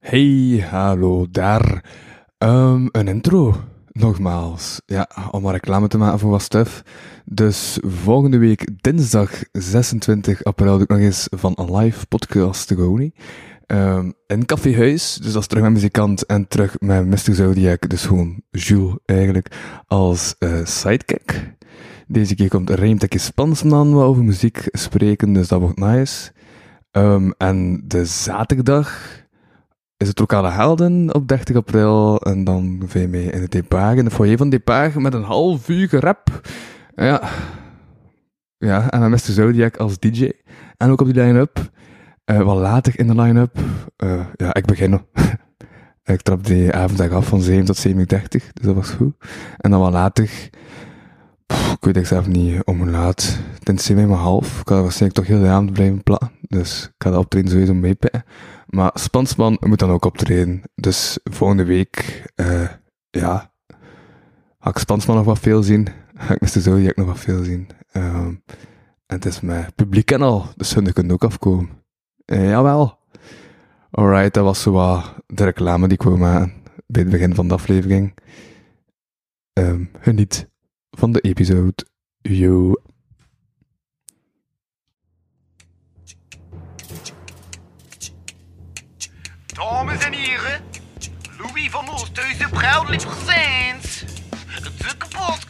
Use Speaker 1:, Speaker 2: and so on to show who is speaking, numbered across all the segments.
Speaker 1: Hey, hallo daar. Ehm, een intro, nogmaals. Ja, om maar reclame te maken voor wat stuff. Dus volgende week, dinsdag 26 april, doe ik nog eens van een live podcast te Goni. Ehm in Café Huis, dus dat is terug met muzikant en terug met Mr. Zodiac, dus gewoon Jules eigenlijk, als eh, sidekick. Deze keer komt Reemtekje Spansman wat over muziek spreken, dus dat wordt nice. Ehm, en de zaterdag is het lokale helden op 30 april. En dan vind je mee in de Depage, in de foyer van Depage, met een half uur rap. Ja. Ja, en met Mr. Zodiac als DJ. En ook op die line-up. Eh, wat later in de line-up. Eh, ja, ik begin nog. ik trap die avondag af van 7 tot 7.30, dus dat was goed. En dan wat later. Pff, ik weet echt zelf niet om hoe laat. Het is 7 uur half. Ik kan waarschijnlijk toch heel de avond blijven platten. Dus ik ga de optreden sowieso meepikken. Maar Spansman moet dan ook optreden. Dus volgende week, eh, ja, ga ik Spansman nog wat veel zien. Ga ik Mr. Zodiac nog wat veel zien. Ehm, en het is met publiek en al, dus hun kunnen ook afkomen. Eh, jawel. Alright, dat was zo wat de reclame die ik wou maken bij het begin van de aflevering. Ehm, geniet van de episode. Yo.
Speaker 2: Dames en heren, Louis van Oosthuizen proudly presents de kapotkast.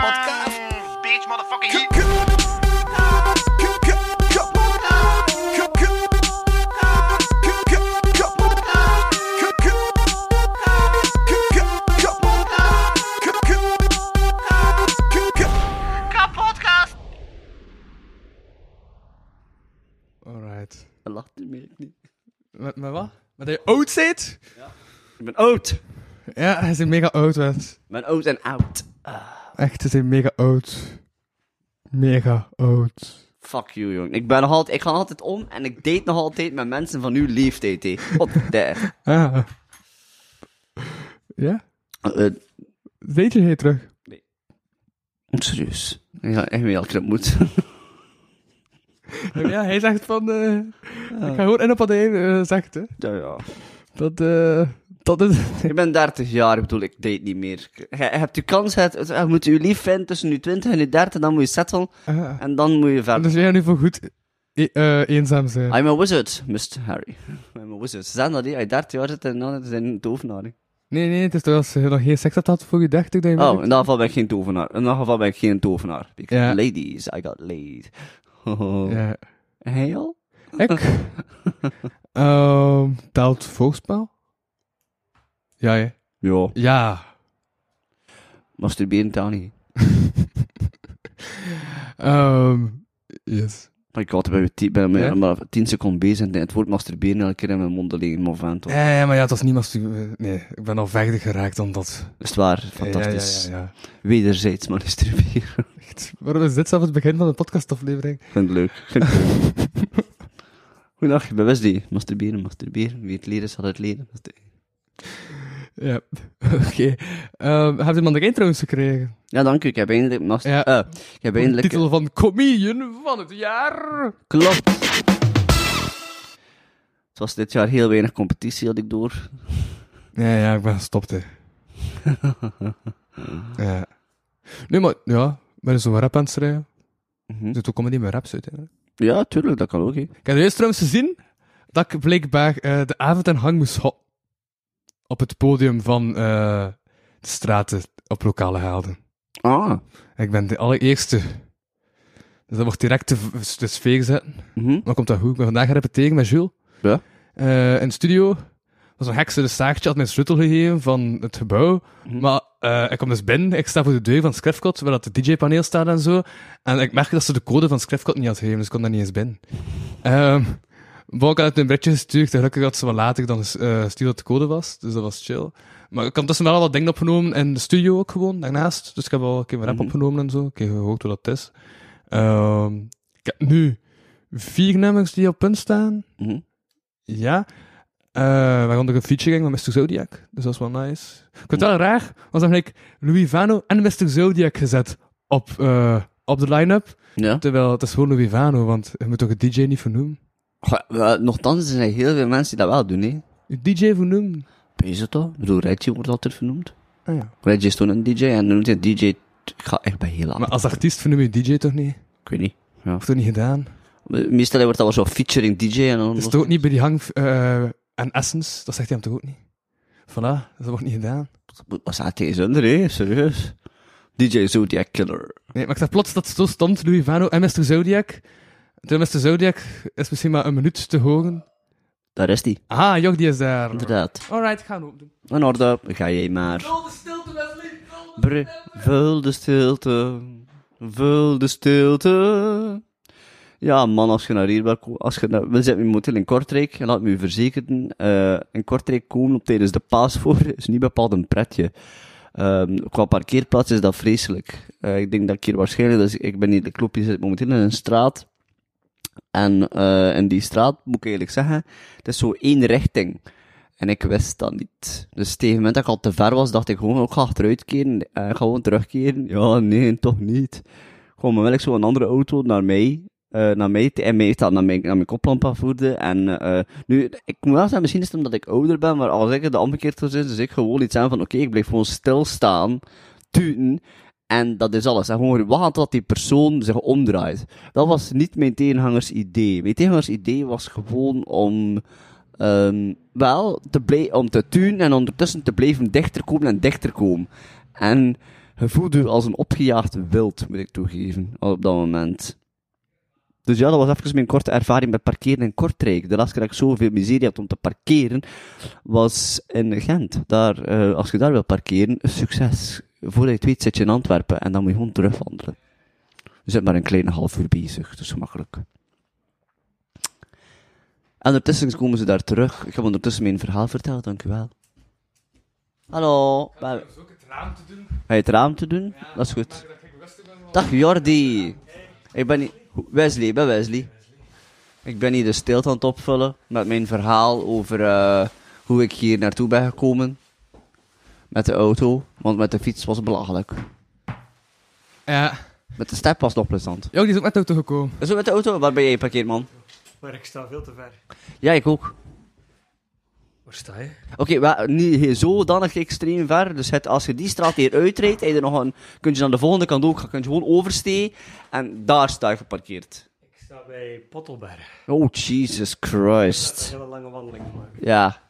Speaker 2: Podcast. Bitch, motherfucking hit. Kapotkast.
Speaker 1: Alright.
Speaker 3: Hij lacht niet meer, ik niet.
Speaker 1: Met, met wat? Met dat je oud zit?
Speaker 3: Ik ben oud.
Speaker 1: Ja, hij is mega oud, werd.
Speaker 3: Ik ben oud en oud.
Speaker 1: Echt, ze zijn mega oud. Mega oud.
Speaker 3: Fuck you, jong. Ik ben nog altijd, ik ga nog altijd om en ik date nog altijd met mensen van uw leeftijd, hé. Wat de...
Speaker 1: Ah. Ja?
Speaker 3: Eh,
Speaker 1: Weet je hij terug?
Speaker 3: serieus. Ik ga echt meer als ik dat moet.
Speaker 1: Ja, hij zegt van... eh, Ik ga gewoon in op wat hij eh, zegt, hè.
Speaker 3: ja, ja.
Speaker 1: Dat, eh, dat is...
Speaker 3: Ik ben 30 jaar, ik bedoel, ik date niet meer. Je je hebt je kans, het, het- je moet je lief vinden tussen je 20 en je 30, dan moet je settelen
Speaker 1: Ah.
Speaker 3: en dan moet je verder.
Speaker 1: Dus jij gaat nu voor goed e- eh, eenzaam zijn.
Speaker 3: I'm a wizard, Mr. Harry. I'm a wizard. Ze zeggen dat, hé. Als je 30 jaar zit en dan zijn een tovenaar, hè.
Speaker 1: Nee, nee, het is toch als je nog geen seks hebt gehad voor je dertig, dat je...
Speaker 3: Oh, in dat geval ben ik geen tovenaar. In dat geval ben ik geen tovenaar. Because
Speaker 1: Ja.
Speaker 3: ladies, I got laid.
Speaker 1: Ja.
Speaker 3: Heel?
Speaker 1: Ik? Ehm telt volkspaal? Ja, ja.
Speaker 3: Ja,
Speaker 1: Ja.
Speaker 3: masturberen taal niet.
Speaker 1: Ehm yes.
Speaker 3: Maar ik had er bij mijn tien- ben
Speaker 1: Ja?
Speaker 3: met- maar 10 seconden bezig en het woord masturberen elke keer in mijn mond alleen, maar van toch.
Speaker 1: Ja, ja, maar ja, het was niet masturbe- Nee, ik ben al verder geraakt dan dat...
Speaker 3: Is het waar, fantastisch.
Speaker 1: Ja, ja, ja, ja.
Speaker 3: Wederzijds masturberen.
Speaker 1: Echt, Waarom is dit zelf het begin van de podcastaflevering?
Speaker 3: Ik vind het leuk. Ik vind het leuk. Goedendag, ik ben Wesley. Masturberen, masturberen. Wie het leren zal het leren.
Speaker 1: Ja, oké. Ehm, heb je man de intro's gekregen?
Speaker 3: Ja, dank u. Ik heb eindelijk... Mast
Speaker 1: Ja.
Speaker 3: eh, ik heb
Speaker 1: De
Speaker 3: eindelijk...
Speaker 1: titel van Comedian van het jaar!
Speaker 3: Klopt. Het was dit jaar heel weinig competitie, had ik door.
Speaker 1: Ja, ja, ik ben gestopt, hè. ja. Nee, maar ja, ben zo rap aan het schrijven.
Speaker 3: Mhm.
Speaker 1: Er zit ook comedy met raps uit, hè.
Speaker 3: Ja, tuurlijk, dat kan ook. Hè.
Speaker 1: Ik heb juist trouwens gezien dat ik blijkbaar eh, de avond en hang moest ho- op het podium van eh, de straten op lokale helden.
Speaker 3: Ah.
Speaker 1: Ik ben de allereerste. Dus dat wordt direct de, v- de sfeer gezet.
Speaker 3: Mhm.
Speaker 1: Dan komt dat goed. Ik ben vandaag gaan repeteren met Jules.
Speaker 3: Ja.
Speaker 1: Eh, in de studio was een hekser de staartje, had mij een sleutel gegeven van het gebouw. Maar eh, ik kom dus binnen, ik sta voor de deur van Scrifcot, waar dat de DJ-paneel staat en zo. En ik merkte dat ze de code van Scrifcot niet had gegeven, dus ik kon daar niet eens binnen. Ehm bon, ik had het een berichtje gestuurd, gelukkig had ze wat later dan eh gestuurd dat de code was, dus dat was chill. Maar ik had tussen wel al wat dingen opgenomen in de studio ook gewoon, daarnaast. Dus ik heb al een keer mijn rap
Speaker 3: Mhm.
Speaker 1: opgenomen en zo, een keer gehoord hoe dat is. Ehm, ik heb nu vier nummers die op punt staan.
Speaker 3: Mhm.
Speaker 1: Ja. Eh waaronder een featuring van Mr. Zodiac. Dus dat is wel nice. Ik vind het wel raar, want dan heb ik Louis Vano en Mr. Zodiac gezet op, eh, op de line-up.
Speaker 3: Ja.
Speaker 1: Terwijl het is gewoon Louis Vano, want je moet toch een DJ niet vernoemen?
Speaker 3: Goh, wel, Nochtans, er zijn heel veel mensen die dat wel doen, hè.
Speaker 1: DJ vernoemd.
Speaker 3: Wees het toch? Ik bedoel, Reggie wordt altijd vernoemd.
Speaker 1: Ah ja.
Speaker 3: Reggie is toen een DJ en dan noemt hij DJ... Ik ga echt bij heel laat.
Speaker 1: Maar als artiest vernoem je DJ toch niet?
Speaker 3: Ik weet niet. Ja.
Speaker 1: Of toch niet gedaan?
Speaker 3: Meestal wordt dat wel zo featuring DJ en dan...
Speaker 1: Is het ook niet bij die hang eh en Essence? Dat zegt hij hem toch ook niet? Voilà, dat wordt niet gedaan.
Speaker 3: Wat staat deze onder, hè? Serieus. DJ Zodiac Killer.
Speaker 1: Nee, maar ik zag plots dat het zo stond, Louis Vano en Mr. Zodiac. Toen Mr. Zodiac is misschien maar een minuut te horen.
Speaker 3: Daar is die,
Speaker 1: Ah, Joch, die is daar.
Speaker 3: inderdaad.
Speaker 1: Alright, gaan we opdoen.
Speaker 3: In orde, ga jij maar. Vul de stilte, Wesley. Vul de stilte. Vul de stilte. Ja, man, als je naar hier wil ko- Als je naar, we zitten in motel in Kortrijk. En laat me u verzekeren. eh, in Kortrijk komen op tijdens de paas voor is niet bepaald een pretje. Ehm, qua parkeerplaats is dat vreselijk. Eh, ik denk dat ik hier waarschijnlijk... Dus ik ben niet de klopje zit momenteel in een straat. En eh, in die straat, moet ik eigenlijk zeggen, het is zo één richting. En ik wist dat niet. Dus tegen het moment dat ik al te ver was, dacht ik gewoon, oh, ik ga achteruit keren, eh, gewoon terugkeren. Ja, nee, toch niet. Gewoon, maar wel ik zo een andere auto naar mij, eh, naar mij, te- en mij staat naar mijn, naar mijn koplamp afvoerde. En eh, nu, ik moet wel zeggen, misschien is het omdat ik ouder ben, maar als ik het de omgekeerd zou zijn, dus ik gewoon iets aan van, oké, ik blijf gewoon stilstaan, tuten, en dat is alles. En gewoon wachten dat die persoon zich omdraait. Dat was niet mijn tegenhangers idee. Mijn tegenhangers idee was gewoon om... Ehm, wel te blij, om te tunen en ondertussen te blijven dichter komen en dichter komen. En je voelt je als een opgejaagd wild, moet ik toegeven, op dat moment. Dus ja, dat was even mijn korte ervaring met parkeren in Kortrijk. De laatste keer dat ik zoveel miserie had om te parkeren, was in Gent. Daar, eh, als je daar wil parkeren, succes. Voordat je het weet zit je in Antwerpen en dan moet je gewoon terugwandelen. Je zit maar een kleine half uur bezig, dus gemakkelijk. En ondertussen komen ze daar terug. Ik heb ondertussen mijn verhaal verteld, dank u wel. Hallo. Wel-
Speaker 1: dus ook het raam te doen.
Speaker 3: Ga je het raam te doen? dat is goed. Dag Jordi. Ik ben hier... Wesley, ik ben Wesley. Ik ben hier de stilte aan het opvullen met mijn verhaal over eh, hoe ik hier naartoe ben gekomen. Met de auto, want met de fiets was het belachelijk.
Speaker 1: Ja.
Speaker 3: Met de step was het nog plezant.
Speaker 1: Joch, die is ook met de auto gekomen.
Speaker 3: Zo met de auto, waar ben jij geparkeerd man?
Speaker 4: Maar ik sta veel te ver.
Speaker 3: Ja, ik ook.
Speaker 4: Waar sta je?
Speaker 3: Oké, wel niet he- zodanig extreem ver. Dus het, als je die straat hier uitrijdt, heb je er nog een, kun je naar de volgende kant ook gaan. Kun je gewoon oversteken. En daar sta je geparkeerd.
Speaker 4: Ik sta bij Pottelberg.
Speaker 3: Oh, Jesus
Speaker 4: Ik heb
Speaker 3: Christ.
Speaker 4: een hele lange wandeling gemaakt.
Speaker 3: Ja.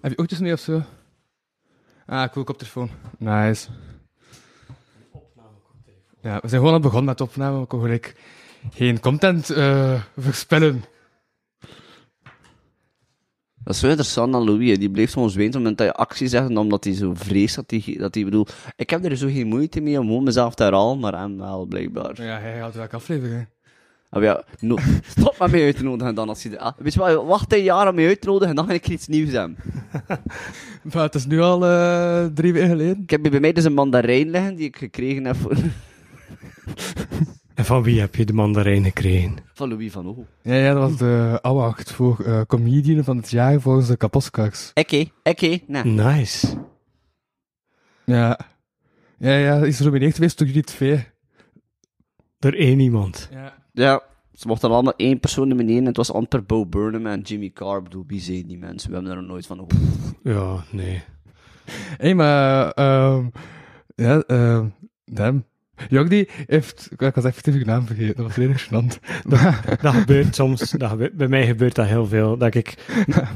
Speaker 1: Heb je oogjes mee of zo? Ah, cool, koptelefoon. Nice.
Speaker 4: Opname op telefoon.
Speaker 1: Ja, we zijn gewoon al begonnen met opname, we konden gelijk geen content eh verspillen.
Speaker 3: Dat is zo interessant aan Louis. hè. Die bleef gewoon zwijnen op het moment dat je actie zegt. En omdat hij zo vreest dat hij... Dat hij bedoel, ik heb er zo geen moeite mee om gewoon mezelf te herhalen. Maar hem wel, blijkbaar.
Speaker 1: Ja, hij gaat welke aflevering?
Speaker 3: Ah, maar ja, no- stop met mij uit te nodigen dan. Als je, de- ah, weet je wat, wacht een jaar om mij uit te nodigen. En dan ga ik iets nieuws hebben.
Speaker 1: Maar het is nu al eh, drie weken geleden.
Speaker 3: Ik heb hier bij mij dus een mandarijn liggen die ik gekregen heb voor...
Speaker 4: En van wie heb je de mandarijn gekregen?
Speaker 3: Van Louis van Oog.
Speaker 1: Ja, ja, dat was de oude acht voor eh, comedian van het jaar volgens de Kaposkaks.
Speaker 3: Oké, oké, nee.
Speaker 4: Nice.
Speaker 1: Ja. Ja, ja, is genomineerd geweest door Judith Vee.
Speaker 4: Door één iemand.
Speaker 1: Ja.
Speaker 3: Ja, ze mochten er allemaal één persoon nomineren. en Het was amper Bo Burnham en Jimmy Carr. Ik bedoel, wie zijn die mensen? We hebben er nog nooit van gehoord.
Speaker 4: Ja, nee.
Speaker 1: Hé, maar... ehm ja, ehm damn. Jordi heeft... Ik was even uw naam vergeten, dat was redelijk gênant. Maar-
Speaker 4: Dat gebeurt soms. Dat gebeurt- bij mij gebeurt dat heel veel. Dat ik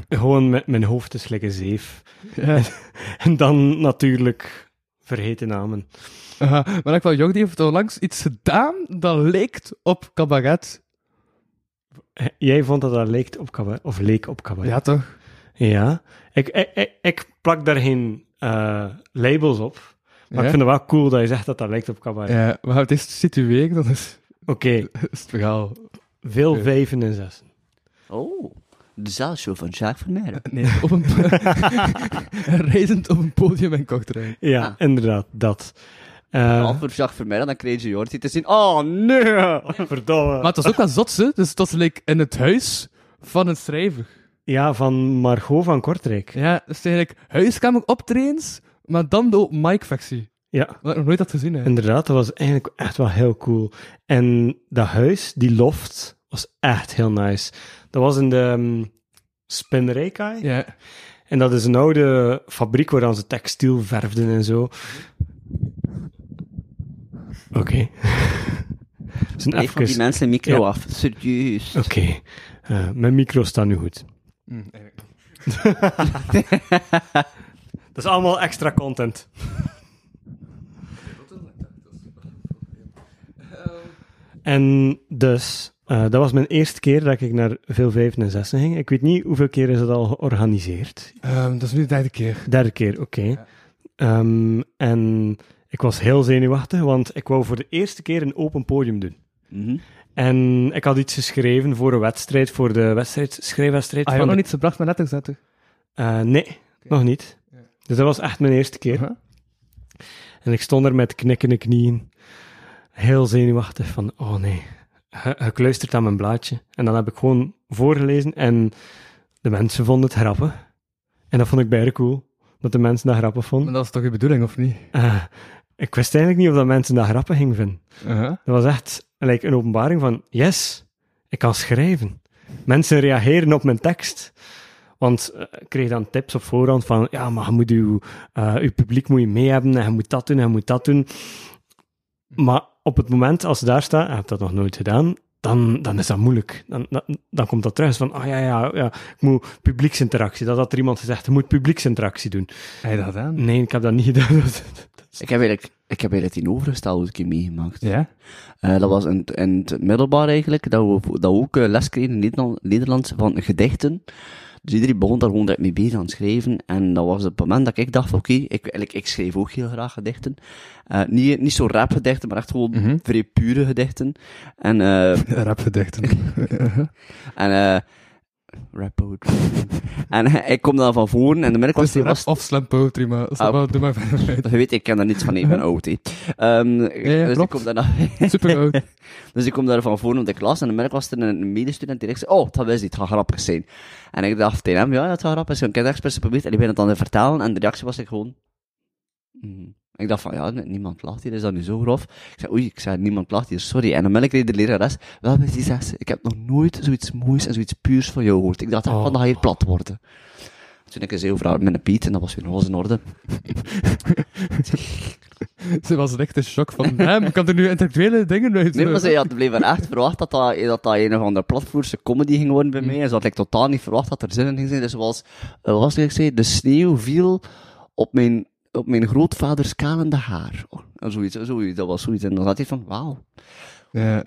Speaker 4: gewoon met mijn hoofd te slikken zeef.
Speaker 1: ja.
Speaker 4: En dan natuurlijk vergeten namen.
Speaker 1: Aha, Eh, maar ik wel, Jordi heeft onlangs iets gedaan dat leek op cabaret.
Speaker 4: Jij vond dat dat leek op cabaret. Of leek op cabaret.
Speaker 1: Ja, toch?
Speaker 4: Ja, ik, ik, ik, ik plak daar geen eh, labels op. Maar
Speaker 1: Ja?
Speaker 4: ik vind het wel cool dat je zegt dat dat lijkt op cabaret.
Speaker 1: Ja, maar het is situeren, dat is,
Speaker 4: Oké,
Speaker 1: is het verhaal.
Speaker 4: veel
Speaker 1: Ja.
Speaker 4: vijven en zessen.
Speaker 3: Oh, de zaalshow van Jacques Vermeer.
Speaker 1: Nee, op een... reizend op een podium in Kortrijk.
Speaker 4: Ja,
Speaker 3: Ah.
Speaker 4: inderdaad, dat. Eh,
Speaker 3: Al voor Jacques Vermeer, dan kreeg je Jordi te zien. Oh, nee!
Speaker 4: verdomme.
Speaker 1: Maar het was ook wel zot, hè? Dus dat leek in het huis van een schrijver.
Speaker 4: Ja, van Margot van Kortrijk.
Speaker 1: Ja, dus eigenlijk huiskamer optredens, maar dan de open mic-factie.
Speaker 4: Ja,
Speaker 1: Wat ik nog nooit had gezien, hè.
Speaker 4: inderdaad, dat was eigenlijk echt wel heel cool. En dat huis, die loft, was echt heel nice. Dat was in de um, Spinrijkai.
Speaker 1: Ja.
Speaker 4: En dat is een oude fabriek waar dan ze textiel verfden en zo. Oké. Het is een
Speaker 3: Ik van die
Speaker 4: even-
Speaker 3: mensen een micro
Speaker 4: Ja.
Speaker 3: af. Serieus.
Speaker 4: Oké. Eh, mijn micro staat nu goed. Dat is allemaal extra content. En dus, eh, dat was mijn eerste keer dat ik naar veel vijven en zessen ging. Ik weet niet hoeveel keer is dat al georganiseerd.
Speaker 1: Ehm, dat is nu de derde keer.
Speaker 4: Derde keer, oké. Ehm, en ik was heel zenuwachtig, want ik wou voor de eerste keer een open podium doen.
Speaker 3: Mhm.
Speaker 4: En ik had iets geschreven voor een wedstrijd, voor de wedstrijd, schrijfwedstrijd.
Speaker 1: Ah, je
Speaker 4: van
Speaker 1: had nog
Speaker 4: de-
Speaker 1: niet gebracht met letters, hè, toch?
Speaker 4: Eh, nee, nog niet. Dus dat was echt mijn eerste keer.
Speaker 1: Aha.
Speaker 4: En ik stond er met knikkende knieën, heel zenuwachtig van, oh nee, Ge- gekluisterd aan mijn blaadje. En dan heb ik gewoon voorgelezen en de mensen vonden het grappig. En dat vond ik bijna cool, dat de mensen dat grappig vonden.
Speaker 1: Maar dat is toch je bedoeling, of niet?
Speaker 4: Eh, ik wist eigenlijk niet of dat mensen dat grappig gingen vinden.
Speaker 1: Uh-huh.
Speaker 4: Dat was echt like, een openbaring van, yes, ik kan schrijven. Mensen reageren op mijn tekst. Want eh, ik kreeg dan tips op voorhand van, ja, maar je moet je, eh, je publiek moet je mee hebben, en je moet dat doen, en je moet dat doen. Maar op het moment, als ze daar staan, en je hebt dat nog nooit gedaan, dan, dan is dat moeilijk. Dan, dan, dan komt dat terug van, ah ja, ja, ja, ik moet publieksinteractie. Dat had er iemand gezegd, je moet publieksinteractie doen.
Speaker 1: Heb je dat gedaan?
Speaker 4: Nee, ik heb dat niet gedaan.
Speaker 3: Ik heb eigenlijk, ik heb eigenlijk die overgestelde een keer meegemaakt.
Speaker 1: Ja?
Speaker 3: Eh, dat was in, het- in het middelbaar eigenlijk, dat we, dat we ook eh, les kregen in Nederland, Nederlands van gedichten. Dus iedereen begon daar gewoon direct mee bezig aan het schrijven. En dat was het moment dat ik dacht, oké, ik, eigenlijk, ik schreef ook heel graag gedichten. Eh, niet, niet zo rap gedichten, maar echt gewoon
Speaker 1: Mhm.
Speaker 3: vrij pure gedichten. En, eh,
Speaker 1: Rap
Speaker 3: en eh rap poetry. en eh, ik kom dan van voren en de middag was...
Speaker 1: Dus rap of slam poetry, maar
Speaker 3: Ah.
Speaker 1: maar, doe maar verder.
Speaker 3: Je weet, ik ken daar niets van, ik ben oud, hè. Ehm, dus ik
Speaker 1: klopt.
Speaker 3: kom daarna...
Speaker 1: Super oud.
Speaker 3: Dus ik kom daarvan voor op de klas en dan merk was er een medestudent die echt zei, oh, dat wist niet, het gaat grappig zijn. En ik dacht tegen hem, ja, dat gaat grappig zijn. Ik heb het expres geprobeerd en ik ben het dan te vertalen en de reactie was ik gewoon... "Hmm." Ik dacht van, ja, n- niemand lacht hier, is dat nu zo grof? Ik zei, oei, ik zei, niemand lacht hier, sorry. En dan merk ik de lerares, wel, met die zes, ik heb nog nooit zoiets moois en zoiets puurs van jou gehoord. Ik dacht, echt
Speaker 4: Oh.
Speaker 3: van, dat gaat hier plat worden. Toen ik eens heel verhaal met een Piet en dat was weer alles in orde.
Speaker 1: Ze was echt in shock van, hem. kan er nu intellectuele dingen uit?
Speaker 3: Nee, maar ze had blijkbaar echt verwacht dat dat, dat, dat een of andere platvoerse comedy ging worden bij mij. En ze had like, totaal niet verwacht dat er zin in ging zijn. Dus zoals, eh, wat was het ik zei, de sneeuw viel op mijn, op mijn grootvaders kalende haar. Oh, en zoiets, zoiets, dat was zoiets. En dan zat hij van, wauw,
Speaker 1: Ja.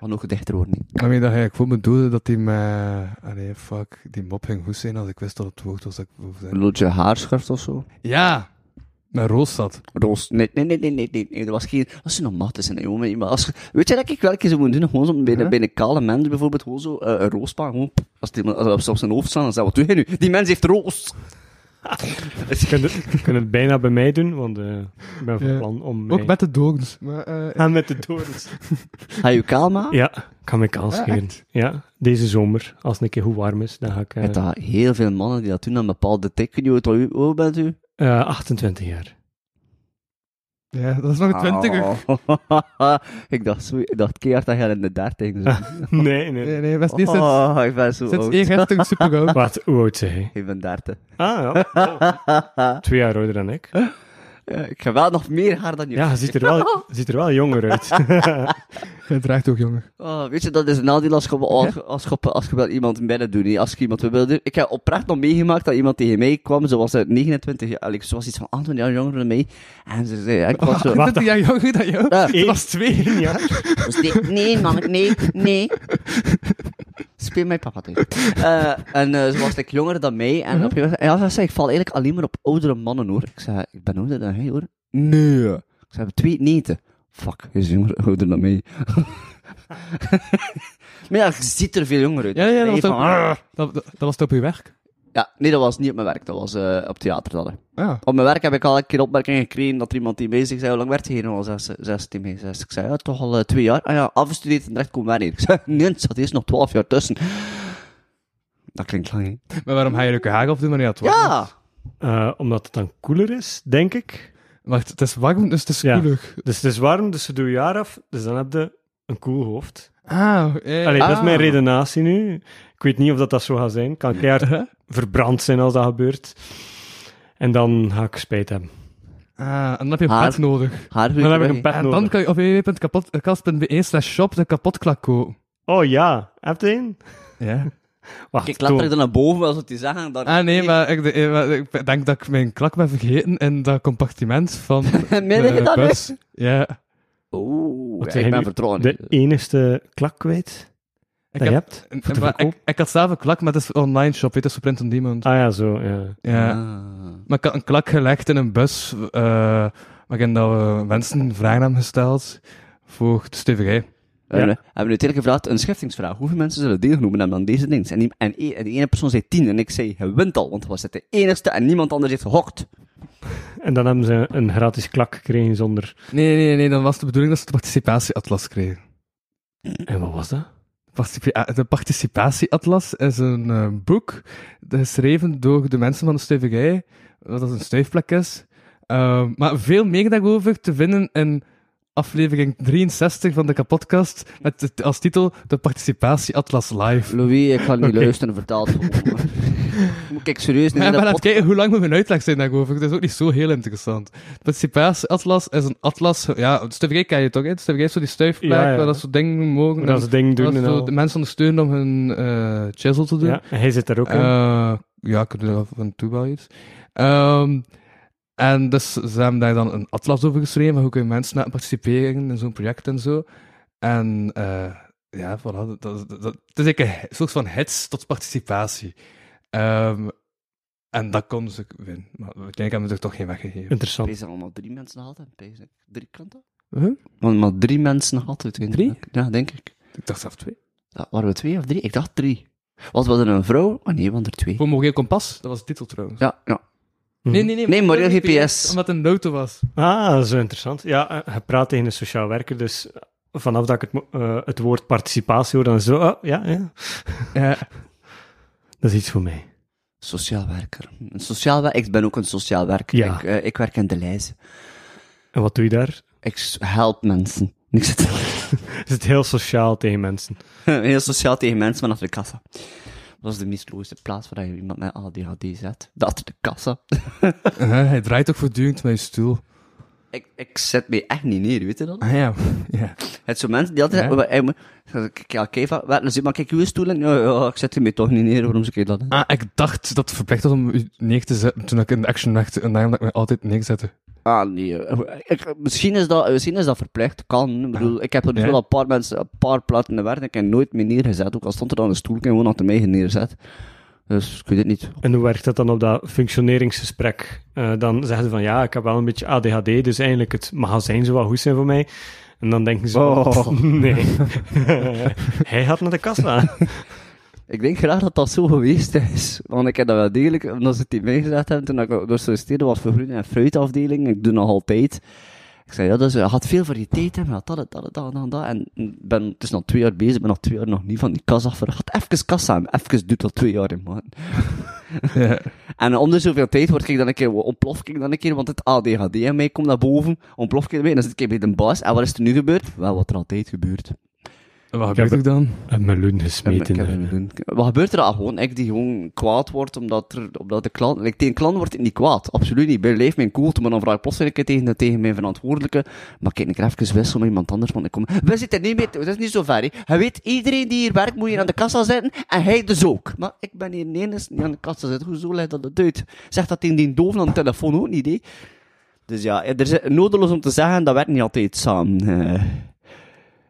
Speaker 3: wat nog dichter worden. niet.
Speaker 1: Ik weet dat ik voor me doelde dat die me... Allee, fuck, die mop ging goed zijn als ik wist dat het woord was dat ik wou
Speaker 3: Een
Speaker 1: zeggen.
Speaker 3: loodje haarschrift of zo.
Speaker 1: Ja! Naar Roos zat.
Speaker 3: Roos. Nee, nee, nee, nee, nee, nee, nee. Er was geen... Dat is normaal tussen een moment. Maar als, weet je dat ik wel een keer zo moet doen? Gewoon zo bij, de, bij een kale mens bijvoorbeeld, gewoon zo eh, een roospaan. Gewoon, pff, als die man- als dat op zijn hoofd staat, dan zegt wat doe jij nu? Die mens heeft roos.
Speaker 4: kunnen kunnen het bijna bij mij doen, want eh, ik ben van
Speaker 1: Ja.
Speaker 4: plan om
Speaker 1: Ook
Speaker 4: mij-
Speaker 1: met de dogens. Maar, eh,
Speaker 4: aan met de torens.
Speaker 3: Ga je kaal maken?
Speaker 4: Ja, ik ga mijn kans
Speaker 1: Ah,
Speaker 4: scheren.
Speaker 1: echt?
Speaker 4: Ja, deze zomer, als het een keer goed warm is, dan ga ik... eh,
Speaker 3: Met dat heel veel mannen die dat doen aan een bepaalde tik. Weet je wat- Hoe oud bent u?
Speaker 4: eh, 28 jaar.
Speaker 1: ja, dat is nog
Speaker 3: Ah.
Speaker 1: een twintiger.
Speaker 3: Oh. ik dacht, zo, ik dacht keihard dat jij in de dertig zat.
Speaker 4: Nee, nee.
Speaker 1: Nee, nee, best niet sinds...
Speaker 3: Oh, ik ben zo
Speaker 1: Sinds
Speaker 3: oud.
Speaker 1: eergisteren super oud.
Speaker 4: Wat, hoe oud zeg je?
Speaker 3: Ik ben dertig.
Speaker 4: Ah, ja. Oh. Twee jaar ouder dan ik.
Speaker 3: Ja, ik ga wel nog meer haar dan je.
Speaker 4: Ja, je ziet er wel, ziet er wel jonger uit.
Speaker 1: Hij draagt ook jonger.
Speaker 3: Oh, weet je, dat is een nadeel als je, als, als, je, als je wel iemand binnen doet. hè. Als je iemand wil doen. Ik heb oprecht nog meegemaakt dat iemand tegen mij kwam. Ze was uit 29 jaar. Allee, Ze was iets van 28 jaar jonger dan mij. En ze zei, ja, ik was zo...
Speaker 1: 20 jaar jonger dan jou?
Speaker 3: Ja.
Speaker 1: Dat was twee.
Speaker 4: Eén jaar.
Speaker 3: Dus nee, nee, man, nee, nee. Speel mijn papa terug. Eh, en eh, ze was like, jonger dan mij. En op een gegeven moment ja, ze zei, ik val eigenlijk alleen maar op oudere mannen, hoor. Ik zei, ik ben ouder dan hij, hoor. Nee. Ik zei, twee nieten. Fuck, hij is jonger, ouder dan mij. maar ja, je ziet er veel jonger uit.
Speaker 1: Ja, ja, dat
Speaker 3: Nee,
Speaker 1: was,
Speaker 3: van, "Ah."
Speaker 1: op, dat, dat, dat was op je werk.
Speaker 3: ja, nee, dat was niet op mijn werk. Dat was eh, op theater. Dat, hè.
Speaker 1: Ja.
Speaker 3: Op mijn werk heb ik al een keer opmerkingen gekregen dat er iemand die bezig zei, hoe lang werd je hier nou al? Zes- 16 mee, zes. Ik zei, ja, toch al eh, twee jaar. Ah ja, afgestudeerd en direct kom weer hier. Ik zei, nee, er zat eerst nog 12 jaar tussen. Dat klinkt lang, hè?
Speaker 1: Maar waarom ga je je haar op doen wanneer het warm is?
Speaker 3: Ja!
Speaker 4: Eh, omdat het dan koeler is, denk ik.
Speaker 1: Wacht, het is warm, dus het is
Speaker 4: Ja.
Speaker 1: koelig.
Speaker 4: Dus het is warm, dus ze doen je haar af. Dus dan heb je een koel hoofd.
Speaker 1: Ah, eh,
Speaker 4: Allee, dat is
Speaker 1: ah.
Speaker 4: mijn redenatie nu. Ik weet niet of dat, dat zo gaat zijn. Ik kan keihard verbrand zijn als dat gebeurt. En dan ga ik spijt hebben.
Speaker 1: Ah, en dan heb je een
Speaker 3: Haar.
Speaker 1: pet nodig.
Speaker 3: Haar wil
Speaker 4: Dan
Speaker 3: ik
Speaker 4: heb ik
Speaker 3: weg.
Speaker 4: een pet
Speaker 1: En dan
Speaker 4: nodig.
Speaker 1: kan je op www.kapotcast.be slash shop de kapotklak kopen.
Speaker 4: Oh ja, heb je een?
Speaker 1: Ja.
Speaker 4: Wacht,
Speaker 3: Ik
Speaker 4: Toon.
Speaker 3: laat er dan naar boven als het die zeggen. Dan...
Speaker 1: Ah nee, maar ik, de- eh, maar ik denk dat ik mijn klak ben vergeten in dat compartiment van
Speaker 3: Meer
Speaker 1: de
Speaker 3: dan
Speaker 1: bus. Ja.
Speaker 3: Oeh,
Speaker 4: Wat
Speaker 3: ja,
Speaker 4: zeg je
Speaker 3: ik ben
Speaker 4: nu?
Speaker 3: vertrouwen.
Speaker 4: De enigste klak kwijt
Speaker 1: Ik
Speaker 4: dat je hebt.
Speaker 1: En-
Speaker 4: Ah, Voor te
Speaker 1: maar ik,
Speaker 4: verkopen?
Speaker 1: ik had zelf een klak, maar het is online shop, weet, het is voor print on demand.
Speaker 4: Ah ja, zo. Ja.
Speaker 1: ja. Maar ik had een klak gelegd in een bus, eh waarin dat we mensen vragen hebben gesteld voor de stuiverij.
Speaker 3: We hebben we hebben uiteindelijk gevraagd, een schiftingsvraag. Hoeveel mensen zullen deelgenomen hebben aan deze ding? En, die, en, e- en die ene persoon zei tien. En ik zei, je wint al, want hij was het de enigste en niemand anders heeft gehokt.
Speaker 4: En dan hebben ze een gratis klak gekregen zonder...
Speaker 1: Nee, nee, nee, nee, dan was de bedoeling dat ze de participatieatlas kregen.
Speaker 4: En wat was dat?
Speaker 1: Participa- De participatieatlas is een eh, boek geschreven door de mensen van de stuiverij, dat is een stuifplek is. Ehm, maar veel meer daarover te vinden in aflevering 63 van de kapotkast, met het- als titel De Participatieatlas Live.
Speaker 3: Louis, ik ga niet luisteren, vertaald. Moet ik serieus niet
Speaker 1: Maar, maar
Speaker 3: in dat
Speaker 1: laat
Speaker 3: pot...
Speaker 1: kijken hoe lang we mijn uitleg zijn daarover. Dat is ook niet zo heel interessant. Het Participatieatlas is een atlas. Ja, de stuiverij ken je toch? Hè? De stuiverij is zo die stuifplek
Speaker 4: Ja, ja.
Speaker 1: waar dat soort dingen mogen.
Speaker 4: Hoe dat ze dingen
Speaker 1: waar Mm.
Speaker 4: doen
Speaker 1: dat
Speaker 4: en
Speaker 1: zo
Speaker 4: al.
Speaker 1: de mensen ondersteunen om hun eh, chisel te doen.
Speaker 4: Ja, hij zit daar ook in.
Speaker 1: Eh, ja, ik doe er af en toe wel iets. Ehm, en dus ze hebben daar dan een atlas over geschreven, van hoe kunnen mensen laten participeren in zo'n project en zo. En eh, ja, voilà, dat, dat, dat- het is eigenlijk een he- soort van hits tot participatie. Ehm, en dat konden ze winnen. Maar uiteindelijk hebben ze er toch geen weggegeven.
Speaker 4: Interessant.
Speaker 3: Pees er allemaal drie mensen had, hè? Pees ik. Drie klanten?
Speaker 1: Huh?
Speaker 3: Want maar drie mensen had het.
Speaker 1: Drie?
Speaker 3: Ja, denk ik.
Speaker 1: Ik dacht zelf twee.
Speaker 3: Ja, waren we twee of drie? Ik dacht drie. Was we er een vrouw? Oh nee, want er twee.
Speaker 1: Voor Moreel Kompas, dat was de titel trouwens.
Speaker 3: Ja, ja.
Speaker 1: Nee, nee, Mm. nee.
Speaker 3: Nee, Moreel
Speaker 1: omdat het een
Speaker 3: GPS.
Speaker 1: Omdat het een auto was.
Speaker 4: Ah, zo interessant. Ja, eh, je praat tegen een sociaal werker, dus vanaf dat ik het, mo- eh, het woord participatie hoor, dan zo, oh, ja, ja,
Speaker 1: Ja.
Speaker 4: dat is iets voor mij.
Speaker 3: Sociaal werker. Een sociaal wer- Ik ben ook een sociaal werker.
Speaker 4: Ja.
Speaker 3: Ik, eh, ik werk in de lijst.
Speaker 4: En wat doe je daar?
Speaker 3: Ik s- help mensen. Ik zit
Speaker 4: Is het heel sociaal tegen mensen?
Speaker 3: heel sociaal tegen mensen vanaf de kassa. Dat is de meest logische plaats waar je iemand met ADHD zet. Dat achter de kassa.
Speaker 1: Eh, hij draait ook voortdurend met je stoel.
Speaker 3: Ik, ik zet mij echt niet neer, weet je dat?
Speaker 1: Ah ja. ja.
Speaker 3: Het zijn mensen die altijd
Speaker 1: Ja.
Speaker 3: zeggen, "Oh, hey, maar- Zeg ik, ja, oké, va- wat, dan zit maar kijk, uw stoel in. Ja, ja, ik zet hem hier toch niet neer, waarom zeg ik dat? hè?
Speaker 1: Ah, ik dacht dat het verplicht was om u neer te zetten toen ik in de action dacht. En daarom dat ik me altijd neerzette.
Speaker 3: Ah, nee. eh, ik- misschien, is dat, misschien is dat verplicht, kan. Ik bedoel, ik heb er dus
Speaker 1: Ja.
Speaker 3: wel een paar mensen, een paar platen in de werk, ik heb nooit meer neergezet. Ook al stond er dan een stoel, ik heb gewoon achter mij neerzet. Dus ik weet het niet.
Speaker 4: En hoe werkt dat dan op dat functioneringsgesprek? Eh, dan zeggen ze van, ja, ik heb wel een beetje ADHD, dus eigenlijk het magazijn zou wel goed zijn voor mij. En dan denken ze,
Speaker 3: Oh.
Speaker 4: "Pff, nee, hij gaat naar de kassa.
Speaker 3: Ik denk graag dat dat zo geweest is. Want ik heb dat wel degelijk, omdat ze het niet meegezet hebben, toen ik door solliciteerde was voor groen- en fruitafdeling. Ik doe nog altijd. Ik zei, ja, dus je had veel voor je tijd hebben, je had dat, dat, dat, dat, dat, dat. En ik ben, het is nog twee jaar bezig, ik ben nog twee jaar nog niet van die kas af. Had even kas aan, even doet dat twee jaar in, man.
Speaker 1: Ja.
Speaker 3: En om de zoveel tijd word ik dan een keer, ontplof ik dan een keer, want het ADHD in mij komt naar boven, ontplof ik ermee, en dan zit ik bij de baas. En wat is er nu gebeurd? Wel, wat er altijd gebeurt.
Speaker 1: En wat gebeurt
Speaker 4: Ja,
Speaker 1: er dan?
Speaker 4: Een meloen
Speaker 3: Ik heb-
Speaker 4: gesmeten.
Speaker 3: ik heb
Speaker 4: eh.
Speaker 3: het doen. Wat gebeurt er dan? Gewoon ik die gewoon kwaad wordt omdat, er, omdat de klant... Like, tegen klant wordt het niet kwaad. Absoluut niet. Blijf mijn koelte, maar dan vraag ik plotseling een keer tegen, tegen mijn verantwoordelijke. Maar kijk, ik ga even wisselen met iemand anders, want ik kom... We zitten niet meer... Dat is niet zo ver, hè. Hij weet, iedereen die hier werkt moet hier aan de kassa zitten. En hij dus ook. Maar ik ben hier de enige die aan de kassa zit. Hoezo leidt dat het uit? Zeg dat tegen die doof aan de telefoon ook niet, hè. Dus ja, er is nodeloos om te zeggen, dat werkt niet altijd samen. eh.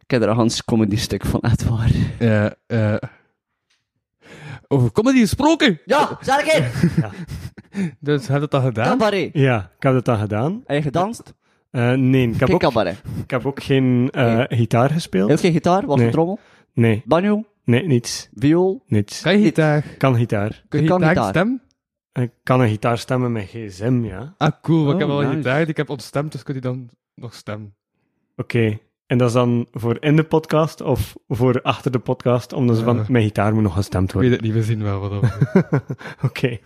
Speaker 3: ik heb er een Hans comedy stuk van, echt waar.
Speaker 1: Ja, ja. Over comedy gesproken!
Speaker 3: Ja, zeg ik in!
Speaker 1: Dus heb je dat gedaan?
Speaker 3: Cabaret.
Speaker 4: Ja, ik heb dat dan gedaan.
Speaker 3: Heb je gedanst?
Speaker 4: Eh, nee, ik heb,
Speaker 3: Geen
Speaker 4: ook,
Speaker 3: cabaret.
Speaker 4: ik heb ook geen eh, gitaar
Speaker 3: Heel
Speaker 4: gespeeld.
Speaker 3: geen gitaar, was
Speaker 4: Nee.
Speaker 3: een trommel,
Speaker 4: Nee,
Speaker 3: banjo,
Speaker 4: nee, niets.
Speaker 3: viool.
Speaker 4: niets.
Speaker 1: Kan je gitaar?
Speaker 4: Ik kan gitaar.
Speaker 1: Kun
Speaker 3: Ik
Speaker 1: je
Speaker 3: kan
Speaker 1: gitaar
Speaker 3: gitaar.
Speaker 1: stem?
Speaker 4: Ik kan een gitaar stemmen met gsm, ja. Oké.
Speaker 1: Ah, cool. want ik
Speaker 3: Oh,
Speaker 1: heb al
Speaker 3: nice.
Speaker 1: gitaar, die ik heb ontstemd, dus kun je dan nog stemmen.
Speaker 4: En dat is dan voor in de podcast of voor achter de podcast, omdat ze van
Speaker 1: Eh.
Speaker 4: mijn gitaar moet nog gestemd
Speaker 1: Ik weet
Speaker 4: worden.
Speaker 1: het niet, we zien wel wat dat
Speaker 4: Oké.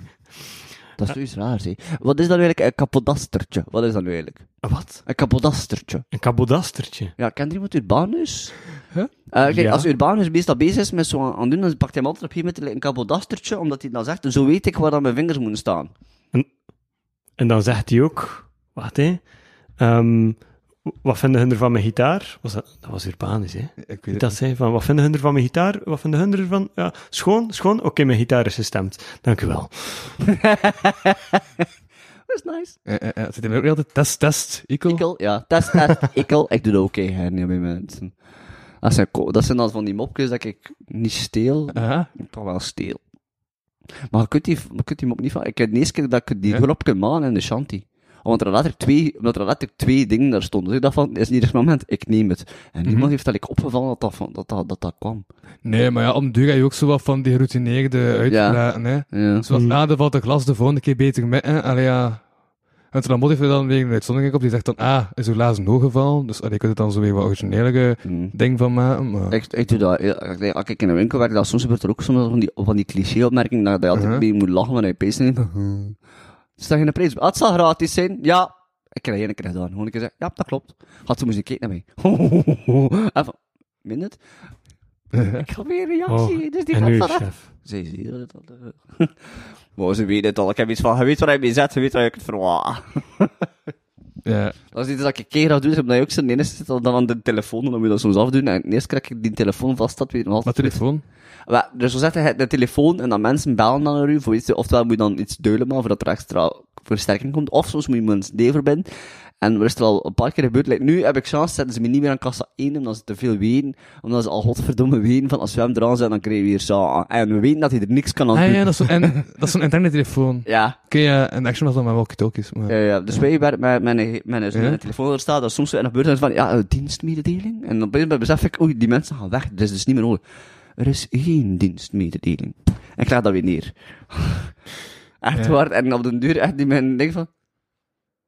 Speaker 3: Dat is zoiets raars, hè. Wat is dat nu eigenlijk? Een kapodastertje. Wat is dat nu eigenlijk?
Speaker 4: Een Wat?
Speaker 3: Een kapodastertje.
Speaker 4: Een kabodastertje.
Speaker 3: Ja, kent er iemand Urbanus?
Speaker 1: Huh?
Speaker 3: Eh, kijk,
Speaker 4: Ja.
Speaker 3: als Urbanus meestal bezig is met zo aan, aan doen, dan pakt hij hem altijd op een gegeven moment een kapodastertje, omdat hij dan zegt, zo weet ik waar dan mijn vingers moeten staan.
Speaker 4: En dan zegt hij ook, wacht hè, ehm, wat vinden hun er van mijn gitaar? Was dat, dat was Urbanus, hè?
Speaker 1: Ik
Speaker 4: Die
Speaker 1: weet het.
Speaker 4: Dat zei van, wat vinden hun er van mijn gitaar? Wat vinden hun er van? Ja, schoon, schoon. Oké, mijn gitaar is gestemd. Dank u wel.
Speaker 3: Dat is nice.
Speaker 1: Eh, eh, eh, Zit hij ook altijd test, test, ikkel?
Speaker 3: Ikkel, ja. Test, test, ikkel. Ik doe dat ook eigenlijk niet bij mensen. Dat zijn, ko- dat zijn dan van die mopjes dat ik niet steel.
Speaker 1: Aha.
Speaker 3: Ik toch wel steel. Maar je kunt die, je kunt die mop niet van... Ik heb de eerste keer dat ik die grap kon maken in de shanty. Omdat er letterlijk twee, omdat er letterlijk twee dingen daar stonden. Dus ik dacht van, is in ieder moment, ik neem het. En niemand heeft dat ik opgevallen dat dat, van- dat, dat, dat, dat kwam.
Speaker 1: Nee, maar ja, om duur ga je ook zo wat van die geroutineerde uitlaten, hè.
Speaker 3: Ja.
Speaker 1: Zoals, ah, dan valt de glas de volgende keer beter mee, hè. Allee, ja. En toen dan heeft er dan weer een uitzondering op, die zegt dan, ah, is uw laatste nog geval? Dus allee, je kunt er dan zo weer wat originele
Speaker 3: Mm.
Speaker 1: ding van maken, maar...
Speaker 3: Ik, ik doe dat. ja, ik- Als ik in een winkel werk, dat soms gebeurt er ook soms van die, van die cliché-opmerkingen dat je altijd
Speaker 4: Uh-huh.
Speaker 1: Mhm.
Speaker 3: mee moet lachen wanneer je pees neemt. Is dat geen prijs? Ah, het zal gratis zijn. Ja. Ik heb dat één keer gedaan. Gewoon een keer zeggen, ja, dat klopt. Had ze moesten kijken naar mij. Even, meen het? Ik had weer een reactie, dus die
Speaker 4: Uh-huh.
Speaker 3: gaat
Speaker 4: Oh. en nu,
Speaker 3: van af.
Speaker 4: chef.
Speaker 3: Ze zie je dat? eh. Maar ze weten het al. Ik heb iets van, je weet waar hij mee zet, je weet waar ik het verwaar.
Speaker 1: Ja.
Speaker 3: Dat is iets dat ik een keer ga doen, omdat je ook zo'n ene zit dan aan de telefoon, dan moet je dat soms afdoen. En eerst krijg ik die telefoon vast, dat weet ik nog
Speaker 1: Wat
Speaker 3: altijd.
Speaker 1: telefoon?
Speaker 3: Wel, dus zo zet je de telefoon en dan mensen bellen dan naar u voor iets, oftewel moet je dan iets duilen maar voordat er extra versterking komt, of soms moet je mensen nee verbinden. En er is het al een paar keer gebeurd. Like, nu heb ik chance, zetten ze me niet meer aan kassa 1 omdat ze te veel weten, omdat ze al godverdomme weten van als we hem eraan zetten, dan krijgen we hier zo. En we weten dat hij er niks kan aan doen.
Speaker 1: Ah ja, dat is zo'n en- dat is zo'n interne telefoon.
Speaker 3: ja.
Speaker 1: Oké, ja, en Action was dan maar walkie-talkies, maar...
Speaker 3: Ja, ja. Dus wij werken met mijn, mijn,
Speaker 1: Ja.
Speaker 3: mijn telefoon er staat, dat soms en dan gebeurt er van, ja, eh, dienstmededeling. En op een gegeven moment besef ik, oei, die mensen gaan weg, dat is dus niet meer nodig. Er is geen dienstmededeling. En ik leg dat weer neer. Echt
Speaker 1: Ja.
Speaker 3: waar, en op den duur echt die mensen denken van...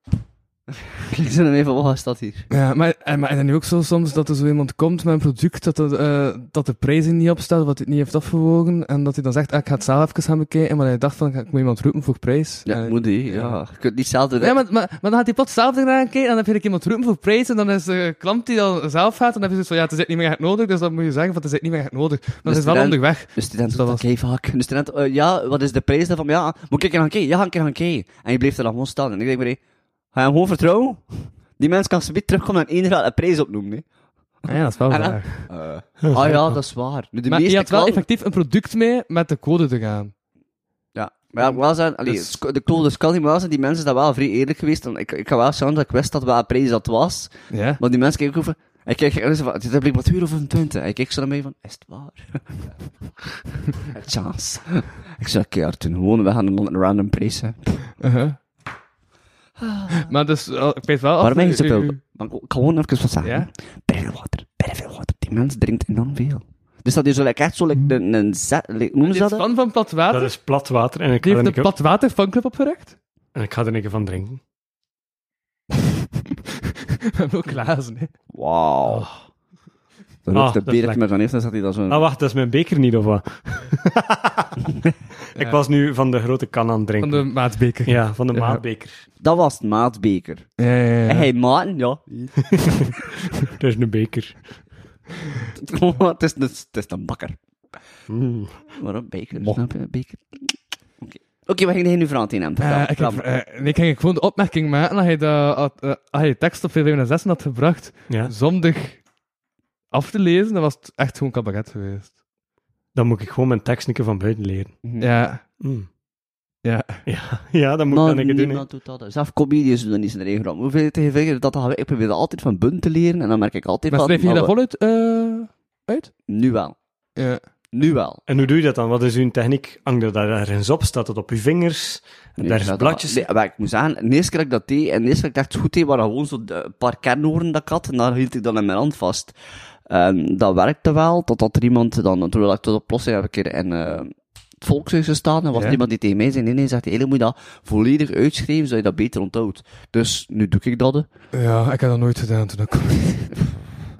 Speaker 3: Kijk ze dan even, wat is dat hier?
Speaker 1: Ja, maar, en, maar en dan nu ook zo soms dat er zo iemand komt met een product dat, er, eh, dat de prijzen niet opstaat, wat hij niet heeft afgewogen, en dat hij dan zegt, ah, ik ga het zelf even gaan bekijken, maar hij dacht van, ik ga- ik moet iemand roepen voor prijs.
Speaker 3: Ja,
Speaker 1: En-
Speaker 3: moet die, ja. Je kunt niet zelf...
Speaker 1: Ja, maar, maar, maar dan gaat hij plots zelf eraan kijken, en dan heb je like, iemand roepen voor prijs, en dan is de klant die dan zelf gaat, en dan heb je zoiets van, ja, het is echt niet meer echt nodig, dus dan moet je zeggen van, het is echt niet meer echt nodig. Maar
Speaker 3: Dus
Speaker 1: het is wel
Speaker 3: dan-
Speaker 1: onderweg.
Speaker 3: De student
Speaker 1: Dat
Speaker 3: doet
Speaker 1: was-
Speaker 3: dat vaak. De student, eh, ja, wat is de prijs daarvan? Ja, moet ik er gaan kijken? Ja, ga ik er gaan kijken. En je bleef er dan gewoon staan. En ik denk maar, hé, ga je hem gewoon vertrouwen? Die mens kan ze terugkomen en één raad een prijs opnoemen. hè.
Speaker 1: Ah ja, dat is wel
Speaker 3: En dan-
Speaker 1: waar.
Speaker 3: Ah ja, dat is waar. Nu, de
Speaker 1: Maar je
Speaker 3: meeste
Speaker 1: had wel
Speaker 3: klanten-
Speaker 1: effectief een product mee met de code te gaan.
Speaker 3: Ja, maar ja, ik moet wel zeggen, allee,
Speaker 1: Dus-
Speaker 3: het is- de klote kan niet, maar wel zeggen, die mensen zijn wel vrij eerlijk geweest. En ik, ik ga wel zeggen dat ik wist dat wel een prijs dat was.
Speaker 1: Ja.
Speaker 3: Maar die mensen kijken ook over... En ik kijk, en ze van, dit heb ik wat uur of een twintig. En ik kijk zo naar mij van, is het waar? Een chance. Ik zou keihard doen. Gewoon, we gaan een man een random prijs, hè.
Speaker 1: Uh-huh. Maar dus, eh, ik weet wel... af-
Speaker 3: Waarom ben je
Speaker 1: u-
Speaker 3: zoveel?
Speaker 1: u-
Speaker 3: Maar ik wil gewoon even wat zeggen.
Speaker 1: Ja?
Speaker 3: Bijna water, bijna veel water. Die mens drinkt enorm veel. Dus dat is zo like, echt zo like, een, een zet, like, noemen ze
Speaker 1: Die is
Speaker 3: dat? hè?
Speaker 1: fan van plat
Speaker 4: Dat
Speaker 3: ah,
Speaker 1: water.
Speaker 4: is plat water en ik,
Speaker 1: Die
Speaker 4: ga er
Speaker 1: heeft
Speaker 4: een
Speaker 1: een
Speaker 4: keer,
Speaker 1: platwater fanclub opgericht.
Speaker 4: en ik ga er een keer van drinken.
Speaker 1: Met ook glazen, hè.
Speaker 3: Wauw.
Speaker 1: Oh.
Speaker 3: Dan
Speaker 4: Ah,
Speaker 3: loopt de
Speaker 4: dat
Speaker 3: beer dat
Speaker 4: is lekker.
Speaker 3: je maar van heeft, dan zat hij dan zo...
Speaker 4: Ah, wacht, dat is mijn beker niet, of wat? Ik
Speaker 1: Ja.
Speaker 4: was nu van de grote kan aan het drinken.
Speaker 1: Van de maatbeker.
Speaker 4: Ja, van de
Speaker 1: Ja.
Speaker 4: maatbeker.
Speaker 3: Dat was het maatbeker.
Speaker 1: Ja, ja, ja.
Speaker 3: En hij maten, ja.
Speaker 4: Er is een beker.
Speaker 3: het, is een, het is een bakker.
Speaker 4: Mm.
Speaker 3: Waarom? Beker,
Speaker 4: Mo.
Speaker 3: snap je? Beker. Oké, Oké, wat ging hij nu vragen tegen hem?
Speaker 1: Eh,
Speaker 3: Vertel,
Speaker 1: ik,
Speaker 3: vertel.
Speaker 1: heb, eh, ik ging gewoon de opmerking maken dat hij, dat, had, eh, als hij tekst op 456 had gebracht
Speaker 4: Ja,
Speaker 1: zondig af te lezen. Dan was het echt gewoon cabaret geweest.
Speaker 4: dan moet ik gewoon mijn tekst een keer van buiten leren.
Speaker 1: Ja,
Speaker 4: Mm.
Speaker 1: ja.
Speaker 4: Ja, ja, dat moet
Speaker 3: Maar
Speaker 4: ik dan een keer doen. hè.
Speaker 3: niemand doet dat. hè. Zelf comedians doen dat niet in de regel. Hoeveel tegen vinger dat dat Ik probeer dat altijd van bun te leren en dan merk ik altijd
Speaker 1: Maar
Speaker 3: van...
Speaker 1: schrijf je dat
Speaker 3: maar we-
Speaker 1: voluit eh, uit?
Speaker 3: Nu wel.
Speaker 1: Ja.
Speaker 3: Nu wel.
Speaker 4: En hoe doe je dat dan? Wat is uw techniek? Hang je daar ergens op? Staat dat op uw vingers?
Speaker 3: Nee,
Speaker 4: daar is
Speaker 3: dat-
Speaker 4: bladjes?
Speaker 3: Nee, maar ik moet zeggen, de eerste keer dat ik dat deed, en de eerste keer dat ik dat goed deed, waren gewoon zo de- een paar kernhoorn dat ik had, en daar hield ik dan in mijn hand vast. En dat werkte wel, totdat er iemand dan, terwijl ik tot oplossing heb ik een keer in eh, het volkshuis gestaan, en was
Speaker 1: Ja.
Speaker 3: er iemand die tegen mij zei, nee, nee, zegt hij, "Hele, moet je dat volledig uitschrijven, zodat je dat beter onthoudt. Dus nu doe ik dat, hè.
Speaker 1: ja, ik heb dat nooit gedaan toen ik...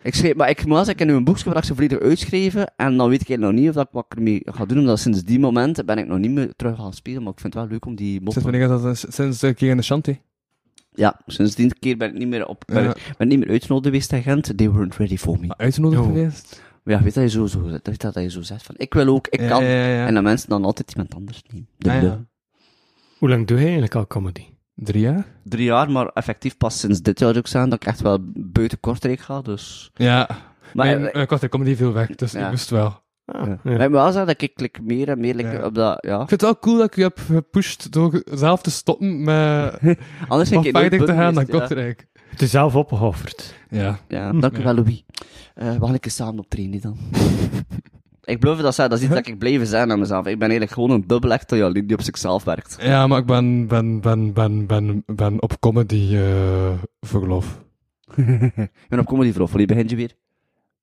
Speaker 3: Ik schreef, maar ik moet wel zeggen, ik heb nu een boekje waar ik ze volledig uitschreven. En dan weet ik eigenlijk nog niet of dat ik wat ik ermee ga doen. Omdat sinds die moment ben ik nog niet meer terug gaan spelen. Maar ik vind het wel leuk om die
Speaker 1: Sinds
Speaker 3: moppen...
Speaker 1: wanneer is dat? Sinds de keer in de shanty?
Speaker 3: Ja, sinds die keer ben ik niet meer, op, ben,
Speaker 1: Ja.
Speaker 3: ik- ben ik niet meer uitgenodigd geweest in Gent. They weren't ready for me.
Speaker 1: Uitgenodigd
Speaker 4: Oh.
Speaker 1: geweest?
Speaker 3: Maar ja, weet dat je zo, zo, weet dat je zo zegt van, ik wil ook, ik
Speaker 1: Ja,
Speaker 3: kan.
Speaker 1: ja, ja, ja.
Speaker 3: En dat mensen dan altijd iemand anders nemen. Dus,
Speaker 1: Ah, ja.
Speaker 3: eh,
Speaker 4: Hoe lang doe je eigenlijk al comedy?
Speaker 1: Drie jaar?
Speaker 3: Drie jaar, maar effectief pas sinds dit jaar ook zijn dat ik echt wel buiten Kortrijk ga, dus...
Speaker 1: Ja.
Speaker 3: Maar
Speaker 1: nee,
Speaker 3: eh,
Speaker 1: ik had er comedy veel weg, dus
Speaker 3: Ja.
Speaker 1: ik moest wel.
Speaker 4: Ah,
Speaker 3: Ja.
Speaker 4: ja.
Speaker 3: Maar ik moet wel zeggen dat ik like, meer en meer like,
Speaker 1: Ja.
Speaker 3: op dat, ja.
Speaker 1: Ik vind het wel cool dat ik je heb gepusht door zelf te stoppen met
Speaker 3: Anders ging
Speaker 1: nog
Speaker 3: ik nooit
Speaker 1: verder te
Speaker 3: bun
Speaker 1: gaan dan
Speaker 3: geweest, ja.
Speaker 1: Kortrijk.
Speaker 4: Het is zelf opgeofferd.
Speaker 1: Ja.
Speaker 3: Ja, dank u
Speaker 1: Ja.
Speaker 3: wel, Louis. Eh we gaan een keer samen optreden dan. ik beloof je dat zeggen, dat is iets dat ik blijven zijn aan mezelf. Ik ben eigenlijk gewoon een bubbelactor ja, die op zichzelf werkt.
Speaker 1: Ja, maar ik ben, ben, ben, ben, ben, ben op comedy eh, verlof.
Speaker 3: Ik ben op comedy vroeg, wanneer begin je weer?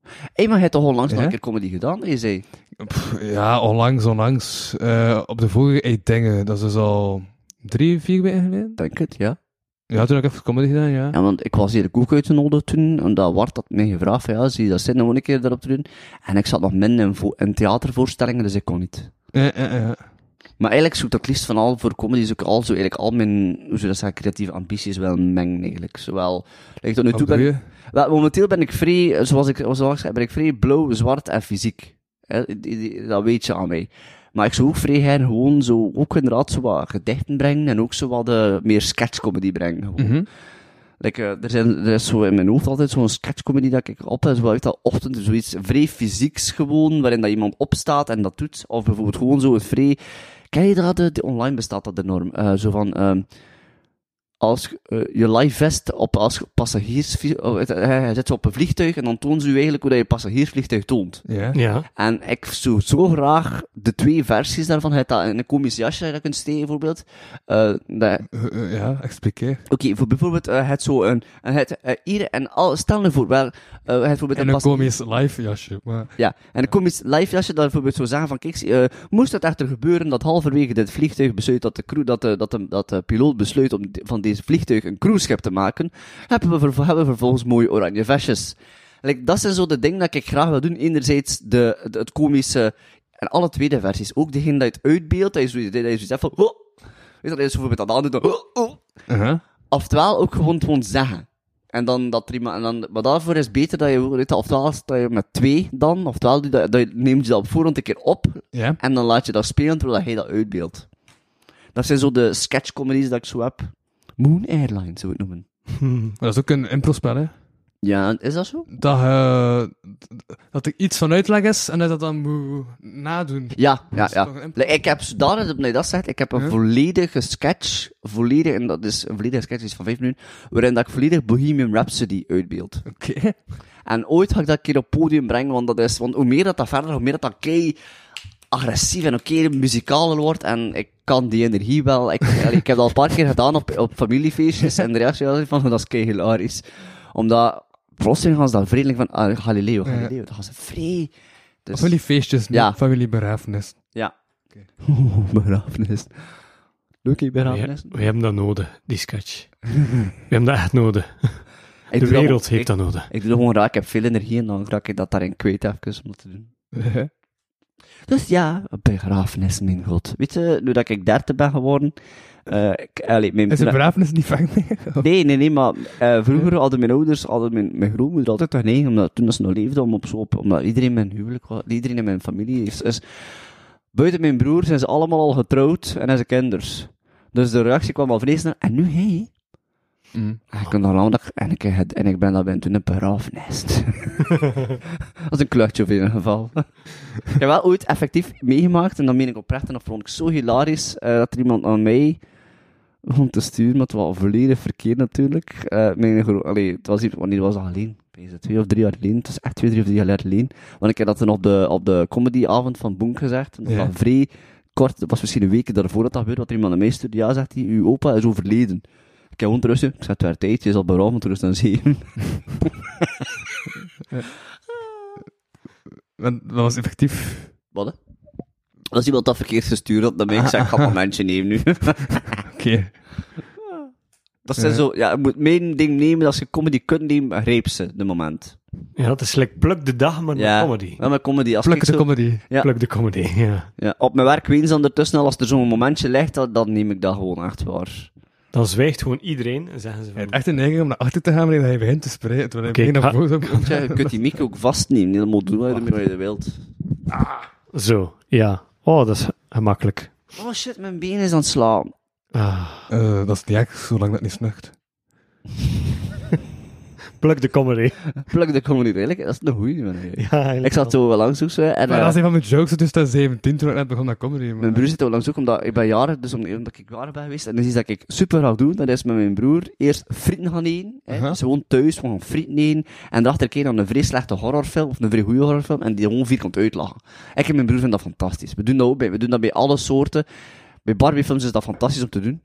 Speaker 3: Hé, hey, maar je hebt toch onlangs nog
Speaker 1: Ja?
Speaker 3: een keer comedy gedaan? Je zei,
Speaker 1: Pff, ja, onlangs, onlangs. eh, op de vorige eet dingen, dat is dus al drie, vier weken geleden.
Speaker 3: denk het, ja.
Speaker 1: Ja, toen heb ik even comedy gedaan, ja.
Speaker 3: Ja, want ik was hier de koek uitgenodigd toen, en dat Wart had mij gevraagd van, ja, zie je dat zin om een keer daarop te doen? En ik zat nog min in, vo- in theatervoorstellingen, dus ik kon niet.
Speaker 1: Ja, ja, ja.
Speaker 3: Maar eigenlijk zoek ik het liefst van al voor comedy, zoek ik al zo eigenlijk al mijn, hoe zou je dat zeggen, creatieve ambities wel mengen eigenlijk. Zowel, like, tot nu
Speaker 1: Wat
Speaker 3: toe ben
Speaker 1: doe
Speaker 3: ik-
Speaker 1: je?
Speaker 3: Wel, momenteel ben ik vrij, eh, zoals ik, zoals ik zei, ben ik vrij blauw, zwart en fysiek. Hè, die- die- dat weet je aan mij. Maar ik zou ook vrij graag gewoon zo, ook inderdaad zo wat gedichten brengen en ook zo wat eh, meer sketchcomedy brengen. Gewoon.
Speaker 1: Mhm.
Speaker 3: Like, eh, er, zijn, er is zo in mijn hoofd altijd zo'n sketchcomedy dat ik op heb, zo uit dat ochtend, zoiets vrij fysieks gewoon, waarin dat iemand opstaat en dat doet. Of bijvoorbeeld gewoon zo een vrij... Ken je dat? eh, die- online bestaat dat enorm. eh zo van... ehm, als eh, je live vest op als passagiers... oh, eh, hij zit zo op een vliegtuig en dan toont ze u eigenlijk hoe dat je passagiersvliegtuig toont.
Speaker 1: Ja.
Speaker 4: Ja.
Speaker 3: En ik zou zo graag de twee versies daarvan... Je hebt dat in een komisch jasje dat je kunt steken, bijvoorbeeld. Eh, dat,
Speaker 1: Eh, eh, ja, expliqueer.
Speaker 3: Oké, voor bijvoorbeeld eh, het zo een, en het eh, hier en al, stel nu voor wel, eh, het bijvoorbeeld
Speaker 1: En een
Speaker 3: pas-
Speaker 1: komisch live jasje, maar...
Speaker 3: ja, en een komisch live jasje dat bijvoorbeeld zou zeggen van, kijk, eh, moest het echter gebeuren dat halverwege dit vliegtuig besluit dat de crew, dat de, dat de, dat de piloot besluit om de- van deze vliegtuig een cruiseschip te maken, hebben we, vervo- hebben we vervolgens mooie oranje vestjes. Like, dat zijn zo de dingen dat ik graag wil doen. Enerzijds de, de- het komische, en alle tweede versies, ook degene dat je het uitbeeldt, dat je zo- dat je zoiets hebt van, oh, weet je, dat is bijvoorbeeld dat andere, doet, oh, oh,
Speaker 1: Uh-huh.
Speaker 3: oftewel ook gewoon, gewoon zeggen. En dan dat er iemand, en dan, maar daarvoor is beter dat je, weet je, ofwel dat je met twee dan, oftewel doe dat, dat je, neem je dat op voorhand een keer op
Speaker 1: Ja.
Speaker 3: en dan laat je dat spelen terwijl hij dat uitbeeldt. Dat zijn zo de sketchcomedies dat ik zo heb. Moon Airlines zou ik het noemen.
Speaker 1: Maar dat is ook een impro-spel, hè.
Speaker 3: Ja, is dat zo?
Speaker 1: Dat, eh, dat er iets van uitleg is en dat je dat dan moet nadoen.
Speaker 3: Ja, ja,
Speaker 1: is
Speaker 3: ja.
Speaker 1: toch een impro-
Speaker 3: Like, ik heb zodanig, nee, dat zegt, ik heb een
Speaker 1: Huh?
Speaker 3: volledige sketch, volledig, en dat is, een volledige sketch is van vijf minuten, waarin dat ik volledig Bohemian Rhapsody uitbeeld.
Speaker 1: Oké.
Speaker 3: En ooit ga ik dat een keer op het podium brengen, want, dat is, want hoe meer dat, dat verder, hoe meer dat, dat kei agressief en oké muzikaler wordt. En ik kan die energie wel. Ik, allee, ik heb dat al een paar keer gedaan op, op familiefeestjes en de reactie was altijd van "Oh, dat is kei hilarisch. Omdat plotseling gaan ze dan vredelijk van ah, Galileo, Galileo, dat gaan ze vrij. Dus,
Speaker 1: Familiefeestjes,
Speaker 3: Ja.
Speaker 1: ja. familiebegrafenis.
Speaker 3: ja. Oeh, begrafenis. Leuke
Speaker 4: We,
Speaker 3: begrafenis.
Speaker 4: we hebben dat nodig, die sketch. we hebben dat echt nodig.
Speaker 3: Ik
Speaker 4: De
Speaker 3: doe dat
Speaker 4: wereld
Speaker 3: gewoon-
Speaker 4: heeft dat nodig.
Speaker 3: Ik, ik doe dat gewoon raak, ik heb veel energie en dan raak ik dat daarin kwijt even om dat te doen. Dus ja, begrafenis, mijn god. Weet je, nu dat ik dertig ben geworden... eh ik, allee, mijn,
Speaker 1: Is een begrafenis niet vaak meer?
Speaker 3: Nee, nee, nee, maar eh, vroeger hadden mijn ouders, hadden mijn, mijn grootmoeder altijd toch nee, omdat toen ze nog leefde, om op zo op, omdat iedereen in mijn huwelijk was, iedereen in mijn familie is, is- Buiten mijn broer zijn ze allemaal al getrouwd en hebben ze kinders. Dus de reactie kwam al vrees naar, en nu hij.
Speaker 1: Mm.
Speaker 3: En ik, kon daar aan dat ik- en, ik, het- en ik ben daar ben toen een begrafenis. dat is een kluchtje of in ieder geval. ik heb wel ooit effectief meegemaakt, en dan meen ik oprecht, en dat vond ik zo hilarisch, eh, dat er iemand aan mij begon te sturen, maar het was volledig verkeerd natuurlijk. Eh, mijn gro- allee, het was iets, wanneer was dat alleen? Deze twee of drie jaar geleden. Het is echt twee, drie of drie jaar geleden. Want ik heb dat toen op de, op de comedyavond van Boenk gezegd. En dat
Speaker 1: Ja.
Speaker 3: was vrij kort, dat was misschien een week daarvoor dat dat gebeurde, dat er iemand aan mij stuurde. Ja, zegt hij, uw opa is overleden. Ik heb gewoon rusten. Ik zat waar tijd, je is al berouw, want er is dan zeven.
Speaker 1: Want dat was effectief.
Speaker 3: Wat hè? Als iemand dat verkeerd gestuurd had, dan ben ik zeg, ik ga mijn mensen nemen nu.
Speaker 1: Oké.
Speaker 3: dat zijn
Speaker 1: Ja.
Speaker 3: zo, ja, je moet mijn ding nemen, als je comedy kunt nemen, reep ze, de moment.
Speaker 4: Ja, het is like pluk de dag, maar
Speaker 3: ja.
Speaker 4: met comedy.
Speaker 3: Ja, met comedy. Als ik
Speaker 1: Pluk de
Speaker 3: zo-
Speaker 1: comedy.
Speaker 3: Ja.
Speaker 4: Pluk de comedy, ja.
Speaker 3: ja, op mijn werk weten ze ondertussen al, als er zo'n momentje ligt, dan, dan neem ik dat gewoon echt waar.
Speaker 4: Dan zwijgt gewoon iedereen en zeggen
Speaker 1: Hij
Speaker 4: ze van...
Speaker 1: heeft echt een neiging om naar achter te gaan wanneer hij begint te spreken. Terwijl
Speaker 4: Oké,
Speaker 1: hij begint
Speaker 4: ga-
Speaker 1: naar boven komt.
Speaker 3: Ja, je kunt die mic ook vastnemen, dat moet doen wat je ermee wat je wilt.
Speaker 4: Zo, ja. Oh, dat is gemakkelijk.
Speaker 3: Oh shit, mijn been is aan het slaan.
Speaker 4: Ah.
Speaker 1: Eh, dat is niet echt, zolang dat niet snucht.
Speaker 4: Pluk de comedy.
Speaker 3: Pluk de comedy redelijk, dat is een goeie. man.
Speaker 4: Ja,
Speaker 3: Ik zat zo wel langs ook zo, en
Speaker 1: Maar
Speaker 3: eh,
Speaker 1: dat is een van mijn jokes uit 2017 toen ik net begon naar comedy. maar-
Speaker 3: mijn broer zit ook langs ook, omdat ik ben jaren, dus om- omdat ik jaren ben geweest, en dat is iets dat ik super graag doe, dat is met mijn broer eerst frieten gaan eten, hè.
Speaker 1: Aha.
Speaker 3: dus gewoon thuis, we gaan frieten eten, en daarachter keer dan een vrij slechte horrorfilm, of een vrij goede horrorfilm, en die gewoon vierkant uitlachen. Ik en mijn broer vinden dat fantastisch. We doen dat ook bij, we doen dat bij alle soorten. Bij Barbiefilms is dat fantastisch om te doen.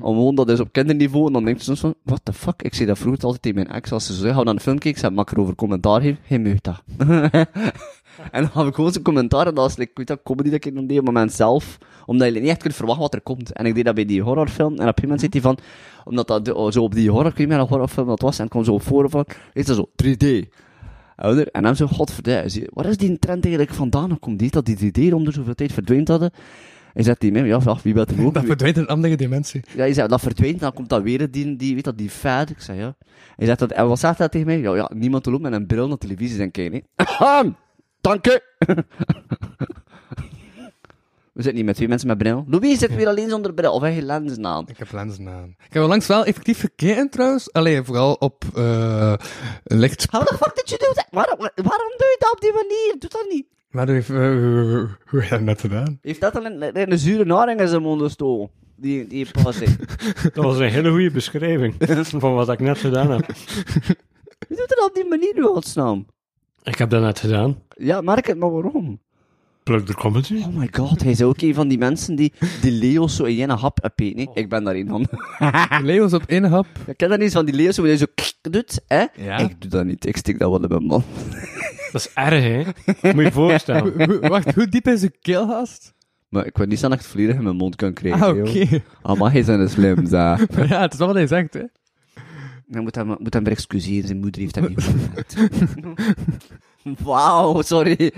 Speaker 3: Om gewoon dat is op kinderniveau, en dan denk je soms van, what the fuck, ik zei dat vroeger altijd tegen mijn ex, als ze zo zeggen, gaan we naar een film kijken, ik zei, maak erover commentaar geven, geen meug dat. En dan had ik gewoon zo'n commentaar, en dat was, like, ik weet dat, comedy dat ik dan deed op het moment zelf, omdat je niet echt kunt verwachten wat er komt. En ik deed dat bij die horrorfilm, en op een gegeven moment zit hij van, omdat dat de- oh, zo op die horror, ik weet niet meer wat horrorfilm dat was, en het kwam zo op voor van, is dat zo, 3D. Ouder, en dan zo, godverdomme, zie je, waar is die trend eigenlijk vandaan gekomen? Die heeft dat die 3D om de zoveel tijd verdwijnd hadden. En zet die mee, ja, vraag, wie belt hem ook?
Speaker 1: Dat
Speaker 3: Wie-
Speaker 1: verdwijnt een andere dimensie.
Speaker 3: ja, hij zei, dat verdwijnt, dan komt dat weer die, die weet dat, die fad. Ik zei, ja. Hij zegt dat, en wat zegt dat tegen mij? Ja, ja niemand loopt met een bril naar televisie zijn kijken, hè. Ahem, Dank u. We zitten niet met twee mensen met bril. Louis zit weer alleen zonder bril, of hij heeft lenzen aan.
Speaker 1: Ik heb lenzen aan. Ik heb langs wel effectief gekeken trouwens. Alleen vooral op eh licht.
Speaker 3: How the fuck did you do that? Waarom, waarom doe je dat op die manier? Doe dat niet.
Speaker 1: Maar dat heeft, eh, hoe heb je dat net gedaan?
Speaker 3: Heeft dat dan een, een, een zure naring in zijn mond gestoken? Die, die pas in.
Speaker 4: Dat was een hele goede beschrijving van wat ik net gedaan heb.
Speaker 3: Je doet dat op die manier, in godsnaam.
Speaker 4: Ik heb dat net gedaan.
Speaker 3: Ja, merk het, maar waarom?
Speaker 4: Pluk de comedy.
Speaker 3: Oh my god, hij is ook een van die mensen die die Leo's zo in één hap opeten. hè. Ik ben daar een van.
Speaker 1: Leeuws op één hap.
Speaker 3: Ik ken dat niet van die Leo's hoe hij zo klik doet, hè?
Speaker 1: Ja.
Speaker 3: Ik doe dat niet, ik stik dat wel in mijn man.
Speaker 4: Dat is erg, hè? Moet je je voorstellen.
Speaker 1: Hoe- Wacht, hoe diep is uw keelgast?
Speaker 3: Maar ik weet niet zo dat ik het volledig in mijn mond kan krijgen.
Speaker 1: Ah, oké.
Speaker 3: joh. Ah, maar hij is een slim, zeg.
Speaker 1: Ja, het is wel wat hij zegt, hè.
Speaker 3: Hij moet hem, moet hem weer excuseren, zijn moeder heeft hem niet goed gemaakt. Wauw, sorry.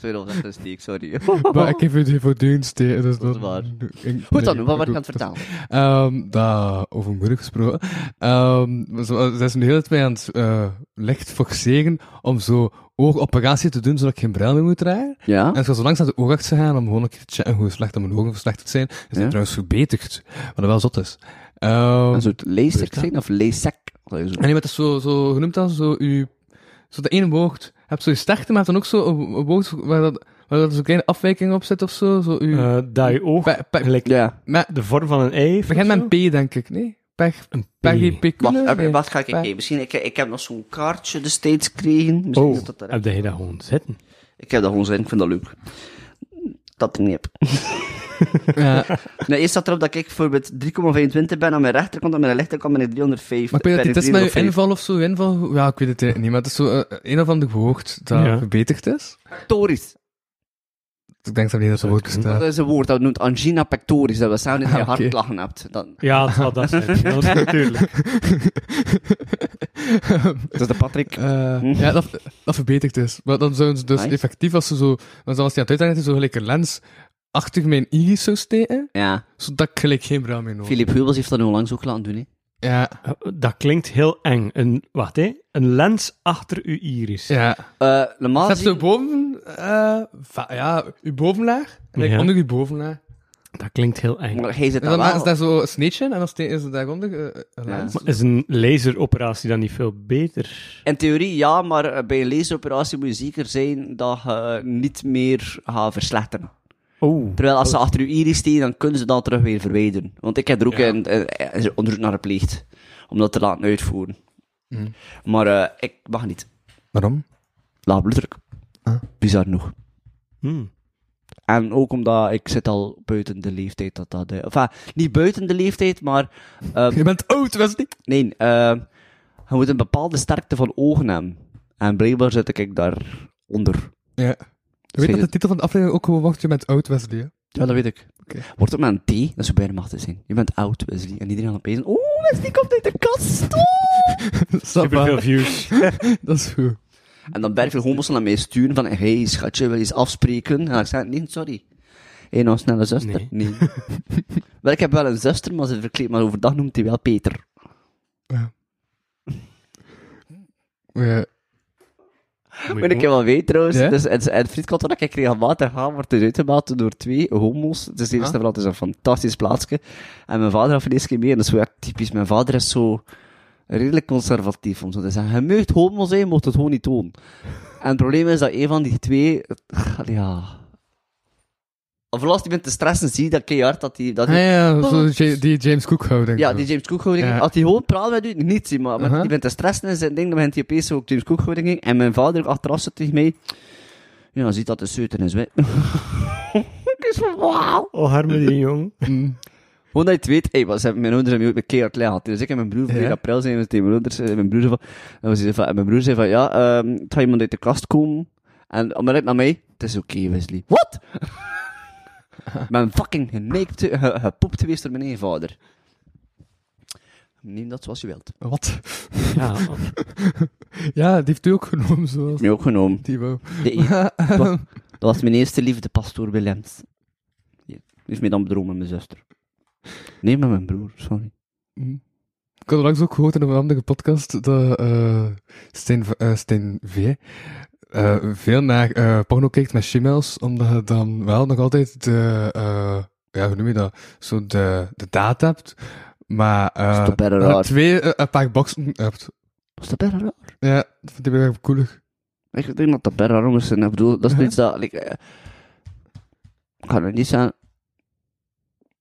Speaker 3: Sorry, dat was echt een steek, sorry.
Speaker 1: Maar ik heb het hier voortdurend steken, dus
Speaker 3: Dat is
Speaker 1: dat...
Speaker 3: waar.
Speaker 1: Ik-
Speaker 3: Oh. Goed dan,
Speaker 1: nee,
Speaker 3: wat werd je aan
Speaker 1: dat-
Speaker 3: het vertalen?
Speaker 1: Ehm dat, over moeder gesproken. Ehm ze ze is een hele tijd mij aan het eh, licht forceren om zo oogoperatie te doen, zodat ik geen bril meer moet dragen.
Speaker 3: Ja?
Speaker 1: En ik was zo langs naar de oogarts gegaan om gewoon een keer te checken hoe slecht dat mijn ogen verslechterd zijn. Is dat
Speaker 3: Ja.
Speaker 1: trouwens verbeterd, wat dat wel zot is. Ehm
Speaker 3: Een soort leestek zijn, of leesek?
Speaker 1: en je bent dat zo, zo genoemd als zo, uw, zo dat ene woord. Je hebt zo je sterkte, maar je hebt dan ook zo een, een woord waar dat, waar dat zo'n kleine afwijking op zit of zo. zo uw,
Speaker 4: Eh, dat je oog
Speaker 1: pe- pe-
Speaker 4: gelijk
Speaker 3: Ja.
Speaker 1: me-
Speaker 4: de vorm van een ei heeft
Speaker 1: begint
Speaker 4: of
Speaker 1: met
Speaker 4: zo.
Speaker 1: een P, denk ik, nee? Pech,
Speaker 4: Een P.
Speaker 1: Peggy
Speaker 3: Wacht,
Speaker 1: Pekule?
Speaker 3: eh, wat ga ik
Speaker 1: Pe-
Speaker 3: even? Misschien, ik, ik heb nog zo'n kaartje er steeds gekregen. Misschien
Speaker 4: Oh,
Speaker 3: is dat er-
Speaker 4: heb jij dat gewoon zitten?
Speaker 3: Ik heb dat gewoon zin, ik vind dat leuk. Dat ik niet heb.
Speaker 1: Ja.
Speaker 3: Nee, eerst staat erop dat ik bijvoorbeeld 3,25 ben aan mijn rechterkant, aan mijn linkerkant ben ik 305.
Speaker 1: Maar ik weet dat
Speaker 3: Ben
Speaker 1: dit is met uw
Speaker 3: 305.
Speaker 1: inval of zo, uw inval, ja, ik weet het eigenlijk niet, maar het is zo eh, een of ander woord dat
Speaker 4: Ja.
Speaker 1: verbeterd is.
Speaker 3: Pectoris.
Speaker 1: Ik denk dat niet dat het woord
Speaker 4: kunnen.
Speaker 1: bestaat.
Speaker 3: Dat is een woord, dat noemt angina pectoris, dat we samen in je
Speaker 1: Ah, oké.
Speaker 3: hartklachten hebt. Dat,
Speaker 4: Ja, dat zal dat zijn. Dat is natuurlijk.
Speaker 3: dat is de Patrick.
Speaker 1: Eh, ja, dat, dat verbeterd is. Maar dan zouden ze dus
Speaker 3: Nice.
Speaker 1: effectief, als ze zo, dan was die aan het uitleggen, zo gelijk een lens achter mijn iris zou steken,
Speaker 3: Ja,
Speaker 1: zodat ik gelijk geen bruin meer nodig heb.
Speaker 3: Philip Hubels heeft dat nu onlangs ook laten doen, hè.
Speaker 1: Ja,
Speaker 4: Dat klinkt heel eng. Een, wacht, hè. Een lens achter uw iris.
Speaker 1: ja.
Speaker 3: Eh,
Speaker 1: Ze
Speaker 3: normaal
Speaker 1: hebben zo
Speaker 3: gezien...
Speaker 1: boven, eh, va- ja, uw bovenlaag, en
Speaker 4: Ja.
Speaker 1: dan onder uw bovenlaag.
Speaker 4: Dat klinkt heel eng.
Speaker 3: Maar hij zit
Speaker 1: En
Speaker 3: daar
Speaker 1: dan maken ze
Speaker 3: wel.
Speaker 1: daar zo een sneetje en dan steken ze daaronder eh, een
Speaker 3: Ja.
Speaker 1: lens.
Speaker 4: Maar is een laseroperatie dan niet veel beter?
Speaker 3: In theorie ja, maar eh, bij een laseroperatie moet je zeker zijn dat je niet meer gaat verslechteren.
Speaker 4: Oh.
Speaker 3: Terwijl als ze achter uw iris steken, dan kunnen ze dat terug weer verwijderen. Want ik heb er ook een, een, een onderzoek naar gepleegd. Om dat te laten uitvoeren. Maar eh, ik mag niet.
Speaker 1: Waarom?
Speaker 3: Laag bloeddruk.
Speaker 1: Ah.
Speaker 3: Bizar genoeg.
Speaker 4: Hmm.
Speaker 3: En ook omdat ik zit al buiten de leeftijd dat dat... eh, Enfin, niet buiten de leeftijd, maar... eh,
Speaker 1: Je bent oud, Wesley!
Speaker 3: nee, eh, je moet een bepaalde sterkte van ogen hebben. En blijkbaar zit ik daar onder.
Speaker 1: Ja. Je weet dat de titel van de aflevering ook gewoon wordt, je bent oud, Wesley. hè?
Speaker 3: Ja, dat weet ik.
Speaker 1: Oké.
Speaker 3: Wordt ook maar een T, dat is zo bijna machtig zijn. Je bent oud, Wesley. En iedereen aan het pezen. Oeh, Wesley komt uit de kast. Oeh.
Speaker 4: Super veel views.
Speaker 1: Dat is goed.
Speaker 3: En dan Bert veel homo's naar mij sturen van, hey schatje, wil je eens afspreken? En ik zei, nee, sorry. Hé, nou, snelle zuster.
Speaker 4: Nee.
Speaker 3: Nee. wel, ik heb wel een zuster, maar ze verkleedt, maar overdag noemt hij wel Peter.
Speaker 1: Ja.
Speaker 3: Moet ik je wel weten trouwens.
Speaker 1: Ja?
Speaker 3: Dus, en, en Frietkantoor dat ik regelmatig ga, wordt dus uitgebaat door twee homo's. Het is de eerste
Speaker 1: Ah.
Speaker 3: van het is een fantastisch plaatsje. En mijn vader had voor deze keer mee, en dat is wel echt typisch. Mijn vader is zo redelijk conservatief om zo te zeggen. Je mag homo zijn, je mocht het gewoon niet doen. En het probleem is dat een van die twee, ja... Of als die bent te stressen, zie je dat keihard dat die... Dat die
Speaker 1: Ah, ja, zo Ja, die James Cook houding.
Speaker 3: ja, die James Cook houding.
Speaker 1: Ja.
Speaker 3: Had hij gewoon praat met u, niet zien, maar
Speaker 1: Uh-huh.
Speaker 3: je bent te stressen in zijn ding, dan bent hij opeens ook James Cook houding. En mijn vader achteraf zat tegen mij, ja, dan ziet dat de zeuter is, hè. Ik is van, wauw.
Speaker 4: Oh, harmonie, jong.
Speaker 3: Gewoon dat je het weet, hey, wat, ze hebben- mijn ouders hebben me ook een keer gehad. Dus ik en mijn broer, van
Speaker 1: Ja.
Speaker 3: in april zijn we tegen mijn ouders, en mijn broer zei van, en we zeiden van, en mijn broer zei van, ja, ehm het gaat iemand uit de kast komen. En onmiddellijk naar mij, het is oké, Wesley. Wat? Ik ben fucking geneikt, ge- gepoept geweest door mijn eigen vader. Neem dat zoals je wilt.
Speaker 1: Wat?
Speaker 4: Ja,
Speaker 1: Ja, die heeft u ook genomen, zoals
Speaker 3: Mij ook genomen.
Speaker 1: die wou.
Speaker 3: De e- dat, was, dat was mijn eerste liefde, pastoor Willems. Ja, die heeft mij dan bedrogen met mijn zuster. Nee, met mijn broer, sorry.
Speaker 1: Ik had langs ook gehoord in een andere podcast dat eh Stijn, V- eh, Stijn V eh, veel naar eh, porno kijkt met shemales, omdat je dan wel nog altijd de, eh, ja, hoe noem je dat, zo de, de daad hebt, maar eh,
Speaker 3: Dat is toch bijna
Speaker 1: eh,
Speaker 3: raar.
Speaker 1: twee, eh, een paar boxen hebt.
Speaker 3: Was dat bijna raar?
Speaker 1: Ja, dat vind ik wel erg koelig.
Speaker 3: Ik denk dat dat bijna raar is. En Ik bedoel, dat is
Speaker 1: Mhm.
Speaker 3: iets dat... Like, eh, ik kan er niet zijn...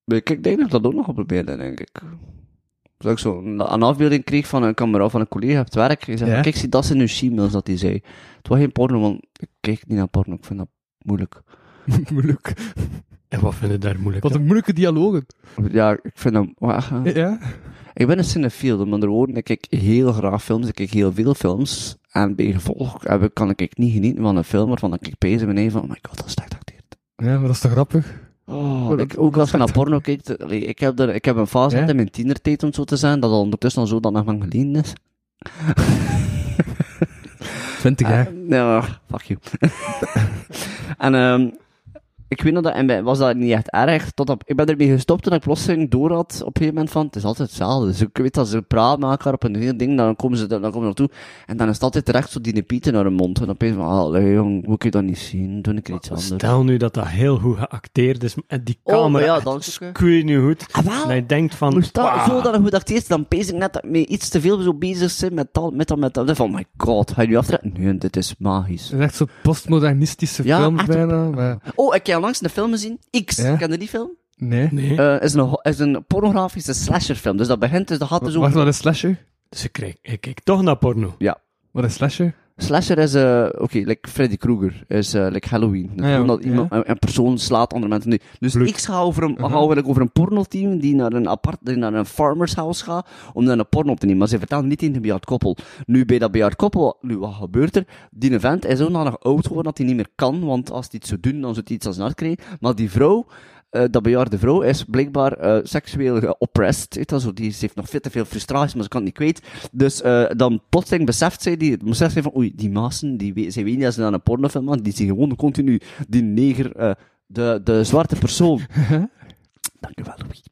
Speaker 3: Maar Ik ik denk dat ik dat ook nog ga proberen, denk ik. Dat ik zo een, een afbeelding kreeg van een camera van een collega op het werk. Ik zei,
Speaker 1: Ja.
Speaker 3: kijk, zie, dat zijn nu shemales dat hij zei. Het was geen porno, want ik kijk niet naar porno. Ik vind dat moeilijk.
Speaker 1: Moeilijk.
Speaker 4: en wat vind je daar moeilijk
Speaker 1: Wat een moeilijke dialogen.
Speaker 3: Ja, ik vind dat... eh,
Speaker 1: Ja?
Speaker 3: Ik ben een cinefiel, dus met andere woorden, ik kijk heel graag films, ik kijk heel veel films. En bij gevolg heb ik- kan ik niet genieten van een film waarvan ik bezig ben even van, oh my god, dat is slecht acteerd.
Speaker 1: Ja, maar dat is toch grappig?
Speaker 3: Oh,
Speaker 1: dat-
Speaker 3: ik, ook als je naar porno kijkt, eh, allee, ik heb, er, ik heb een fase
Speaker 1: Ja?
Speaker 3: gehad in mijn tienertijd, om het zo te zijn, dat al ondertussen al zo dat nog lang geleden is.
Speaker 1: Twintig jaar.
Speaker 3: Eh, ja, fuck you. en ehm, ik weet nog dat, en bij- was dat niet echt erg, tot op, ik ben ermee gestopt toen ik plotseling door had op een gegeven moment van, het is altijd hetzelfde. Dus ik weet dat ze praten met elkaar op een heel ding, dan komen ze er- dan komen ze naartoe, en dan is het altijd terecht zo die pieten naar hun mond. En dan opeens van, "Ah, allee jong, hoe kun je dat niet zien? Doe ik er iets anders.
Speaker 4: Stel nu dat dat heel goed geacteerd is en die
Speaker 3: Oh, maar
Speaker 4: camera
Speaker 3: ja,
Speaker 4: echt
Speaker 3: dank je.
Speaker 4: squeeze nu goed.
Speaker 3: Ah, wel.
Speaker 4: En je denkt van...
Speaker 3: Moest dat
Speaker 4: "Wauw."
Speaker 3: zo dat een goed acteert, dan pees ik net dat mee iets te veel zo bezig zijn met dat, met dat, met dat. Dan Van, oh my god, ga je nu aftrekken? Nee, dit is magisch.
Speaker 1: Het is echt zo'n postmodernistische
Speaker 3: Ja,
Speaker 1: film
Speaker 3: echt.
Speaker 1: bijna, maar...
Speaker 3: Oh, ik heb langs een film gezien, X,
Speaker 1: Ja?
Speaker 3: ken je die film?
Speaker 1: Nee.
Speaker 4: Nee.
Speaker 3: Eh, is, een, ho- is een pornografische slasherfilm. Dus dat begint, dus dat gaat dus
Speaker 1: Wacht,
Speaker 3: over...
Speaker 1: wat is slasher?
Speaker 4: Dus ik, kijk, ik kijk toch naar porno.
Speaker 1: Wat is slasher?
Speaker 3: Slasher is, eh, oké, like Freddy Krueger, is eh, like Halloween. Dat
Speaker 1: Ah, ja,
Speaker 3: gewoon dat
Speaker 1: ja. Mhm.
Speaker 3: iemand, een, een persoon slaat andere mensen. Nee. Dus
Speaker 4: Bloed.
Speaker 3: ik ga over een, ga over, over een pornoteam die naar een apart, die naar een farmer's house gaat om dan een porno op te nemen. Maar ze vertellen niet in een bejaard koppel. Nu bij dat bejaard koppel, nu wat gebeurt er? Die vent is zodanig oud geworden dat hij niet meer kan, want als hij iets zou doen, dan zou hij iets als een hart krijgen. Maar die vrouw, eh, dat bejaarde vrouw is blijkbaar eh, seksueel geoppressed. Weet je wel, zo, die, ze heeft nog veel te veel frustraties, maar ze kan het niet kwijt. Dus eh, dan plotseling beseft zij, die, beseft zij van, oei, die mazen, die, we- zij weten niet dat ze naar een pornofilm gaan, die zien gewoon continu die neger, eh, de, de zwarte persoon. Dank u wel, Louis.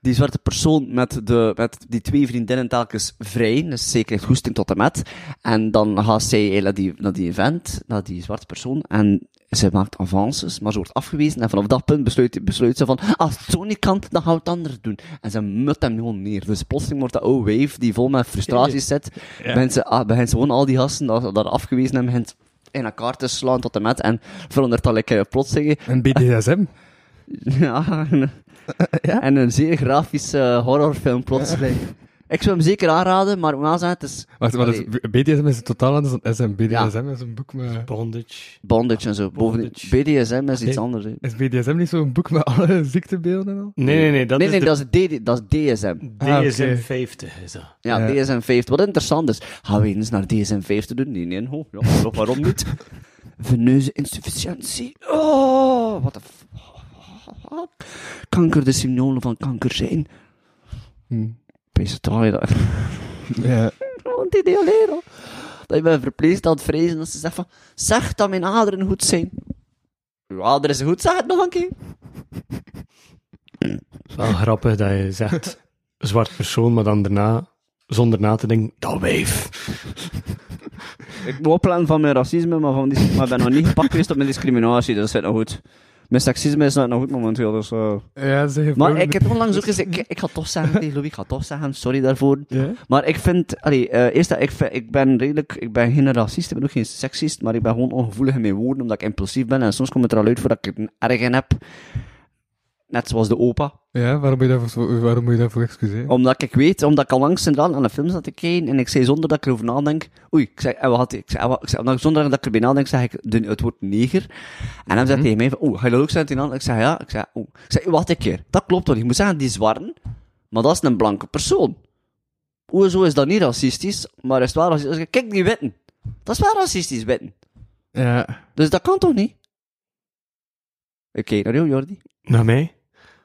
Speaker 3: Die zwarte persoon met, de, met die twee vriendinnen telkens vrij. Dus zij krijgt hoesting tot en met. En dan gaat zij naar die, naar die event, naar die zwarte persoon. En ze maakt avances, maar ze wordt afgewezen. En vanaf dat punt besluit, besluit ze van, "Ah, als het zo niet kan, dan gaan we het anders doen. En ze mut hem gewoon neer. Dus plotseling wordt dat oude wave, die vol met frustraties zit, begint ze, ah, begint ze gewoon al die gasten dat, dat afgewezen hebben, begint in elkaar te slaan tot en met. En verandert dat like, eh, plotseling
Speaker 1: Een BDSM?
Speaker 3: ja, en,
Speaker 1: ja?
Speaker 3: en een zeer grafische horrorfilm plotseling. Ik zou hem zeker aanraden, maar ik moet wel zeggen, het is
Speaker 1: Wacht, maar dus dat is- BDSM is totaal anders dan SM. BDSM is een boek met...
Speaker 4: Bondage.
Speaker 3: bondage en zo. Bovendien, BDSM is iets
Speaker 4: Nee.
Speaker 3: anders. hè. Nee,
Speaker 1: Is BDSM niet zo'n boek met alle ziektebeelden en al?
Speaker 4: Nee, nee, nee. Dat
Speaker 3: nee,
Speaker 4: is
Speaker 3: nee,
Speaker 4: de
Speaker 3: dat, is DD dat is DSM.
Speaker 1: Ah, oké.
Speaker 4: DSM 50 is dat.
Speaker 3: Ja,
Speaker 1: Ja.
Speaker 3: DSM 50. Wat interessant is, gaan we eens naar DSM 50 doen? Nee, nee, ho, ja, waarom- waarom niet? Veneuze insufficiëntie. Oh, wat de f... Kanker, de symptomen van kanker zijn.
Speaker 1: Hm.
Speaker 3: Pees het al, dat.
Speaker 1: Ja.
Speaker 3: Want die deolero. Dat je bij verpleegd aan het vrezen dat ze zegt van, zeg dat mijn aderen goed zijn. Uw aderen zijn goed, zeg het nog een keer.
Speaker 4: Wel grappig dat je zegt zwart persoon, maar dan daarna, zonder na te denken, dat wijf.
Speaker 3: Ik moet opletten van mijn racisme, maar, van die, maar ik ben nog niet gepakt geweest op mijn discriminatie, dus dat zit nog goed. Mijn seksisme is nog goed momenteel, dus... eh.
Speaker 1: Ja, zeg
Speaker 3: Maar ik heb onlangs ook gezegd, ik, ik ga toch zeggen tegen Louis, ik ga toch zeggen, sorry daarvoor.
Speaker 1: Ja?
Speaker 3: Maar ik vind, allee, eh, eerst dat ik, vind- ik ben redelijk, ik ben geen racist, ik ben ook geen seksist, maar ik ben gewoon ongevoelig in mijn woorden, omdat ik impulsief ben en soms komt het er al uit voordat ik een erg in heb. Net zoals de opa.
Speaker 1: Ja, waarom moet je daarvoor, waarom moet je daarvoor excuseren?
Speaker 3: Omdat ik weet, omdat ik al langs centraal aan de film zat te kijken en ik zei zonder dat ik erover nadenk. Oei, ik zei, en wat had, ik zei, en wat- ik zei, omdat ik zonder dat ik erbij nadenk, zeg ik de, het woord neger. En hij
Speaker 1: Mhm.
Speaker 3: zei tegen mij van, oeh, ga je dat ook centraal? Ik zei ja, ik zei, oeh. Ik zei, wacht een keer, dat klopt toch? Je moet zeggen, die zwarten, maar dat is een blanke persoon. Hoezo is dat niet racistisch, maar is het wel racistisch? Ik zei, Kijk, die witten. Dat is wel racistisch, witten.
Speaker 1: Ja.
Speaker 3: Dus dat kan toch niet? Oké, naar jou, Jordi.
Speaker 4: Naar mij?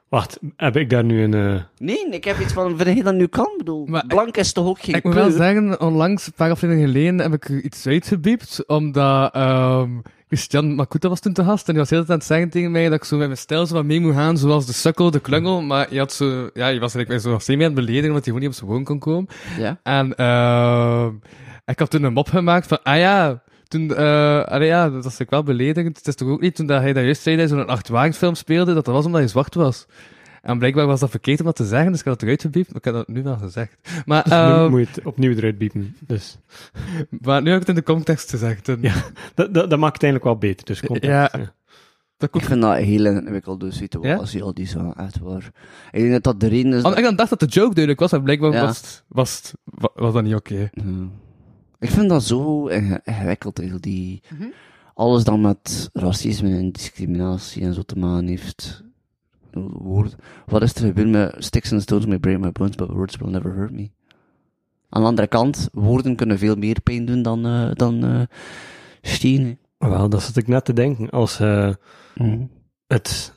Speaker 4: Wacht, heb ik daar nu een... eh,
Speaker 3: Nee, ik heb iets van, vergeet dat nu kan. Ik bedoel,
Speaker 1: Maar ik-
Speaker 3: blank is toch ook geen
Speaker 1: Ik moet
Speaker 3: kleur?
Speaker 1: wel zeggen, onlangs, een paar afleveringen geleden, heb ik iets uitgebiept, omdat ehm, Christian Makuta was toen te gast, en die was heel tijd aan het zeggen tegen mij dat ik zo met mijn stijl zo wat mee moet gaan, zoals de sukkel, de klungel, maar je, had zo, ja, je was eigenlijk mij zo semi aan het beledigen, omdat hij gewoon niet op zijn woon kon komen.
Speaker 3: Ja.
Speaker 1: En ehm, ik had toen een mop gemaakt van, ah ja, toen, eh allee, ja, dat was ik wel beledigend. Het is toch ook niet toen dat hij dat juist zei, dat hij zo'n achtwaardingsfilm speelde, dat dat was omdat hij zwart was. En blijkbaar was dat verkeerd om dat te zeggen, dus ik had het eruit gebiept, maar ik heb dat nu wel gezegd. Maar,
Speaker 4: dus nu
Speaker 1: ehm,
Speaker 4: moet je het opnieuw eruit biepen. Dus,
Speaker 1: maar nu heb ik het in de context gezegd. En
Speaker 4: Ja. dat, dat, dat maakt het eigenlijk wel beter. Dus context,
Speaker 1: Ja.
Speaker 4: ja.
Speaker 1: dat
Speaker 3: Ik
Speaker 1: komt...
Speaker 3: vind dat dus een hele ingewikkelde situatie, al die zo, echt waar. Ik denk dat dat de reden is...
Speaker 1: Want
Speaker 3: dat-
Speaker 1: ik dan dacht dat de joke duidelijk was, maar blijkbaar
Speaker 3: Ja.
Speaker 1: was, het- was, het- wa- was dat niet oké.
Speaker 3: Ja. Ik vind dat zo inge- ingewikkeld, heel die... Alles dat met racisme en discriminatie en zo te maken heeft. Woord. Wat is er gebeurd met sticks and stones may break my bones, but words will never hurt me? Aan de andere kant, woorden kunnen veel meer pijn doen dan, eh, dan eh, stenen.
Speaker 4: Wel, dat zat ik net te denken. Als je het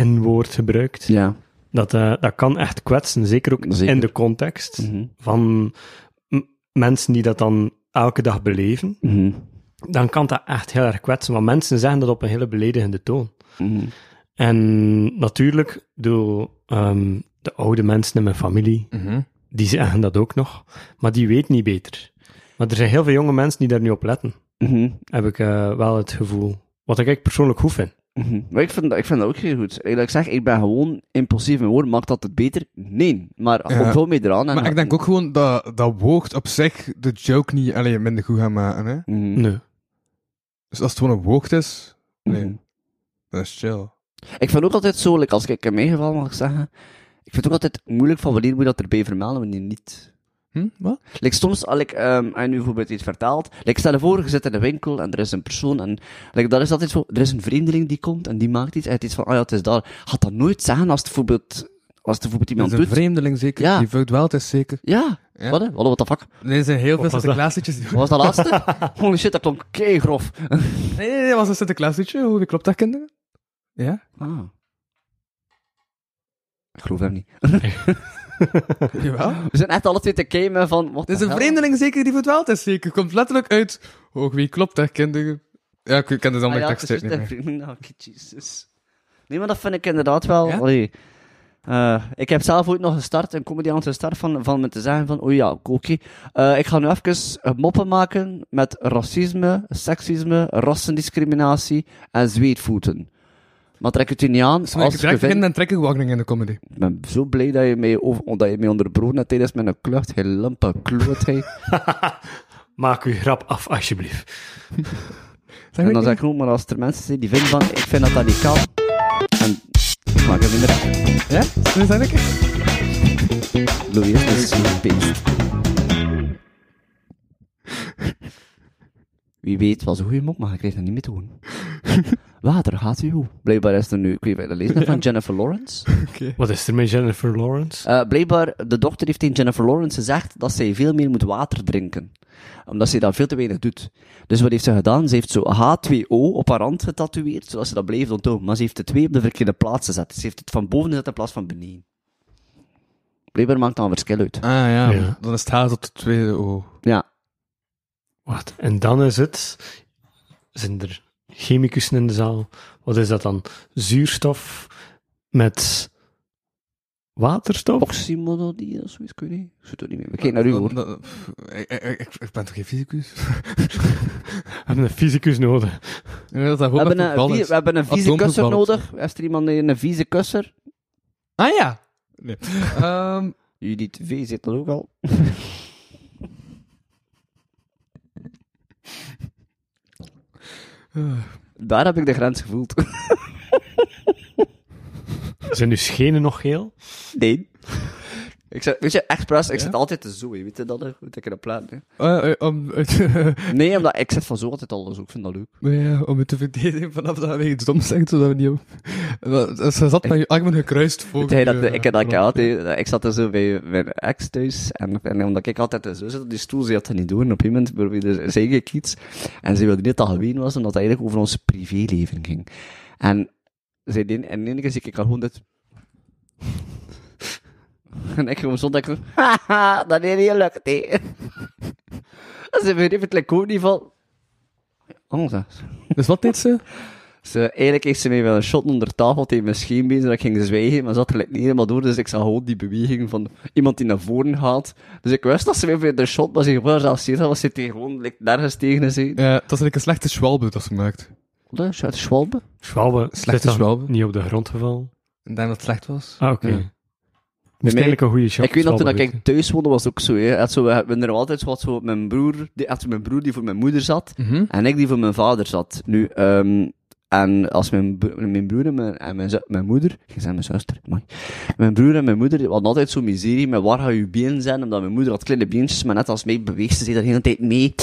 Speaker 4: N-woord gebruikt,
Speaker 3: Ja.
Speaker 4: dat, eh, dat kan echt kwetsen. Zeker ook
Speaker 3: Zeker.
Speaker 4: in de context
Speaker 3: Mhm.
Speaker 4: van m- mensen die dat dan elke dag beleven.
Speaker 3: Mhm.
Speaker 4: Dan kan dat echt heel erg kwetsen. Want mensen zeggen dat op een hele beledigende toon.
Speaker 3: Mhm.
Speaker 4: En natuurlijk, door ehm, de oude mensen in mijn familie,
Speaker 1: Mhm.
Speaker 4: die zeggen dat ook nog. Maar die weten niet beter. Maar er zijn heel veel jonge mensen die daar nu op letten.
Speaker 3: Mhm.
Speaker 4: Heb ik eh, wel het gevoel. Wat ik eigenlijk persoonlijk goed vind.
Speaker 3: Mhm. Maar ik vind, dat, ik vind dat ook heel goed. Eerlijk gezegd, ik ben gewoon impulsief in woorden. Maakt dat het beter? Nee. Maar
Speaker 1: Ja.
Speaker 3: ontvouw mee eraan. En
Speaker 1: Maar ik denk ook gewoon dat, dat woord op zich de joke niet alleen minder goed gaan maken. Hè?
Speaker 3: Mhm.
Speaker 4: Nee.
Speaker 1: Dus als het gewoon een woord is, nee,
Speaker 3: Mhm.
Speaker 1: dat is chill.
Speaker 3: Ik vind ook altijd zo, like, als ik in mijn geval mag ik zeggen, ik vind het ook altijd moeilijk van wanneer moet je dat erbij vermelden, wanneer niet.
Speaker 1: Hm? Wat?
Speaker 3: Like, soms, als ik ehm, aan u bijvoorbeeld iets vertaald, like, stel je voor, je zit in een winkel en er is een persoon en like, dat is altijd zo, er is een vreemdeling die komt en die maakt iets en het is van, ah ja, het is daar. Gaat dat nooit zeggen als het bijvoorbeeld, als het bijvoorbeeld
Speaker 1: Dat
Speaker 3: iemand
Speaker 1: is een
Speaker 3: doet?
Speaker 1: vreemdeling zeker.
Speaker 3: Ja.
Speaker 1: Die vuilt wel, het is zeker.
Speaker 3: Ja.
Speaker 1: Ja.
Speaker 3: Wat, hè? Wat, what the fuck?
Speaker 1: Er zijn heel veel
Speaker 4: was dat?
Speaker 1: Sinterklaasliedjes. die-
Speaker 3: Wat was dat laatste? Holy shit, dat klonk kei grof.
Speaker 1: Nee, nee, nee, dat was een Sinterklaasliedje. Hoe klopt dat, kinderen? Ja?
Speaker 3: Ah. Ik geloof hem niet.
Speaker 1: Jawel.
Speaker 3: We zijn echt alle twee te gamen van... wat
Speaker 1: Er is een vreemdeling zeker die vuilt wel, het is zeker. Komt letterlijk uit. Oh, wie klopt dat, kinderen? Ja, ik ik ken dus de
Speaker 3: Ah
Speaker 1: andere tekst uit niet meer.
Speaker 3: Jesus. Oh, Nee, maar dat vind ik inderdaad wel...
Speaker 1: Ja?
Speaker 3: allee. Eh, ik heb zelf ooit nog gestart, een comedy aan het start van, van me te zeggen van... Oh ja, oké. eh, ik ga nu even moppen maken met racisme, seksisme, rassendiscriminatie en zweetvoeten. Maar trek het u niet aan.
Speaker 1: Dus als
Speaker 3: Als
Speaker 1: ik
Speaker 3: je
Speaker 1: trek
Speaker 3: vindt-
Speaker 1: in, dan trek ik warning in de comedy.
Speaker 3: Ik ben zo blij dat je mij, over, dat je mij onderbroken hebt tijdens mijn klucht. Je lampe kloot, hey.
Speaker 4: Maak uw grap af, alsjeblieft.
Speaker 1: Zeg
Speaker 3: En
Speaker 1: maar
Speaker 3: dan zeg ik
Speaker 1: niet.
Speaker 3: gewoon, maar als er mensen zijn die vinden van, ik vind dat dat niet kan. En ik maak het minder.
Speaker 1: Ja? Zeg maar niet.
Speaker 3: Louis is een beest. Wie weet, was een goede mop, maar ik kreeg dat niet meer te doen. Water gaat u. Blijkbaar is er nu, ik weet niet of je dat lezen hebt, van Jennifer Lawrence.
Speaker 4: Wat is er met Jennifer Lawrence?
Speaker 3: Eh, blijkbaar, de dochter heeft tegen Jennifer Lawrence gezegd dat zij veel meer moet water drinken. Omdat ze dat veel te weinig doet. Dus wat heeft ze gedaan? Ze heeft zo H2O op haar hand getatoeëerd, zodat ze dat bleef onthouden. Maar ze heeft de twee op de verkeerde plaats gezet. Ze heeft het van boven gezet in plaats van beneden. Blijkbaar maakt dan verschil uit.
Speaker 1: Ah ja,
Speaker 4: Ja.
Speaker 1: dan is het H tot de tweede oh. O.
Speaker 3: Ja.
Speaker 4: Wat? En dan is het... Zijn er chemicussen in de zaal? Wat is dat dan? Zuurstof met waterstof?
Speaker 3: Oxymododie of zoiets, kun je niet? Ik zit er niet mee. We kijken naar u hoor.
Speaker 1: Dat- dat- pff, Ik, ik- ik- ik ben toch geen fysicus?
Speaker 4: We hebben een fysicus nodig.
Speaker 1: Ik denk dat dat gewoon
Speaker 3: We hebben,
Speaker 1: met
Speaker 3: een,
Speaker 1: voetbal
Speaker 3: vie-
Speaker 1: is.
Speaker 3: we hebben een vieze
Speaker 1: Atoomvoetbal
Speaker 3: kusser
Speaker 1: is.
Speaker 3: nodig. Heeft er iemand een vieze kusser?
Speaker 1: Ah ja! Nee. Ehm,
Speaker 3: Judith V zit er ook al. Daar heb ik de grens gevoeld.
Speaker 4: Zijn uw schenen nog geel?
Speaker 3: Nee. Ik zeg, weet je, expres, ik
Speaker 1: Ja?
Speaker 3: zit altijd te zo, je weet je dat, hè? Hoe ik dat plaat, hè?
Speaker 1: eh, eh, om, uit-
Speaker 3: Nee, omdat ik zit van zo altijd al, dus ik vind dat leuk.
Speaker 1: Maar ja, eh, om het te verdedigen vanaf dat wij iets doms zeggen, zodat we niet op... Dat- dat- Ze zat met je armen gekruist voor...
Speaker 3: Hey, dat, eh,
Speaker 1: je- eh,
Speaker 3: ik heb dat ik altijd, ik zat er zo bij mijn ex thuis, en, en omdat ik altijd zo zat op die stoel, ze had dat niet door, en op een moment probeerde- zei ik iets, en ze wilde niet dat geween was, omdat het eigenlijk over ons privéleven ging. En zij deed, en in één keer zie ik haar gewoon dit... En ik gewoon zonder, ik zo, haha, dat is niet lukt, hè. En ze begreep het like ook niet van... Oh, dat-
Speaker 1: Dus wat deed ze?
Speaker 3: ze, eigenlijk heeft ze mij wel een shot onder tafel tegen mijn scheen bezig, dat ik ging zwijgen, maar ze had er like niet helemaal door, dus ik zag gewoon die beweging van iemand die naar voren gaat. Dus ik wist dat ze mij weer de shot, maar ze gewoon zelf zeer, was ze tegen gewoon like, nergens tegen is. hè.
Speaker 1: Ja, dat is eigenlijk een slechte schwalbe dat ze maakt.
Speaker 3: Wat is dat, uit Schwalbe?
Speaker 4: Schwalbe.
Speaker 1: Slechte
Speaker 4: Zit dat
Speaker 1: Schwalbe.
Speaker 4: Niet op de grond gevallen.
Speaker 1: En denk dat het slecht was.
Speaker 4: Ah, oké.
Speaker 1: Ja.
Speaker 4: Dus eigenlijk een goede shot.
Speaker 3: Ik weet nog, toen
Speaker 4: Schwalbe
Speaker 3: ik thuis woonde, was het ook zo. Hè. Had zo we hadden er altijd zo, had zo mijn broer, die, had zo mijn broer die voor mijn moeder zat,
Speaker 1: Mhm.
Speaker 3: en ik die voor mijn vader zat. Nu, ehm, en als mijn, bro- mijn broer en mijn, en mijn, zu- mijn moeder, ik zei mijn zuster, amai. mijn broer en mijn moeder die hadden altijd zo'n miserie met waar ga je been zijn, omdat mijn moeder had kleine beentjes, maar net als mij beweegt ze zich de hele tijd mee.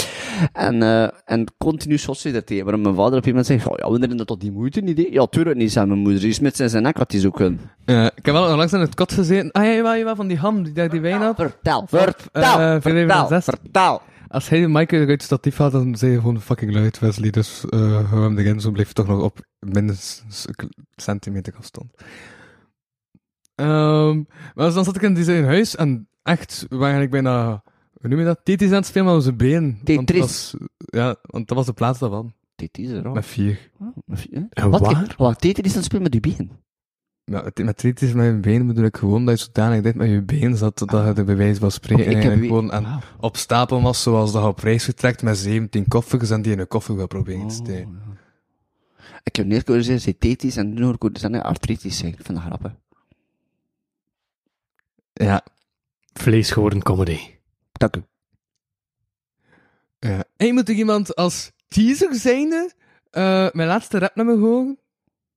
Speaker 3: En, eh, en continu zots ze dat tegen. Waarom mijn vader op iemand zei, oh, ja, we hebben tot die moeite niet. hè?" Ja, tuurlijk niet, zei mijn moeder. Die smet ze in zijn nek, had hij zo kunnen.
Speaker 1: Ja, Eh, ik heb wel langs in het kot gezeten. Ah ja, jawel, jawel, van die ham die daar die wijn had.
Speaker 3: Vertel, vertel,
Speaker 1: Eh, veel even dan
Speaker 3: vertel,
Speaker 1: zes.
Speaker 3: vertel.
Speaker 1: Als hij de mic uit het statief had, dan zei hij gewoon fucking luid, Wesley. Dus eh hou hem erin, zo bleef hij toch nog op minstens een k- centimeter afstand. Ehm, maar dus dan zat ik in zijn huis en echt, we waren eigenlijk bijna, hoe noem je dat? Tetris aan het spelen met onze benen. Want dat
Speaker 3: Tetris.
Speaker 1: was- Ja, want dat was de plaats daarvan.
Speaker 3: Dit is er al.
Speaker 1: Met vier.
Speaker 4: En
Speaker 3: Wat?
Speaker 4: waar?
Speaker 3: Ik- Wat deed hij die aan het spelen met die been?
Speaker 1: Ja, met- met Tetris met je benen bedoel ik gewoon dat je zodanig dicht met je been zat, dat je de bewijs was spreken.
Speaker 3: Oké, ik
Speaker 1: en
Speaker 3: heb Ah.
Speaker 1: eigenlijk
Speaker 3: weer-
Speaker 1: eh, gewoon aan
Speaker 3: Wauw.
Speaker 1: op stapel was, zoals dat je op reis vertrekt met 17 koffies en die in een koffer wil proberen
Speaker 3: Oh.
Speaker 1: te steken.
Speaker 3: Ik heb neer kunnen zeggen synthetisch en nu hoor ik dat het artritisch zijn. Ik vind dat grappig.
Speaker 1: Ja.
Speaker 4: Vlees geworden comedy.
Speaker 3: Dank u.
Speaker 1: ja. En je moet ook iemand als teaser zijnde eh, mijn laatste rapnummer horen?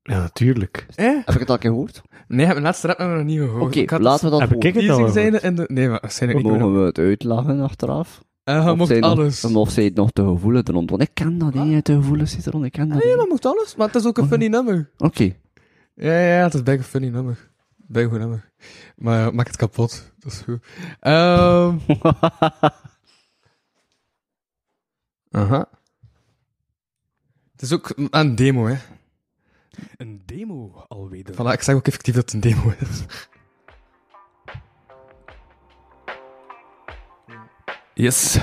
Speaker 4: Ja, natuurlijk.
Speaker 1: Eh?
Speaker 3: Heb ik het al een keer gehoord?
Speaker 1: Nee, ik heb mijn laatste rapnummer nog niet gehoord.
Speaker 3: Oké,
Speaker 1: Ik had
Speaker 3: laten we dat
Speaker 4: Heb ik
Speaker 3: horen.
Speaker 4: het al
Speaker 1: teaser
Speaker 4: gehoord?
Speaker 1: zijnde en de... Nee, maar waarschijnlijk niet.
Speaker 3: Mogen we het uitlachen achteraf?
Speaker 1: Eh, je
Speaker 3: Of
Speaker 1: mocht
Speaker 3: zijn
Speaker 1: alles. Ah.
Speaker 3: Nog, of zij het nog te gevoelens rond? Want ik ken dat niet, te gevoelens zit rond. Ik ken dat
Speaker 1: Nee,
Speaker 3: niet.
Speaker 1: maar Ah, mocht alles, maar het is ook een funny nummer.
Speaker 3: Oké.
Speaker 1: Ja, ja, ja, het is bij een funny nummer. Bij een goed nummer. Maar eh, maak het kapot, dat is goed. Ehm. Aha. Het is ook een- een demo, hè.
Speaker 4: Een demo alweer.
Speaker 1: Voilà, ik zeg ook effectief dat het een demo is. Yes.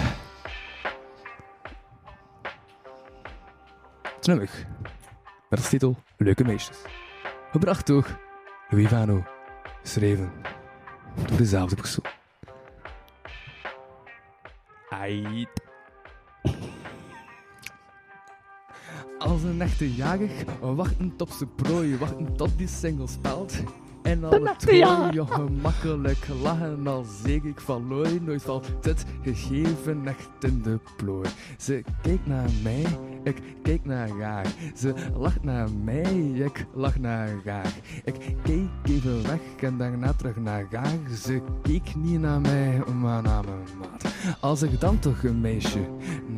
Speaker 1: Het nummer. Met als titel Leuke Meisjes. Gebracht door Louis Vano. Geschreven door dezelfde persoon. Aight. Als een echte jager, wachtend op zijn prooi, wachtend tot die single spelt. En al het hooi, joh, gemakkelijk lachen, al zeg ik van looi, nooit valt dit gegeven echt in de plooi. Ze kijkt naar mij Ik kijk naar haar. Ze lacht naar mij. Ik lach naar haar. Ik keek even weg en daarna terug naar haar. Ze keek niet naar mij, maar naar mijn maat. Als ik dan toch een meisje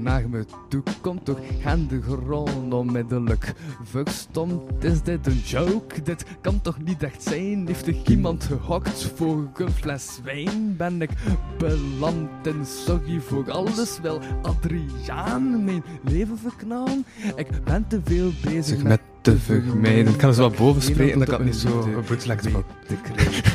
Speaker 1: naar me toe komt, toch gaan de grond onmiddellijk. Verstomd is dit een joke? Dit kan toch niet echt zijn? Heeft er iemand gehokt voor een fles wijn? Ben ik beland en sorry voor alles? Wil Adriaan mijn leven verknallen? Ik ben te veel bezig met te vermijden.
Speaker 5: Ik kan dus wel boven spreken, dan kan ik niet zo een
Speaker 1: goed
Speaker 5: bootleg
Speaker 1: te krijgen.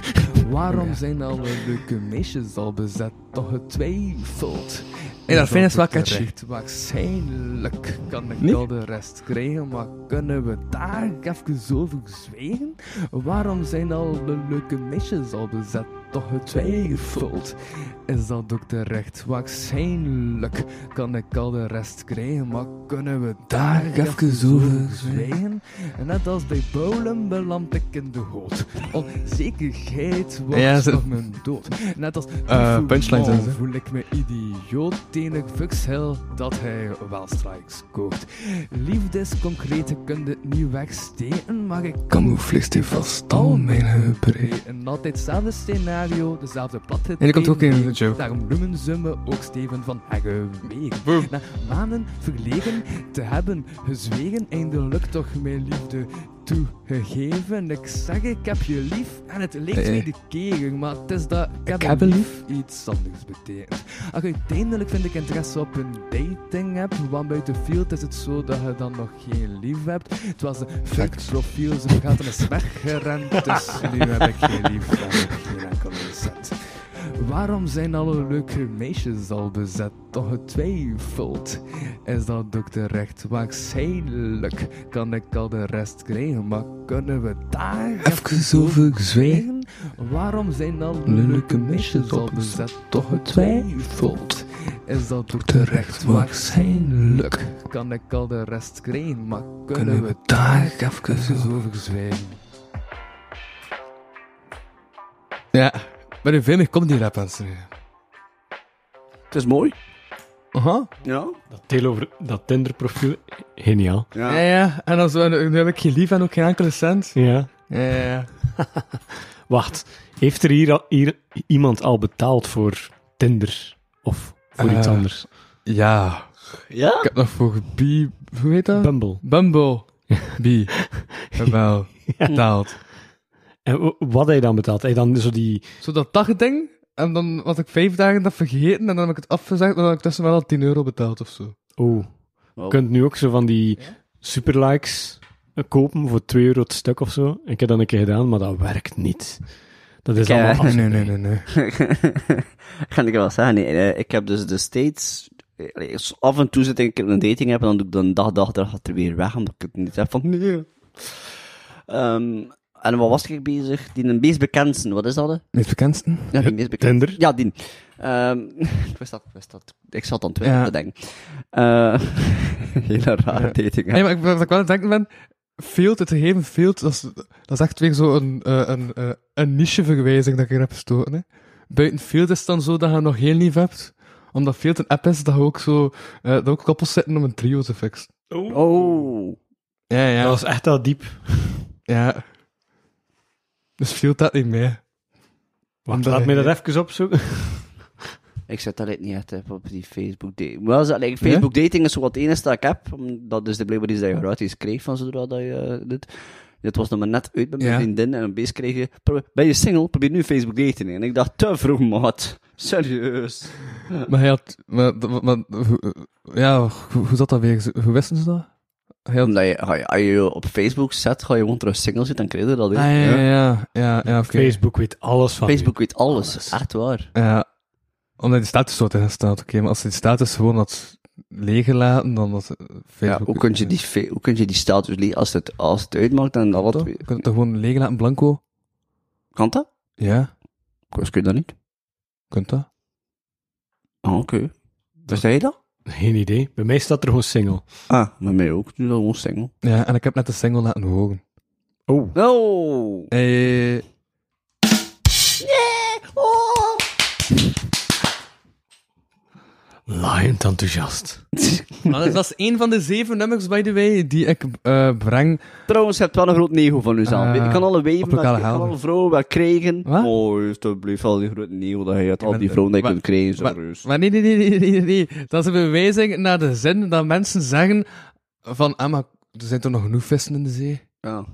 Speaker 1: Waarom zijn nou alle leuke meisjes al bezet? Toch getwijfeld.
Speaker 5: Hey, dat vind ik wel catchy.
Speaker 1: Terecht. Waarschijnlijk kan ik
Speaker 5: Nee?
Speaker 1: wel de rest krijgen, maar kunnen we daar even over zwijgen? Waarom zijn alle leuke meisjes al bezet? Toch getwijfeld. Is dat ook terecht? Waarschijnlijk kan ik al de rest krijgen, maar kunnen we daar even over zwijgen? Net als bij Bowlen beland ik in de goot. Onzekerheid wordt
Speaker 5: Ja, ze-
Speaker 1: nog mijn dood. Net als
Speaker 5: Eh, punchlines
Speaker 1: voetbal
Speaker 5: en zo.
Speaker 1: voel ik me idioot. Tenig fuxhel dat hij wel strikes koopt. Liefde is concreet, je kunt het niet wegsteken, maar ik camoufleert die vast al mijn heupen. En altijd hetzelfde scenario, dezelfde platheid.
Speaker 5: En die komt ook in de joke.
Speaker 1: Daarom noemen ze me ook Steven van Heggeweeg. Na maanden verlegen te hebben gezwegen, eindelijk toch mijn liefde toegegeven. Ik zeg ik heb je lief en het leek
Speaker 5: Eh.
Speaker 1: me de keer, maar het is dat ik heb,
Speaker 5: heb
Speaker 1: een
Speaker 5: een
Speaker 1: lief iets anders betekent. Ach, uiteindelijk vind ik interesse op een dating app, want buiten field is het zo dat je dan nog geen lief hebt. Het was een fake profiel, ze gaat er eens weggerend, dus nu heb ik geen lief en geen enkele cent. Waarom zijn alle leuke meisjes al bezet? Toch getwijfeld. Is dat ook terecht? Waarschijnlijk kan ik al de rest krijgen, maar kunnen we daar even over zwijgen? Waarom zijn alle leuke meisjes al bezet? Toch getwijfeld. Is dat ook terecht? Waarschijnlijk kan ik al de rest krijgen, maar kunnen we daar even over zwijgen?
Speaker 5: Ja, maar nu veel meer komt die rap aan het
Speaker 3: Het is mooi.
Speaker 5: Aha.
Speaker 3: Ja.
Speaker 4: Dat deel over dat Tinder-profiel, geniaal.
Speaker 3: Ja.
Speaker 5: Ja, ja. En dan zo, nu heb ik geen lief en ook geen enkele cent.
Speaker 4: Ja.
Speaker 5: Ja, ja, ja.
Speaker 4: Wacht, heeft er hier, al, hier iemand al betaald voor Tinder? Of voor iets
Speaker 5: Eh,
Speaker 4: anders?
Speaker 5: Ja.
Speaker 3: Ja?
Speaker 5: Ik heb nog voor Bee... Hoe heet dat?
Speaker 4: Bumble.
Speaker 5: Bumble. Bee. Wel. Betaald.
Speaker 4: En w- wat heb je dan betaald? Heb je dan zo die...
Speaker 5: Zo dat dagding. En dan was ik vijf dagen dat vergeten. En dan heb ik het afgezegd. Maar dan heb ik tussen wel al 10 euro betaald of zo.
Speaker 4: Oh,
Speaker 3: Wel,
Speaker 4: je kunt nu ook zo van die superlikes eh, kopen voor 2 euro het stuk of zo. Ik heb dat een keer gedaan, maar dat werkt niet. Dat is
Speaker 3: Kijk,
Speaker 4: allemaal af...
Speaker 5: nee, nee, nee. nee.
Speaker 3: ik ga het wel zeggen. Nee, eh, ik heb dus de steeds... eh, allee, s- Af en toe zit ik in een dating app en dan doe ik dan dag, dag, dag gaat er weer weg, omdat ik het niet heb van... Nee. Ehm, en wat was ik bezig? Die een meest bekendste, wat is dat? hè?
Speaker 5: Het bekendste?
Speaker 3: Ja, die meest bekendste.
Speaker 4: Tinder?
Speaker 3: Ja, die. Ehm, ik wist dat, ik wist dat. Ik zat aan Twitter
Speaker 5: Ja.
Speaker 3: te denken. Eh, hele rare dating app.
Speaker 5: Nee, maar ik, wat ik wel aan het denken ben... Field, het gegeven field, dat is, dat is echt weer zo'n eh, een, eh, een niche-verwijzing dat ik hier heb gestoten. Hè. Buiten field is het dan zo dat je nog geen lief hebt. Omdat field een app is dat je ook zo... eh, dat ook koppels zitten om een trio te fixen.
Speaker 3: Oh.
Speaker 5: Ja, ja.
Speaker 4: Dat was echt al diep.
Speaker 5: Ja. Dus viel dat niet mee.
Speaker 4: Wacht,
Speaker 5: Omdat-
Speaker 4: laat mij dat even opzoeken.
Speaker 3: Ik zet dat niet echt op, op die Facebook dating. Wel, ze- like, Facebook dating is zo wat het enige dat ik heb. omdat dat is de blijkbaar iets dat je gratis kreeg van zodra dat je eh, dit. Dit was nog maar net uit met mijn
Speaker 5: Ja.
Speaker 3: vriendin en een beest kreeg je. "Probeer- Ben je single? Probeer nu Facebook dating. En ik dacht, te vroeg, maat. Serieus.
Speaker 5: Maar hij had... Maar, maar, maar- hoe- ja, hoe, hoe zat dat weer? Hoe wisten ze dat? Hij had...
Speaker 3: Omdat je, ga je, als je op Facebook zet, ga je gewoon terug single zitten, dan krijg je dat. hè.
Speaker 5: Ah, ja, ja, ja. ja, ja oké.
Speaker 4: Facebook weet alles van
Speaker 3: Facebook weet alles.
Speaker 4: Alles.
Speaker 3: Echt waar.
Speaker 5: Ja. Omdat die status wordt ingesteld, oké. maar als die status gewoon had leeggelaten, dan was eh,
Speaker 3: Ja,
Speaker 5: Facebook...
Speaker 3: hoe, kun je die, fe- hoe kun je die status lezen als het, als het uitmaakt en dat wat?
Speaker 5: Toch? Je kunt het toch gewoon leeggelaten, blanco?
Speaker 3: Kan dat?
Speaker 5: Ja,
Speaker 3: Ik weet dat niet.
Speaker 5: kunt dat.
Speaker 3: Ah, oké. Dus zei je dat?
Speaker 4: u. Geen idee. Bij mij staat er gewoon single.
Speaker 3: Ah, met mij ook. Nu dan gewoon single.
Speaker 5: Ja, en ik heb net de single laten horen.
Speaker 4: Oh.
Speaker 3: No!
Speaker 5: Eh...
Speaker 3: Oh!
Speaker 4: Live. laaiend enthousiast.
Speaker 1: dat, is, dat is één van de zeven nummers, by the way, die ik eh, breng.
Speaker 3: Trouwens, je hebt wel een groot nego van jezelf.
Speaker 1: Eh,
Speaker 3: ik kan alle
Speaker 1: op
Speaker 3: weven, maar
Speaker 1: elkaar
Speaker 3: ik kan
Speaker 1: halen.
Speaker 3: alle vrouwen wel krijgen.
Speaker 1: Wat?
Speaker 3: Oh, alsjeblieft, al die grote nego dat je hebt. Al
Speaker 1: maar-
Speaker 3: die vrouwen die je
Speaker 1: maar-
Speaker 3: kunt krijgen, zo
Speaker 1: maar-
Speaker 3: reus.
Speaker 1: Maar nee, nee, nee, nee, nee, nee. Dat is een bewijzing naar de zin dat mensen zeggen van, ah, maar er zijn toch nog genoeg vissen in de zee?
Speaker 3: Ja.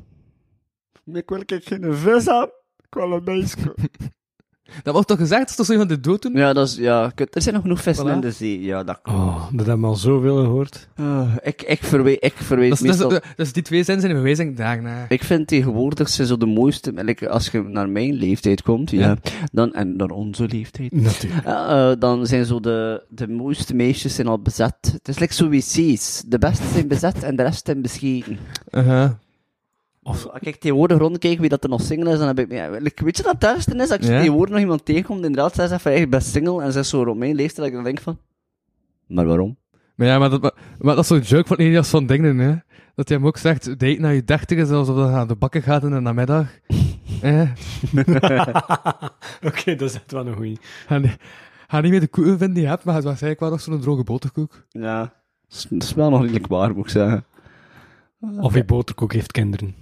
Speaker 3: Ik wil ik geen vis aan. Ik wil een meisje.
Speaker 1: Dat wordt toch gezegd? Dat is toch zo van de dood doen?
Speaker 3: Ja, dat is, ja, kut. er zijn nog genoeg vissen
Speaker 1: Voilà.
Speaker 3: in de zee. Ja, dat kan.
Speaker 4: Oh, dat hebben we al zoveel gehoord.
Speaker 3: Eh, ik, ik, verwe ik verwijs
Speaker 1: Dat is,
Speaker 3: meestal...
Speaker 1: dat is- dat is die twee zinnen zijn een bewijzing daarna.
Speaker 3: Ik vind tegenwoordig zijn zo de mooiste, like, als je naar mijn leeftijd komt, ja, dan, en naar onze leeftijd,
Speaker 4: Natuurlijk.
Speaker 3: eh, eh, dan zijn zo de, de mooiste meisjes zijn al bezet. Het is like zo wc's. De beste zijn bezet en de rest zijn bescheten.
Speaker 1: Aha.
Speaker 3: Of, als ik tegenwoordig rondkijk wie dat er nog single is, dan heb ik... Ja, like, weet je dat het ergste is? Als je
Speaker 1: Ja.
Speaker 3: tegenwoordig nog iemand tegenkomt, die inderdaad, zij zegt van, ja, ik ben single, en ze is zo rond mijn leeftijd, dat ik dan denk van... Maar waarom?
Speaker 1: Maar ja, maar dat, maar, maar dat is zo'n joke van Elias van Dingen, hè? Dat hij hem ook zegt, date naar je dertig is alsof dat naar de bakken gaat in de namiddag. eh?
Speaker 4: Oké, dat is echt wel een goeie.
Speaker 1: Ga, ni- ga niet meer de koeken vinden die je hebt, maar het was eigenlijk wel nog zo'n droge boterkoek.
Speaker 3: Ja, dat is- dat is wel nog redelijk waar, moet ik zeggen.
Speaker 4: Of je boterkoek heeft kinderen.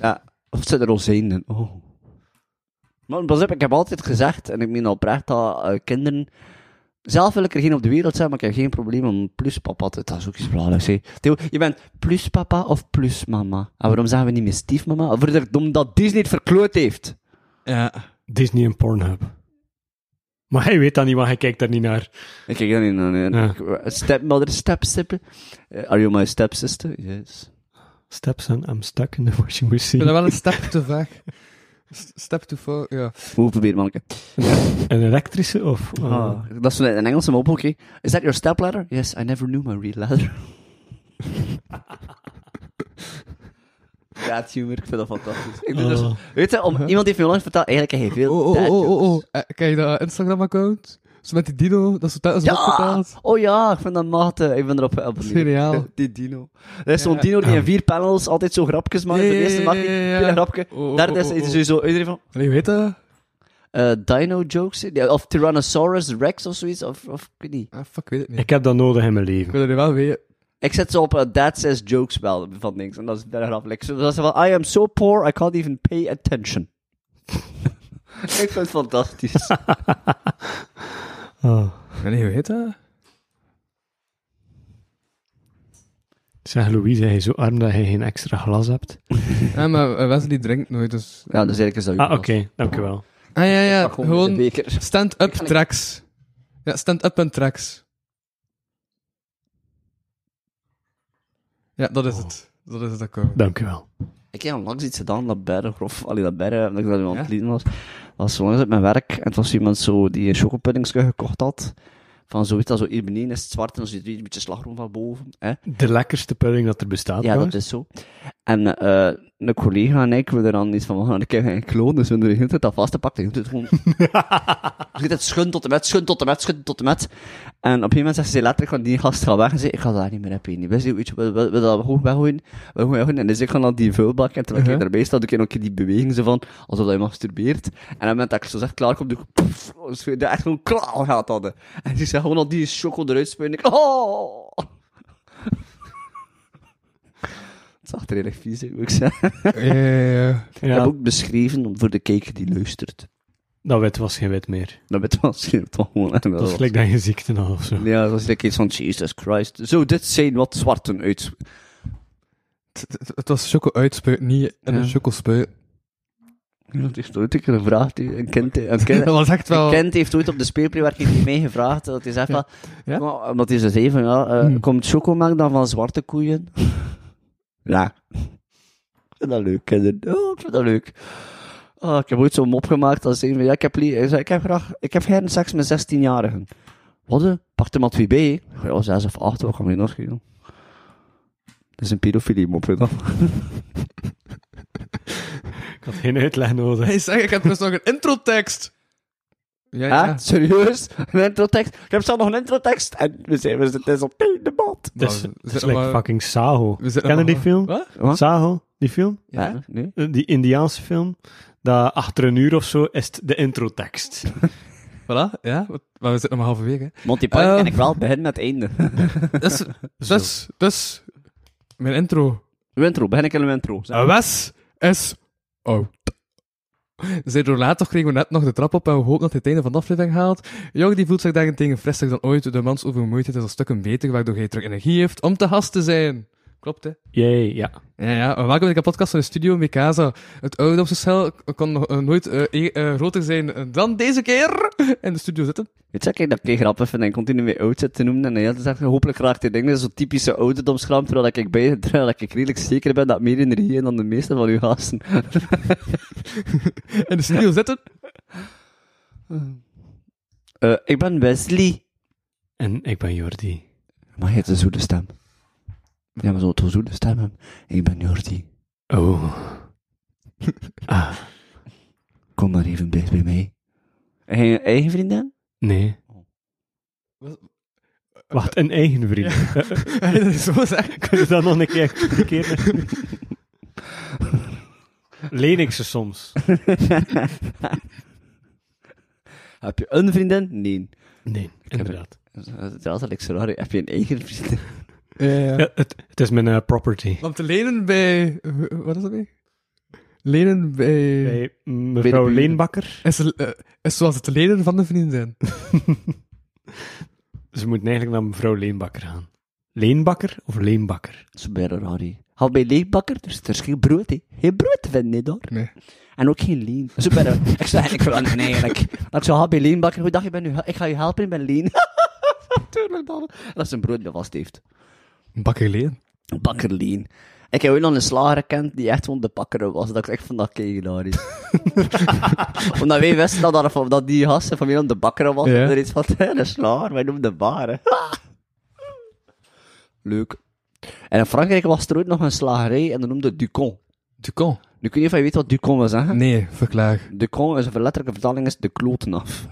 Speaker 3: Ja, of zit er rozijnen in? Oh. Maar pas op, ik heb altijd gezegd, en ik meen oprecht, dat eh, kinderen... Zelf wil ik er geen op de wereld zijn, maar ik heb geen probleem om pluspapa te... Dat is ook iets belangrijks, hè. Theo, je bent pluspapa of plusmama? En waarom zeggen we niet meer stiefmama? Verder, Omdat Disney het verkloot heeft.
Speaker 1: Ja.
Speaker 4: Disney en Pornhub. Maar hij weet dat niet, want hij kijkt daar niet naar.
Speaker 3: Ik kijk daar niet naar. nee.
Speaker 4: Ja.
Speaker 3: Ik- Stepmother, stepsister. Eh, Are you my stepsister? Yes.
Speaker 4: Stepson, I'm stuck in the washing machine.
Speaker 1: Ik vind dat wel een step te vaak. S- Step to far, ja.
Speaker 3: Hoe probeer, manneke?
Speaker 4: Een elektrische of? oh.
Speaker 3: Ah, Dat is een Engelse mop, oké. Is that your stepladder? Yes, I never knew my real ladder. ja, humor, ik vind dat fantastisch. Uh-huh. Ik doe dat zo-
Speaker 4: Oh.
Speaker 3: Weet je, om, iemand heeft me onlangs verteld, eigenlijk heb je veel
Speaker 1: Oh, oh, oh, oh, oh.
Speaker 3: dadjokes.
Speaker 1: Eh, Kijk, dat Instagram-account. Zo met die dino, dat is dat is
Speaker 3: Ja!
Speaker 1: opgeteld.
Speaker 3: Oh ja, ik vind dat mate. Ik ben erop eh, geabonneerd.
Speaker 1: Geniaal.
Speaker 3: Die dino. Dat is zo'n dino die in vier panels altijd zo grapjes maakt.
Speaker 1: Ah. Ja,
Speaker 3: de eerste
Speaker 1: ja,
Speaker 3: maakt hij
Speaker 1: ja, ja, ja.
Speaker 3: een grapje.
Speaker 1: Oh, oh,
Speaker 3: Derde is
Speaker 1: oh,
Speaker 3: is
Speaker 1: oh.
Speaker 3: hij zo iedereen van...
Speaker 1: Allee, weet dat?
Speaker 3: eh, dino jokes, eh, of Tyrannosaurus Rex of zoiets, of, of ik weet niet.
Speaker 1: Ah, fuck, ik weet het niet.
Speaker 4: Ik heb dat nodig in mijn
Speaker 1: Ik
Speaker 4: leven.
Speaker 1: wil er wel weten.
Speaker 3: Ik zet ze op uh, That Says Jokes wel van niks. En dat is bijna grappig. Zo- Dat ze van, I am so poor, I can't even pay attention. ik vind het fantastisch.
Speaker 4: Oh.
Speaker 1: Nee, weet dat?
Speaker 4: Zeg Louise, hij is zo arm dat hij geen extra glas hebt.
Speaker 1: Ja, maar eh, Wesley drinkt nooit, dus...
Speaker 3: ja, dus eigenlijk is dat
Speaker 4: Ah, oké, dankjewel.
Speaker 1: Ah, ja, ja,
Speaker 3: Gewoon...
Speaker 1: gewoon
Speaker 3: Beker.
Speaker 1: stand-up
Speaker 3: Ik ga niet-
Speaker 1: tracks. Ja, stand-up en tracks. Ja, dat is het.
Speaker 3: Oh.
Speaker 1: Dat is het akkoord.
Speaker 4: Dankjewel.
Speaker 3: Ik heb onlangs iets gedaan, dat berg, grof, allee, dat berg, dat ik dat nu aan het lieden was. Dat was zo langs op mijn werk, en het was iemand zo die een chocopuddingske gekocht had. Van zo, weet dat, zo hier beneden is het zwart, en dan zit er een beetje slagroom van boven. Hè?
Speaker 4: De lekkerste pudding dat er bestaat,
Speaker 3: Ja, dat
Speaker 4: trouwens.
Speaker 3: is zo. En eh een collega en ik willen er dan iets van maken. Ik heb geen kloon, dus we hebben de hele tijd dat vastgepakt. De hele tijd gewoon... de hele tijd schun tot de met, schun tot de met, schun tot de met. En op een gegeven moment zegt ze letterlijk van die gast gaat weg. En zei, ik ga daar niet meer hebben. in. Weet je, weet je, wil, wil, wil dat goed weggooien? Wil goed weggooien? En dus ik ga naar die vuilbak. En terwijl ik
Speaker 1: Mhm.
Speaker 3: daarbij sta, doe ik nog een keer die beweging zo van, alsof dat je masturbeert. En op het moment dat ik zo zeg, klaar kom, doe ik, poef, zo- dat echt gewoon klaar gaat hadden. En die zegt gewoon al die choco eruit spuien. Ik, oh! Het zag er heel erg vies uit, moet ik zeggen.
Speaker 1: Ja, ja, ja.
Speaker 3: Ik
Speaker 4: Ja,
Speaker 3: heb ook beschreven voor de kijker die luistert.
Speaker 4: dat wit was geen wit meer.
Speaker 3: Dat weet wel schreeuwt toch gewoon. hè.
Speaker 4: Dat is gelijk dat je ziekte had of zo.
Speaker 3: Ja, dat was like iets van Jesus Christ. Zo, dit zijn wat zwarten uit.
Speaker 1: Het- Het, het was choco uitspuit, niet een
Speaker 3: Ja.
Speaker 1: choco spuit.
Speaker 3: Dat heeft ooit een keer gevraagd. hè. Een kind, een
Speaker 1: Dat
Speaker 3: kind,
Speaker 1: was echt
Speaker 3: een
Speaker 1: wel...
Speaker 3: kind heeft ooit op de speelpleewerking die mij gevraagd. Dat hij zegt van...
Speaker 1: Ja. Hmm.
Speaker 3: maar- Omdat hij zo zei van, ja, eh, komt chocomelk dan van zwarte koeien? Ja. Ik vind dat leuk, kinderen. Oh, ik vind dat leuk. Ah, ik heb ooit zo'n mop gemaakt dat zei van, ja, ik heb, lie- hij zei, ik heb graag, ik heb geen seks met 16-jarigen. Wat, hè? pak er maar twee bij, hè. Ja, zes of acht, wat kan je nog doen? Dat is een pedofilie mop, hè, dan.
Speaker 4: Ik had geen uitleg nodig.
Speaker 1: Hij zegt, ik heb dus nog een introtekst. Ja, ja.
Speaker 3: Hè? serieus? Een introtekst? Ik heb zelf nog een introtekst. En we zijn, we zitten op één debat.
Speaker 4: Dat is,
Speaker 1: Maar we
Speaker 4: dat is
Speaker 1: zitten
Speaker 4: like
Speaker 1: dus- maar-
Speaker 4: fucking Saho.
Speaker 1: we zitten
Speaker 4: Ken je die
Speaker 1: nog-
Speaker 4: film?
Speaker 1: Wat?
Speaker 3: Wat?
Speaker 4: Saho, die film?
Speaker 1: Ja.
Speaker 3: Ja, nee.
Speaker 4: Eh, Die Indiaanse film? Dat achter een uur of zo is het de introtekst.
Speaker 1: Voilà, ja. wat- Maar we zitten nog maar halverwege. hè.
Speaker 3: Monty Python
Speaker 1: Eh.
Speaker 3: ken ik wel, het begin met het einde.
Speaker 1: Dus, dus, dus, mijn intro.
Speaker 3: Wintro, begin ik in een wintro. Zeg.
Speaker 1: Wes is oud. Zij door later kregen we net nog de trap op en we hopen dat hij het einde van de aflevering haalt. Jong die voelt zich daarentegen frisser dan ooit. De mans overmoeidheid is al stukken beter, waardoor hij terug energie heeft om te gast te zijn. Klopt, hè?
Speaker 4: Jee, ja.
Speaker 1: Ja, ja. En Welkom bij de podcast van de studio Mikasa. Het ouderdomsgeschil kon nog eh, nooit eh, e- eh, groter zijn dan deze keer in de studio zitten.
Speaker 3: Weet je, kijk, dat ik grappig vind en continu weer oud zit te noemen. En hij zegt, hopelijk raakt hij dingen zo'n typische ouderdomsgram, terwijl ik, bij, terwijl ik redelijk zeker ben dat meer energie in dan de meeste van uw gasten.
Speaker 1: In de studio zitten.
Speaker 3: Eh, ik ben Wesley.
Speaker 4: En ik ben Jordi.
Speaker 3: Maar je hebt een zoete stem. Ja, maar zo'n zo'n zoete stem hebben. Ik ben Jordi.
Speaker 4: Oh. ah,
Speaker 3: Kom maar even dicht bij mij. En je eigen vriendin?
Speaker 4: nee. Wacht, een eigen vriend. Eh,
Speaker 1: Zo zeg.
Speaker 4: Kunnen we dat nog een keer, een keer Leen ik ze soms?
Speaker 3: Heb je een vriendin? Nee.
Speaker 4: Nee, inderdaad.
Speaker 3: Dat is ik zo raar. Heb je een eigen vriendin?
Speaker 1: Ja, ja.
Speaker 4: Ja, het, het is mijn eh, property.
Speaker 1: Om te lenen bij... eh, Wat is dat weer? Lenen bij...
Speaker 4: Bij mevrouw
Speaker 3: buren.
Speaker 4: Leenbakker.
Speaker 1: Is, eh, is zoals het lenen van de vriendin zijn.
Speaker 4: Ze moeten eigenlijk naar mevrouw Leenbakker gaan. Leenbakker of Leenbakker?
Speaker 3: Dat is bijna raar, hè. Haal bij leegbakker, dus er is geen brood, hè. Geen brood vinden, hè, daar.
Speaker 1: Nee.
Speaker 3: En ook geen leen. Zo bijna... ik zou eigenlijk veranderen, nee, eigenlijk. Maar ik zou haal bij leenbakker, goeiedag, ik, ben nu, ik ga je helpen, ik ben leen. Tuurlijk, dan. Dat is een brood dat vast heeft.
Speaker 1: Bakker lenen.
Speaker 3: Bakker leen. Ik heb ooit nog een slager gekend die echt gewoon de bakker was. Dat ik echt van dat keilaar is. Omdat wij wisten dat, dat, dat die gasten van mij de bakker was.
Speaker 1: Ja.
Speaker 3: En er iets van, hè, een slager, wij noemen de baren. Leuk. En in Frankrijk was er ooit nog een slagerij en dat noemde Ducon.
Speaker 1: Ducon.
Speaker 3: Nu kun je van je weet wat Ducon wil zeggen.
Speaker 1: Nee, verklaar.
Speaker 3: Ducon is een letterlijke vertaling, is de kloten af.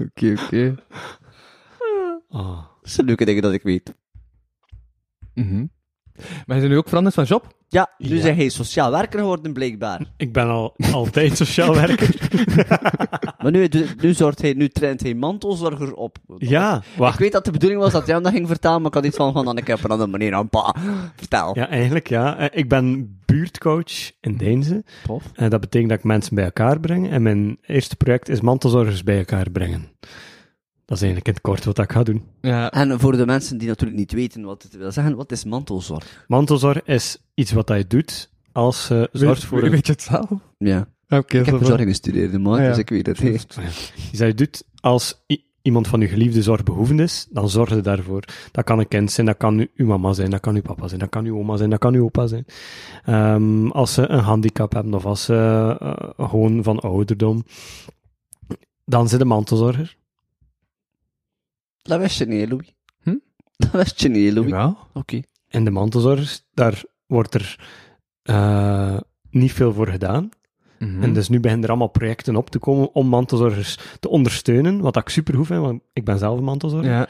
Speaker 1: Oké, oké.
Speaker 4: Oh.
Speaker 3: Ah. Dat is een leuke ding dat ik weet.
Speaker 1: Mhm. Maar je bent nu ook veranderd van job?
Speaker 3: Ja, nu
Speaker 4: Ja.
Speaker 3: zijn hij sociaal werker geworden, blijkbaar.
Speaker 4: Ik ben al, altijd sociaal werker.
Speaker 3: Maar nu, nu, zorgt hij, nu traint hij mantelzorger op.
Speaker 4: Ja,
Speaker 3: Ik
Speaker 4: wacht.
Speaker 3: weet dat de bedoeling was dat jij hem dat ging vertalen, maar ik had iets van, van dan ik heb een andere manier aan pa. Vertel.
Speaker 4: Ja, eigenlijk ja. Eh, Ik ben buurtcoach in Deinze.
Speaker 3: Tof.
Speaker 4: En dat betekent dat ik mensen bij elkaar breng. En mijn eerste project is mantelzorgers bij elkaar brengen. Dat is eigenlijk in het kort wat ik ga doen.
Speaker 1: Ja.
Speaker 3: En voor de mensen die natuurlijk niet weten wat het wil zeggen, wat is mantelzorg?
Speaker 4: Mantelzorg is iets wat je doet als eh, je zorgt voor
Speaker 1: Weet,
Speaker 4: een
Speaker 1: weet je het zelf? Oké,
Speaker 3: Ja. Ik heb
Speaker 1: zo van-
Speaker 3: verzorging gestudeerd, hè, maar,
Speaker 1: Ja, ja.
Speaker 3: dus ik weet het. hè.
Speaker 4: Iets dat je doet als i- iemand van uw geliefde zorgbehoevend is, dan zorg je daarvoor. Dat kan een kind zijn, dat kan u- uw mama zijn, dat kan uw papa zijn, dat kan uw oma zijn, dat kan uw opa zijn. Ehm, als ze een handicap hebben of als ze eh, gewoon van ouderdom, dan zit de mantelzorger.
Speaker 3: Dat wist je niet, hè, Louis.
Speaker 1: Hm?
Speaker 3: Dat wist je niet, hè, Louis.
Speaker 1: Jawel.
Speaker 3: Oké.
Speaker 4: En de mantelzorgers, daar wordt er eh, niet veel voor gedaan.
Speaker 1: Mhm.
Speaker 4: En dus nu beginnen er allemaal projecten op te komen om mantelzorgers te ondersteunen, wat ik super goed vind, want ik ben zelf een mantelzorger.
Speaker 1: Ja.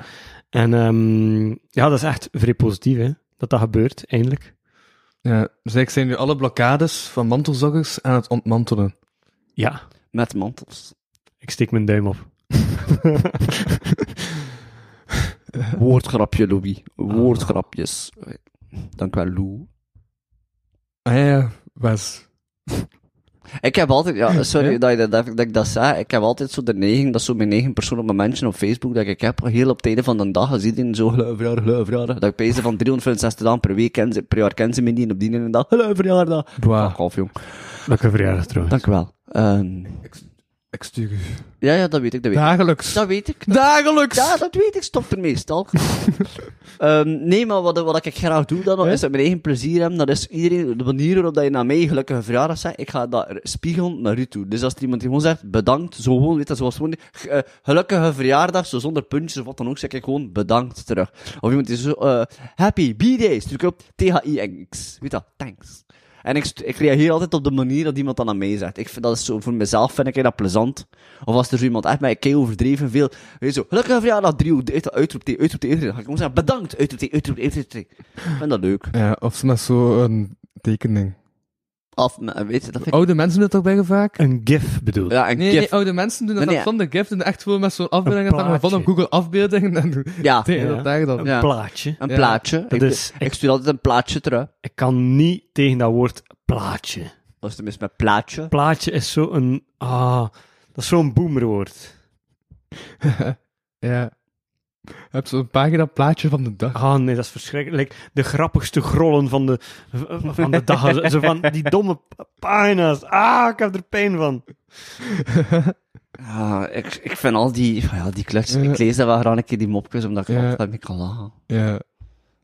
Speaker 4: En ehm, ja, dat is echt vrij positief, hè, dat dat gebeurt, eindelijk.
Speaker 1: ja. Dus ik zijn nu alle blokkades van mantelzoggers aan het ontmantelen.
Speaker 4: Ja,
Speaker 3: Met mantels.
Speaker 4: ik steek mijn duim op.
Speaker 3: Woordgrapje, Louis. Woordgrapjes. Dank wel, Lou.
Speaker 1: Ah ja, ja. Wes.
Speaker 3: Ik heb altijd, ja, sorry dat, je dat, dat, dat ik dat zei, ik heb altijd zo de neiging, dat is zo mijn eigen persoonlijke mensen op Facebook, dat ik heb heel op tijden van de dag, als iedereen zo geluiveraar, geluiveraar, dat ik bezig van 365 dagen per week, ken ze, per jaar kennen ze me niet, en op die ene dag, geluiveraar, dag.
Speaker 1: Boah.
Speaker 3: Fuck off, jong.
Speaker 4: Leuke verjaardag trouwens.
Speaker 3: Dank u wel. Ehm,
Speaker 1: Ik stuur u.
Speaker 3: ja, ja, dat weet ik, dat weet ik.
Speaker 1: Dagelijks.
Speaker 3: Dat weet ik.
Speaker 1: Dagelijks!
Speaker 3: Ja, dat weet ik, stop er meestal. Ehm, nee, maar wat, wat ik graag doe dan, nog, is dat mijn eigen plezier hebben. Dat is iedereen, de manier waarop dat je naar mij gelukkige verjaardag zegt, ik ga dat r- spiegelen naar u toe. Dus als er iemand gewoon zegt, bedankt, zo gewoon, weet dat, zoals gewoon, g- eh, gelukkige verjaardag, zo zonder puntjes of wat dan ook, zeg ik gewoon bedankt terug. Of iemand die zo, eh, happy, b-day, stuur ik op T-H-I-N-X. Weet dat, thanks. En ik, st- ik reageer altijd op de manier dat iemand dan aan mij zegt. Ik vind dat is zo, voor mezelf vind ik dat plezant. Of als er zo iemand echt mij kei overdreven veel, weet je zo, gelukkige verjaardag, driehoek, uitroepteken, uitroepteken, dan ga ik gewoon zeggen, bedankt, uitroepteken, uitroepteken, uitroepteken. Ik vind dat leuk.
Speaker 1: Ja, of ze met zo'n tekening.
Speaker 3: af. Maar weet je, dat vind ik...
Speaker 1: Oude mensen doen dat toch bijna vaak?
Speaker 4: Een gif bedoel
Speaker 3: Ja, een
Speaker 1: Oh. Nee,
Speaker 3: gif.
Speaker 1: nee, oude mensen doen dat
Speaker 3: Nee,
Speaker 1: dan
Speaker 3: nee.
Speaker 1: zonder gift en echt gewoon met zo'n afbeelding. Dat dan van op
Speaker 4: plaatje.
Speaker 1: Google afbeeldingen en doen
Speaker 3: Ja,
Speaker 1: tegen
Speaker 4: Ja.
Speaker 1: dat daar dan.
Speaker 4: Een
Speaker 3: Ja.
Speaker 4: plaatje.
Speaker 3: een
Speaker 1: oh. Ja.
Speaker 3: plaatje. Ik,
Speaker 4: is-
Speaker 3: ik stuur altijd een plaatje terug.
Speaker 4: Ik kan niet tegen dat woord plaatje.
Speaker 3: Dat is tenminste met plaatje.
Speaker 4: Plaatje is zo'n... Ah, dat is zo'n boomerwoord.
Speaker 1: Ja. Je hebt zo'n pagina plaatje van de dag.
Speaker 4: Ah nee, dat is verschrikkelijk. De grappigste grollen van de, van de dag. Zo van die domme pagina's. Ah, ik heb er pijn van.
Speaker 3: Ah, ik, ik vind al die, ja, die kluts.
Speaker 1: Ja.
Speaker 3: Ik lees dat wel graag een keer die mopjes, omdat ik
Speaker 1: Ja.
Speaker 3: altijd mee kan lachen.
Speaker 1: Ja.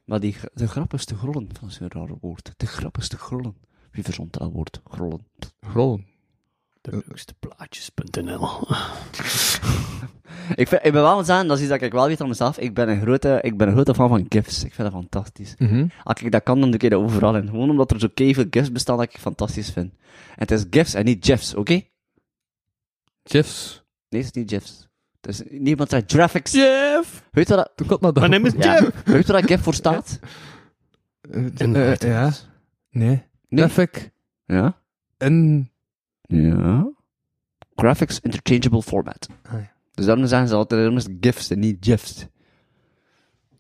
Speaker 3: Maar die, gr- de grappigste grollen, dat is een raar woord. De grappigste grollen. Wie verzond dat woord? Grollen.
Speaker 1: Grollen.
Speaker 4: De leukste plaatjes.nl.
Speaker 3: Ik, vind, ik ben wel aan het zeggen, dat is iets dat ik wel weet van mezelf. Ik ben een grote, ik ben een grote fan van gifs. Ik vind dat fantastisch. Als ik dat kan, dan doe ik dat overal in. Gewoon omdat er zo veel gifs bestaan dat ik fantastisch vind. En het is gifs en niet gifs, oké?
Speaker 1: Jeffs.
Speaker 3: Nee, het is niet gifs. Het is, niemand zegt graphics.
Speaker 1: Jeff!
Speaker 3: Weet je wat dat,
Speaker 1: Toen komt dat dan.
Speaker 4: Maar neem eens
Speaker 3: ja, weet je wat dat gif voor staat?
Speaker 1: Eh, eh, ja. Nee.
Speaker 3: Nee.
Speaker 1: Graphic.
Speaker 3: Ja?
Speaker 1: En...
Speaker 3: Ja. Graphics Interchangeable Format.
Speaker 1: Ah, ja.
Speaker 3: Dus daarom zijn ze altijd daarom is het GIFs en niet GIFs.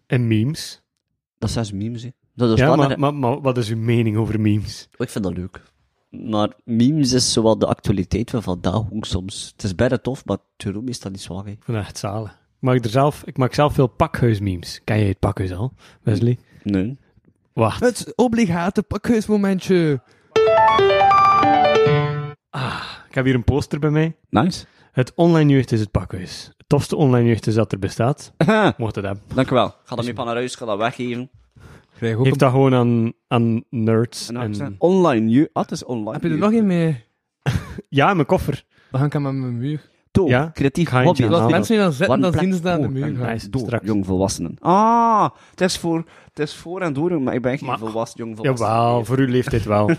Speaker 4: En memes.
Speaker 3: Dat zijn ze memes, hè. Dat Dus is
Speaker 4: Ja,
Speaker 3: standaard,
Speaker 4: maar,
Speaker 3: hè.
Speaker 4: maar, maar wat is uw mening over memes?
Speaker 3: Ik vind dat leuk. Maar memes is zowel de actualiteit van vandaag ook soms. Het is bijna tof, maar Turum is dat niet zwaar, hè.
Speaker 4: Ik vind dat echt zalen. Ik maak, er zelf, ik maak zelf veel pakhuismemes. Ken jij het pakhuis al, Wesley?
Speaker 3: Nee.
Speaker 4: Wacht.
Speaker 1: Het obligate pakhuismomentje.
Speaker 4: Ik heb hier een poster bij mij.
Speaker 3: Nice.
Speaker 4: Het online jeugd is het pakhuis. Het tofste online jeugd is dat er bestaat. Mocht het hebben.
Speaker 3: Dankjewel. Ga dat mee van naar huis, ga dat weggeven.
Speaker 1: Krijg ook
Speaker 4: Geef dat gewoon aan, aan nerds.
Speaker 3: En
Speaker 4: en-
Speaker 3: Online, je... Ah, het is online.
Speaker 1: Heb je er nog een mee?
Speaker 4: Ja, in mijn koffer.
Speaker 1: Dan hang ik hem aan mijn muur.
Speaker 3: Toe,
Speaker 4: Ja?
Speaker 3: creatief
Speaker 4: Ga je
Speaker 3: hobby.
Speaker 4: het
Speaker 1: Als
Speaker 4: Ah,
Speaker 1: mensen die dan zitten,
Speaker 3: nou, Wat
Speaker 1: dan
Speaker 3: een
Speaker 1: zien
Speaker 3: plek.
Speaker 1: ze dat aan de
Speaker 3: Oh,
Speaker 1: muur
Speaker 4: en
Speaker 1: gaan.
Speaker 4: hij is
Speaker 3: Door,
Speaker 4: straks.
Speaker 3: jongvolwassenen. Ah, het is voor, het is voor en door, maar ik ben geen
Speaker 4: Maar-
Speaker 3: volwassen jongvolwassen.
Speaker 4: Jawel, voor uw leeftijd wel.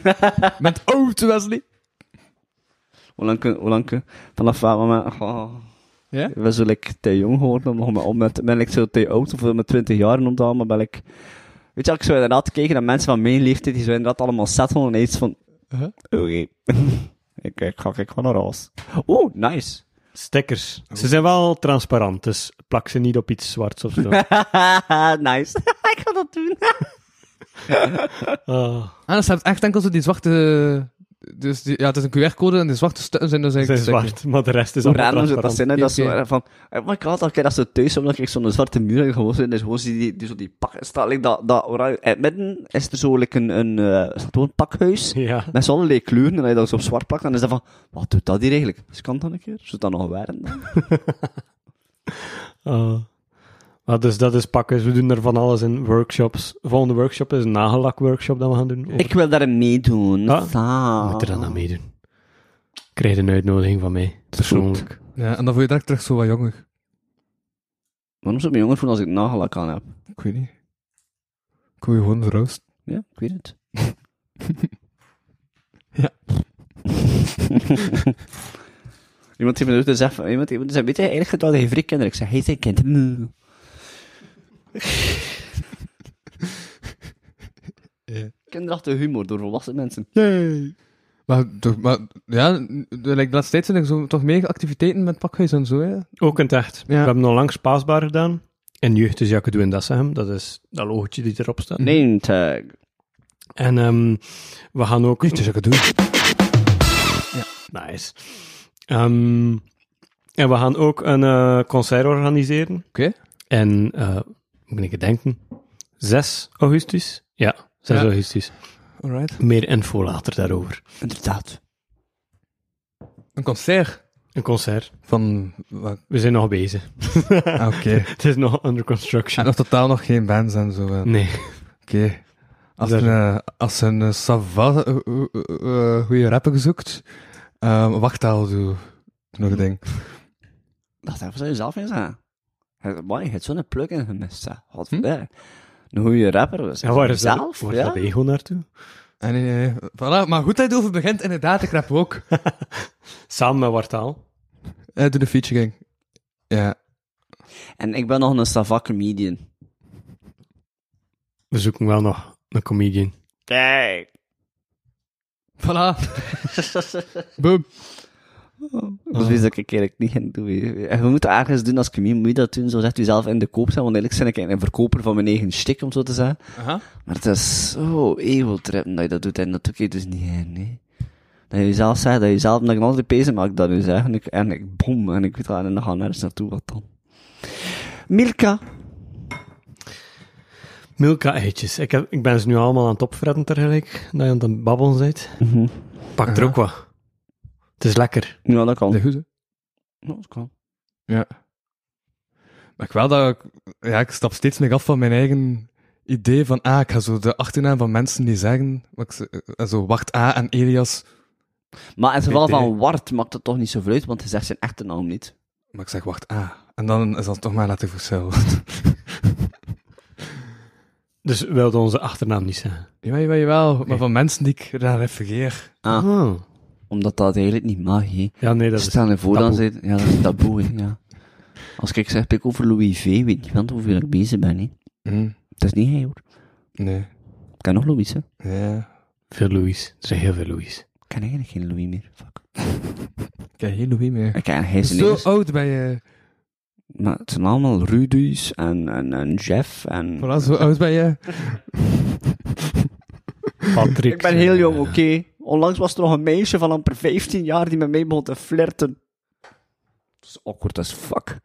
Speaker 1: Met oud Wesley.
Speaker 3: Olanke, Olanke, vanaf waar we met... Oh.
Speaker 1: Ja?
Speaker 3: We zijn like, te jong geworden, om, om, met, ben ik zo te oud, of met 20 jaar en om dat, maar ben ik... Weet je, ik zou inderdaad kijken naar mensen van mijn leeftijd, die zijn inderdaad allemaal zat van en iets van...
Speaker 1: Uh-huh.
Speaker 3: Oké. ik, ik ga ik ga naar huis. Oh, nice.
Speaker 4: Stickers. Ze zijn wel transparant, dus plak ze niet op iets zwarts of zo.
Speaker 3: nice. ik ga dat doen.
Speaker 4: Ah,
Speaker 1: Ah, dus je hebt echt enkel zo die zwarte... Dus die, ja, het is een QR-code en de zwarte stukken zijn dus
Speaker 4: ze zijn
Speaker 1: eigenlijk...
Speaker 4: zwart, maar de rest is
Speaker 3: Zo
Speaker 4: allemaal
Speaker 3: random zit dat
Speaker 4: transparant.
Speaker 3: zin in, dat is zo
Speaker 1: Oké.
Speaker 3: erg van... Oh my god, als ik dat zo thuis heb, dan krijg ik zo'n zwarte muur en gewoon zo, en dus gewoon zie je die, die, zo die pak... Staat, like, dat, dat oranje... In het midden is er zo like, een, een, eh, staat gewoon een pakhuis.
Speaker 4: Ja.
Speaker 3: Met z'n allerlei kleuren, en als je dat zo op zwart plakt, dan is dat van, wat doet dat hier eigenlijk? Dus kan dat een keer? Zou dat nog werken? dan?
Speaker 4: Oh. Ah. Maar dus dat is pakhuis. We doen er van alles in workshops. Volgende workshop is een nagellakworkshop dat we gaan doen.
Speaker 3: Ik wil daarin meedoen.
Speaker 4: Ah.
Speaker 3: Saai.
Speaker 4: moet er dan aan meedoen. Ik krijg een uitnodiging van mij. Persoonlijk.
Speaker 1: Ja, en dan voel je direct terug zo wat jonger.
Speaker 3: Waarom zou ik me jonger voelen als ik nagelak aan heb?
Speaker 1: Ik weet niet. Ik wil je gewoon verroost.
Speaker 3: Ja, ik weet het.
Speaker 1: Ja.
Speaker 3: iemand heeft me dus gezegd, van- iemand heeft me gezegd, weet je, eigenlijk gaat wel dat je vrij kinderen. Ik zeg, hij is een kind. Mm.
Speaker 1: Ja.
Speaker 3: Kinderachtige humor door volwassen mensen.
Speaker 1: Maar, toch- maar ja, n- like, de laatste tijd zijn er zo, toch meer activiteiten met pakhuis en zo, hè?
Speaker 4: Ook in het echt. We
Speaker 1: Ja.
Speaker 4: hebben nog langs Paasbaar gedaan. En jeugd is Jacques Doen Dassenhem. Dat is dat logotje die erop staat.
Speaker 3: Name tag.
Speaker 4: En ehm, we gaan ook...
Speaker 1: Dus ik het doen.
Speaker 4: Nice. Ehm, en we gaan ook een eh, concert organiseren.
Speaker 1: Oké.
Speaker 4: En, eh moet ik het denken, 6 augustus? Ja, 6
Speaker 1: Ja.
Speaker 4: augustus.
Speaker 1: Alright.
Speaker 4: Meer info later daarover.
Speaker 3: Inderdaad.
Speaker 1: Een concert
Speaker 4: Een concert.
Speaker 1: van... wat-
Speaker 4: We zijn nog bezig.
Speaker 1: ah, Oké.
Speaker 4: Het is nog under
Speaker 1: En
Speaker 4: construction.
Speaker 1: nog totaal nog geen bands en zo. hè.
Speaker 4: Nee.
Speaker 1: Oké. Als,
Speaker 4: Daar-
Speaker 1: een, eh, als een eh, savat eh, eh, eh, eh, goede rapper zoekt, ehm, wacht al zo. Nog een ding.
Speaker 3: Dat even zou je zelf eens aan. Man, je hebt zo'n plug-in gemist, hè. Godverdomme. Een goede rapper. Dus.
Speaker 4: Hm? En waar is
Speaker 3: zelf?
Speaker 4: dat, waar is
Speaker 3: ja?
Speaker 4: dat ego naartoe?
Speaker 1: En, Ah, nee, nee, nee. Voilà, maar goed dat je erover begint, inderdaad, ik rap ook.
Speaker 4: Samen met Wartaal.
Speaker 1: Eh, doe de featuring. Ja.
Speaker 3: En ik ben nog een Savak comedian.
Speaker 4: We zoeken wel nog een comedian.
Speaker 3: Kijk.
Speaker 1: Voilà. Boom. Ah.
Speaker 3: Dat is dat ik eigenlijk niet in doe. En we moeten ergens doen als comedian, moet je dat doen, zo zegt u zelf in de koop zijn, want eigenlijk ben ik eigenlijk een verkoper van mijn eigen shtick, om zo te zeggen.
Speaker 1: Aha.
Speaker 3: Maar het is zo eeuweltrippend dat je dat doet, en dat doe je dus niet in, nee. Dat je zelf zegt, dat je zelf nog een andere pezen maakt dan u zegt, en ik, en ik boem, en ik weet waar, en dan gaan we ergens naartoe, wat dan. Milka,
Speaker 4: Milka-eitjes. Ik, heb- ik ben ze nu allemaal aan het opfretten tegelijk, dat je aan het babbelen bent.
Speaker 1: Mhm.
Speaker 4: Pak er ook wat. Het is lekker.
Speaker 3: ja, dat kan.
Speaker 6: Dat is goed, hè?
Speaker 3: Ja, dat kan.
Speaker 6: Ja.
Speaker 1: Maar ik wel dat ik, ja, ik stap steeds meer af van mijn eigen idee van, ah, ik ga zo de achternaam van mensen die zeggen, wat ik ze- eh, zo Wart A en Elias,
Speaker 3: Maar in het geval
Speaker 1: Weet
Speaker 3: van Wart maakt het toch niet zoveel uit, want hij zegt zijn echte naam niet.
Speaker 1: maar ik zeg Wart A. En dan is dat toch maar laten verschil.
Speaker 4: Dus wilde onze achternaam niet zeggen.
Speaker 1: Jawel, jawel, jawel. Maar van mensen die ik daar refereer.
Speaker 3: Ah,
Speaker 4: Oh.
Speaker 3: omdat dat eigenlijk niet mag, hè.
Speaker 4: Ja, nee, dat is...
Speaker 3: Stel je voor dan
Speaker 4: taboe.
Speaker 3: zit, ja, dat is taboe, hè, ja. Als ik zeg, pik over Louis V, weet niemand hoeveel ik bezig ben, hè.
Speaker 1: Hm,
Speaker 3: Dat is niet hij, hoor.
Speaker 1: nee.
Speaker 3: Ik ken nog Louis, hè. Ik
Speaker 1: Ja.
Speaker 4: Veel Louis. Er zijn heel veel Louis.
Speaker 3: ken eigenlijk geen Louis meer, fuck.
Speaker 1: Ik heb geen Louis meer.
Speaker 3: Ik ken hij zijn
Speaker 1: Zo
Speaker 3: eerste-
Speaker 1: oud ben je.
Speaker 3: maar het zijn allemaal Rudy's en, en, en Jeff en...
Speaker 1: Voilà, zo oud ben je.
Speaker 4: Patrick.
Speaker 3: Ik ben heel jong,
Speaker 4: eh,
Speaker 3: oké. Onlangs was er nog een meisje van amper 15 jaar die met mij begon te flirten. Dat is awkward as fuck.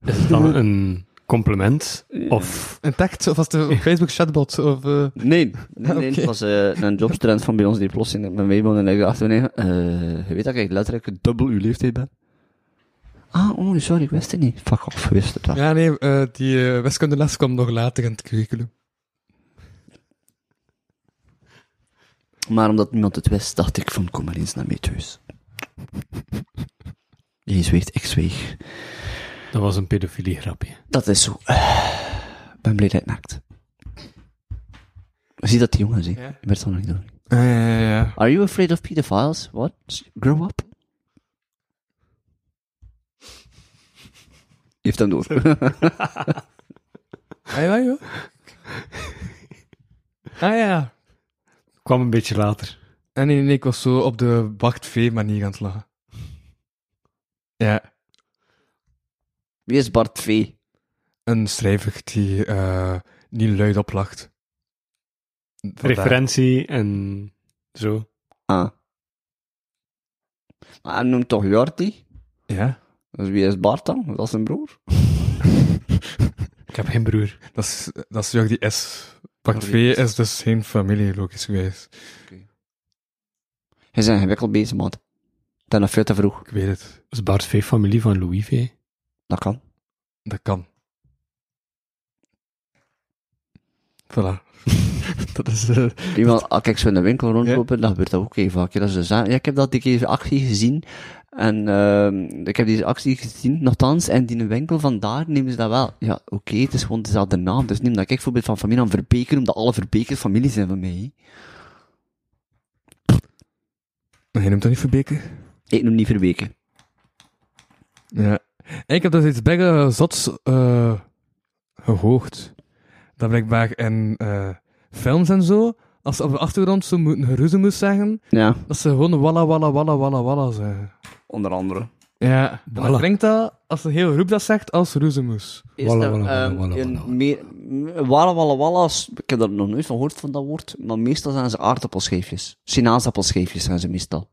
Speaker 4: eh, Is het dan een compliment?
Speaker 3: Ja.
Speaker 4: Of...
Speaker 1: Intact, of was de Facebook chatbot, of... eh,
Speaker 3: Nee, nee, nee
Speaker 1: Oké.
Speaker 3: het was eh, een jobstudent van bij ons die plots in met mij woonde en ik dacht, nee, eh, je weet dat ik letterlijk dubbel uw leeftijd ben? Ah, oh, sorry, ik wist het niet. Fuck off, wist het wel.
Speaker 1: Ja, nee, eh, die eh wiskundeles kwam nog later in het curriculum.
Speaker 3: Maar omdat niemand het wist, dacht ik van, kom maar eens naar mij thuis. Jij zweegt, ik zweeg.
Speaker 4: Dat was een pedofilie grapje.
Speaker 3: Dat is zo. Ik ben blij dat het naakt. Zie dat die jongen, zie.
Speaker 1: Ja.
Speaker 3: Ik werd het nog niet doen.
Speaker 1: Ja, Ah, ja, ja.
Speaker 3: Are you afraid of pedophiles? What? Grow up? Je heeft hem door.
Speaker 1: Ah, ja, joh. Ah, ja.
Speaker 4: Kwam een beetje later.
Speaker 1: En Ah, nee, nee, ik was zo op de Bart V manier aan het lachen. Ja,
Speaker 3: Wie is Bart V?
Speaker 1: een schrijver die eh, niet luid oplacht.
Speaker 4: Referentie en zo.
Speaker 3: Ah. Maar Ah, hij noemt toch Jordi?
Speaker 1: Ja,
Speaker 3: Dus wie is Bart dan? Dat is zijn broer.
Speaker 4: Ik heb geen broer.
Speaker 1: dat is, dat is Jordi S. Bart V
Speaker 3: Jordi S.
Speaker 1: is dus geen familie, logisch geweest.
Speaker 3: Hij is ingewikkeld bezig, man. Dat is nog veel te vroeg.
Speaker 1: Ik weet het,
Speaker 4: Dat is Bart V. familie van Louis V.
Speaker 3: Dat kan.
Speaker 1: dat kan. Voilà. dat is... eh,
Speaker 3: Iemand, ah, als ik zo in de winkel rondlopen, dan gebeurt dat ook heel vaak. hè. Dat ze zeggen, ja, ik heb dat die keer actie gezien. En ehm, ik heb deze actie gezien, nogthans, en die winkel vandaar nemen ze dat wel. Ja, oké, het is gewoon dezelfde naam. Dus neem dat ik voorbeeld van familie aan Verbeken, omdat alle Verbekers familie zijn van mij. hè.
Speaker 1: Hij noemt dat niet Verbeke?
Speaker 3: Ik noem niet Verbeken.
Speaker 1: Ja. En ik heb dus iets bijge zots eh, gehoord. Dat blijkbaar in eh, films en zo, als ze op de achtergrond zo moeten geroezemoes zeggen,
Speaker 3: Ja,
Speaker 1: dat ze gewoon walla walla walla walla walla zeggen.
Speaker 3: onder andere.
Speaker 1: Ja,
Speaker 4: Walla.
Speaker 1: dat klinkt dat als de hele groep dat zegt als roezemoes.
Speaker 3: Is
Speaker 4: Walla,
Speaker 3: er,
Speaker 4: walla, walla,
Speaker 3: ehm,
Speaker 4: walla,
Speaker 3: een
Speaker 4: walla.
Speaker 3: meer- m- walla, walla, walla's, ik heb daar nog nooit van gehoord van dat woord, maar meestal zijn ze aardappelscheefjes. Sinaasappelscheefjes zijn ze meestal.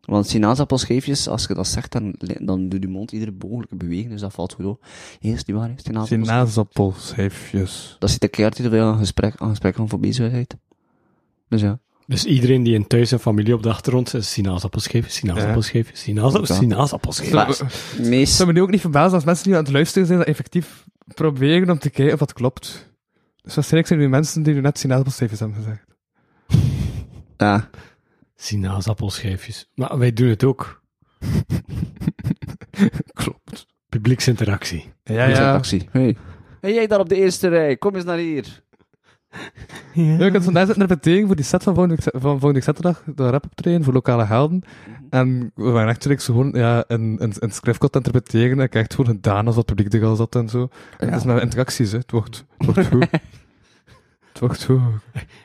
Speaker 3: Want sinaasappelscheefjes, als je dat zegt, dan, dan doet je mond iedere mogelijke beweging, dus dat valt goed op. Eerst, die waar, hè, sinaasappelscheefjes.
Speaker 1: Sinaasappelscheefjes.
Speaker 3: Dat zit een keer uit dat we aan gesprek, aan gesprek van voor bezig zijn. Dus ja.
Speaker 4: Dus iedereen die in thuis en familie op de achtergrond zit, sinaasappelscheepjes, sinaasappelscheepjes, sinaasappelscheepjes,
Speaker 3: Ja.
Speaker 1: Maar-
Speaker 4: sinaasappelscheepjes.
Speaker 1: Ik
Speaker 3: Meest,
Speaker 1: zou me nu ook niet verbazen als mensen die aan het luisteren zijn dat effectief proberen om te kijken of dat klopt. Dus waarschijnlijk zijn er nu mensen die nu net sinaasappelscheefjes hebben gezegd.
Speaker 3: ja.
Speaker 4: Sinaasappelscheepjes. Maar wij doen het ook.
Speaker 1: Klopt.
Speaker 4: Publieksinteractie.
Speaker 1: Ja,
Speaker 3: Met een
Speaker 1: ja.
Speaker 3: taxi. Hey. hey, jij daar op de eerste rij, kom eens naar hier.
Speaker 1: Ja, ik had vandaag zitten repeteren voor die set van volgende, van volgende zaterdag, de rap optreden voor lokale helden. En we waren echt zo gewoon ja, een, een, een scriptcode aan het repeteren. En ik heb echt gewoon gedaan als wat publiek er al zat en zo. En Dat is met interacties, hè. Het wordt, het wordt goed. het wordt goed.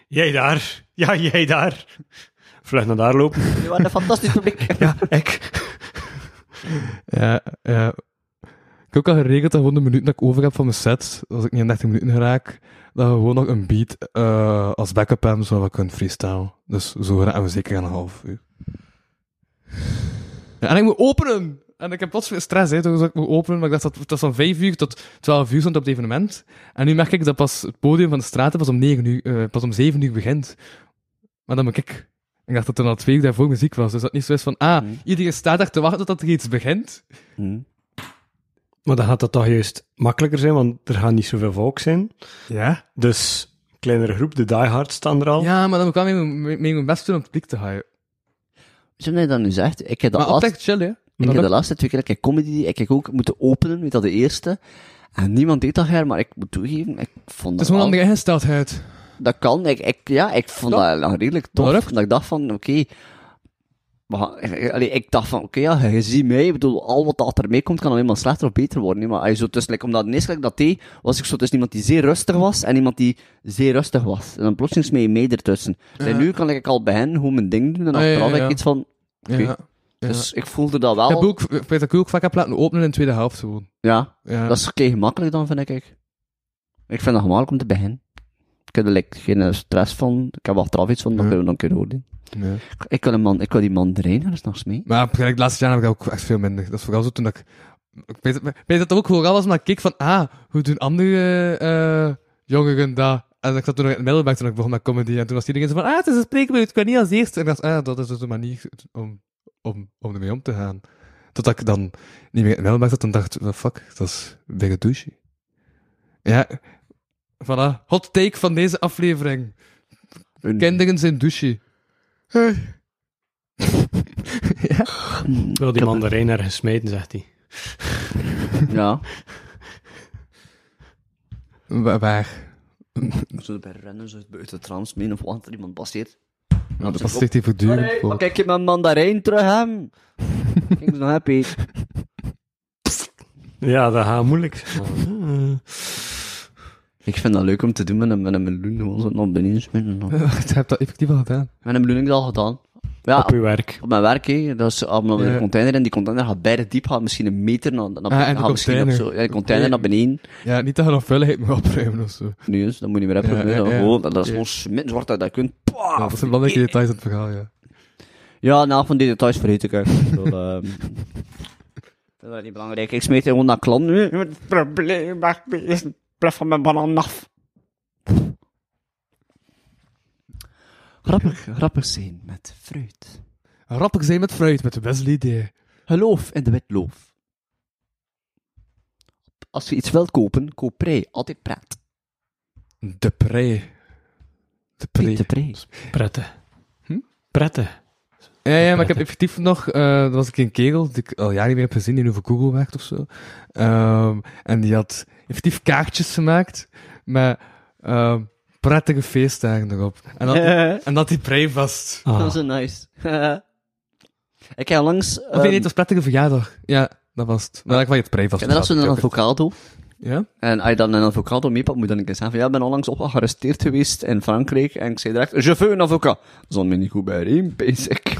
Speaker 4: Jij daar. Ja, jij daar. vlug naar daar lopen.
Speaker 3: We waren een fantastisch publiek.
Speaker 4: ja, ik.
Speaker 1: Ja, ja. Ik heb ook al geregeld dat gewoon de minuut dat ik over heb van mijn set, als ik niet in 30 minuten geraak, dat we gewoon nog een beat eh, als backup hebben, zodat we kunnen freestyle. Dus zo raken we zeker aan een half uur. Ja, en ik moet openen! En ik heb plots weer stress, hè, dus ik moet openen. Maar ik dacht dat het was van 5 uur tot 12 uur stond op het evenement. En nu merk ik dat pas het podium van de straten pas om, 9 uur, eh, pas om 7 uur begint. Maar dan moet ik. Ik dacht dat er al twee uur daarvoor muziek was. Dus dat het niet zo is van, ah,
Speaker 3: Nee.
Speaker 1: iedereen staat daar te wachten tot er iets begint.
Speaker 3: Hm.
Speaker 4: Maar dan gaat dat toch juist makkelijker zijn, want er gaat niet zoveel volk zijn.
Speaker 1: Ja?
Speaker 4: Dus, kleinere groep, de diehards staan er al.
Speaker 1: Ja, maar dan moet ik wel mee, mee, mee mijn best doen om het publiek te houden.
Speaker 3: Zo dat je dat nu zegt, ik heb de,
Speaker 1: Maar
Speaker 3: laatste,
Speaker 1: altijd chill, hè.
Speaker 3: ik
Speaker 1: dat
Speaker 3: heb de
Speaker 1: lukt.
Speaker 3: laatste twee keer dat ik comedy deed, ik heb ook moeten openen, weet dat de eerste. En niemand deed dat her, maar ik moet toegeven, ik vond
Speaker 1: Het is
Speaker 3: dat
Speaker 1: gewoon
Speaker 3: wel-
Speaker 1: andere ingesteldheid.
Speaker 3: Dat kan. Ik, ik, ja, ik vond
Speaker 1: Tof.
Speaker 3: dat, redelijk tof.
Speaker 1: Dat lukt.
Speaker 3: dat ik dacht van, oké... maar allee, ik dacht van, oké, ja, je ziet mij. Ik bedoel, al wat dat er mee komt, kan alleen maar slechter of beter worden. hè. Maar als je zo tussen, like, omdat ineens gelijk dat deed, was ik zo tussen iemand die zeer rustig was en iemand die zeer rustig was. En dan plotseling mee mij ertussen. En nu kan ik al bij hen hoe mijn ding doen en
Speaker 1: Ah, ja, ja,
Speaker 3: achteraf heb ik
Speaker 1: ja.
Speaker 3: iets van... Oké.
Speaker 1: Ja. Ja.
Speaker 3: Dus ik voelde dat wel.
Speaker 1: Ik heb ook, ik weet dat ik ook vaak heb laten openen in de tweede helft gewoon.
Speaker 3: Ja,
Speaker 1: Ja.
Speaker 3: dat is kei gemakkelijk dan, vind ik. Ik vind dat gemakkelijk om te beginnen. Ik heb er like, geen eh, stress van. Ik heb achteraf iets van, dat
Speaker 1: Ja.
Speaker 3: kunnen we dan kunnen we ook doen.
Speaker 1: Ja.
Speaker 3: Ik wil, een man, ik wil die mandarijn er s'nachts mee.
Speaker 1: Maar gelijk de laatste jaren heb ik dat ook echt veel minder. Dat is vooral zo toen ik... Ik weet, ik weet dat het ook vooral was, maar ik keek van, ah, hoe doen andere eh, jongeren dat? En ik zat toen nog in het middelbaar toen ik begon met comedy. En toen was iedereen zo van, ah, het is een spreekbeurt, ik kan niet als eerste. En ik dacht, ah, dat is dus een manier om, om, om ermee om te gaan. Totdat ik dan niet meer in het middelbaar zat en dacht, well, fuck, dat is weer een douche. Ja, voilà. Hot take van deze aflevering.
Speaker 3: Een-
Speaker 1: Kinderen zijn douche.
Speaker 4: Ik wil die mandarijn ergens smijten, zegt hij.
Speaker 3: Ja.
Speaker 1: Wa- Waar?
Speaker 3: Zo bij rennen, zo buiten de trams mee of wat, er iemand passeert.
Speaker 1: Nou, dat past echt even voortdurend
Speaker 3: Maar
Speaker 1: voor.
Speaker 3: kijk je mijn mandarijn terug hem? ik ben nog happy.
Speaker 4: Ja, dat gaat moeilijk zijn.
Speaker 3: Ik vind dat leuk om te doen met een, met een meloen, gewoon zo naar beneden smeren.
Speaker 1: Ik
Speaker 3: Met
Speaker 1: heb dat effectief al gedaan.
Speaker 3: een meloen heb ik dat al gedaan. Ja,
Speaker 4: Op
Speaker 3: op,
Speaker 4: uw werk.
Speaker 3: mijn werk, hè. Dat is allemaal
Speaker 1: Ja.
Speaker 3: een container en die container gaat bijna diep, gaat misschien een meter naar, naar
Speaker 1: Ah, en de
Speaker 3: gaat misschien op
Speaker 1: container.
Speaker 3: zo. Ja, de container naar beneden.
Speaker 1: Ja, niet dat je nog vuiligheid moet opruimen of zo.
Speaker 3: Nu is, dat moet je niet meer hebben.
Speaker 1: Ja, ja,
Speaker 3: dat-
Speaker 1: ja.
Speaker 3: gewoon- dat, dat is
Speaker 1: Ja.
Speaker 3: gewoon smitten, zwart dat je dat kunt.
Speaker 1: Ja, dat zijn belangrijke details in het verhaal, ja.
Speaker 3: Ja, nou, van die details vergeet ik eigenlijk. Ik bedoel, ehm, ik vind dat niet belangrijk. Ik smeet gewoon naar klant. Het probleem maakt me eerst een plek van mijn banan af. Grappig, grappig zijn met fruit.
Speaker 1: Rappig zijn met fruit, met Wesley D.
Speaker 3: Geloof in de witloof. Als je iets wilt kopen, koop prei. Altijd praat.
Speaker 1: De pre. De pre.
Speaker 3: Pieter prei.
Speaker 4: Prette.
Speaker 1: Hm?
Speaker 4: Prette.
Speaker 1: Ja, ja, maar ik heb effectief nog... eh er was ik een kerel, die ik al jaren niet meer heb gezien, die nu voor Google werkt of zo. Ehm, en die had effectief kaartjes gemaakt met ehm, prettige feestdagen erop. En dat, en dat die pre vast.
Speaker 4: Ah.
Speaker 3: Dat is nice. ik heb langs... ehm,
Speaker 1: Of nee, het was prettige verjaardag. Ja, dat was het. Maar ik van je het pre vast.
Speaker 3: dat zo'n avocado?
Speaker 1: Ja?
Speaker 3: En als je dan een avocado meepakt, moet je dan een keer zeggen van, ja, ik ben onlangs op gearresteerd geweest in Frankrijk en ik zei direct, je veux een avocado. Zon me niet goed bij riem, basic.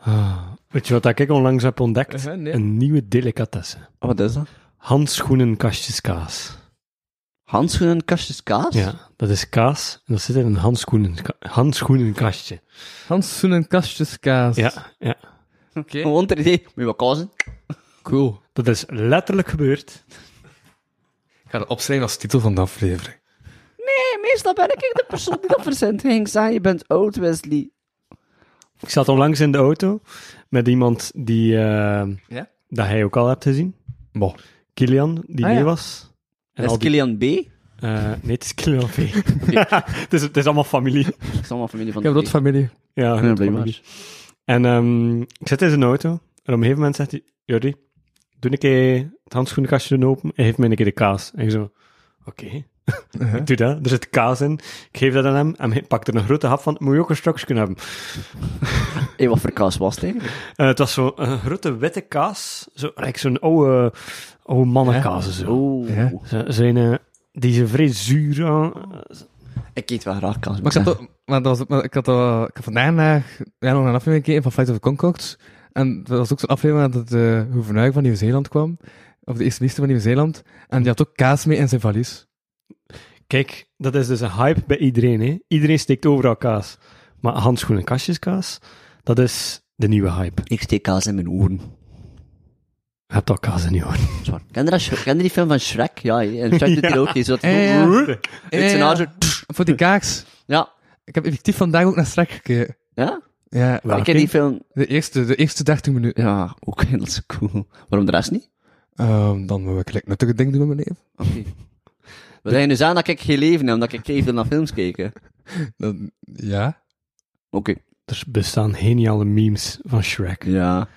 Speaker 4: Ah. Weet je wat ik onlangs heb ontdekt?
Speaker 1: Eh, nee.
Speaker 4: Een nieuwe delicatesse.
Speaker 3: Oh, Wat is dat?
Speaker 4: Handschoenen kastjeskaas.
Speaker 3: Handschoenen en kastjes kaas?
Speaker 4: Ja, dat is kaas en dat zit in een handschoenen, handschoenenkastje.
Speaker 1: Handschoenen en kastjeskaas.
Speaker 4: Ja, ja,
Speaker 1: Oké.
Speaker 3: Gewoon ter idee, moet je wat kaas in?
Speaker 1: Cool.
Speaker 4: dat is letterlijk gebeurd.
Speaker 1: Ik ga dat opschrijven als titel van de aflevering.
Speaker 3: Nee, meestal ben ik de persoon die dat verzint. Henk zei, je bent oud, Wesley.
Speaker 4: Ik zat onlangs in de auto met iemand die, eh,
Speaker 1: Ja?
Speaker 4: dat hij ook al hebt gezien.
Speaker 1: Bon.
Speaker 4: Kilian, die
Speaker 1: Ah,
Speaker 4: mee
Speaker 1: ja.
Speaker 4: was. En
Speaker 3: Dat is
Speaker 4: al die-
Speaker 3: Kilian B. Ik
Speaker 4: eh, nee, het is Kilian V. het, is, het is allemaal familie.
Speaker 3: is allemaal familie van
Speaker 1: Ik heb
Speaker 3: de
Speaker 1: dat familie.
Speaker 4: Ja,
Speaker 3: B. Nee,
Speaker 4: grote
Speaker 3: blijf
Speaker 4: familie.
Speaker 3: maar.
Speaker 4: En ehm, ik zit in zijn auto. En op een gegeven moment zegt hij: Jordi, doe een keer het handschoenenkastje doen open en geef mij een keer de kaas. En ik zo: Oké, ik doe dat. Er zit kaas in. Ik geef dat aan hem en hij pakt er een grote hap van. Moet je ook een strokje kunnen hebben?
Speaker 3: Hé, wat voor kaas was het eigenlijk?
Speaker 4: Eh, het was zo'n een grote witte kaas. Zo, like zo'n oude, oude mannenkaas. en Zo.
Speaker 3: Oeh.
Speaker 1: Ja.
Speaker 4: Zo- Zijn, eh, die zijn vrij zuur aan.
Speaker 3: Ik eet wel graag kaas.
Speaker 1: Maar ik heb, toch, maar, dat was, ook- maar ik had, dat, ik had vandaag naar, ja, nog naar een aflevering gekeken van Flight of the Concords. En dat was ook zo'n aflevering dat de gouverneur van Nieuw-Zeeland kwam. Of de eerste minister van Nieuw-Zeeland. En die had ook kaas mee in zijn valies.
Speaker 4: Kijk, dat is dus een hype bij iedereen. Hè? Iedereen steekt overal kaas. Maar handschoenen, kastjeskaas, dat is de nieuwe hype.
Speaker 3: Ik steek kaas in mijn oren.
Speaker 4: Je hebt al kaas in je oren.
Speaker 3: Zwaar. Ken je, dat, Shrek- ken je die film van Shrek? Ja, hè. en Shrek doet hier ook iets. Wat
Speaker 1: Eh, ja.
Speaker 3: Het
Speaker 1: Eh, ja.
Speaker 3: scenario.
Speaker 1: Voor die kaas.
Speaker 3: Ja.
Speaker 1: Ik heb effectief vandaag ook naar Strek gekeken.
Speaker 3: Ja?
Speaker 1: Ja,
Speaker 4: Welke?
Speaker 3: Ik ken die film...
Speaker 1: de eerste, de eerste 30 minuten.
Speaker 3: Ja, ook heel cool. Waarom de rest niet?
Speaker 1: Ehm, dan wil ik lekker nuttige dingen doen met mijn leven.
Speaker 3: Oké. We zijn dus aan dat ik geen leven heb, omdat ik even naar films keken. Oké.
Speaker 1: Dan, ja.
Speaker 4: Er bestaan geniale memes van Shrek.
Speaker 3: Ja.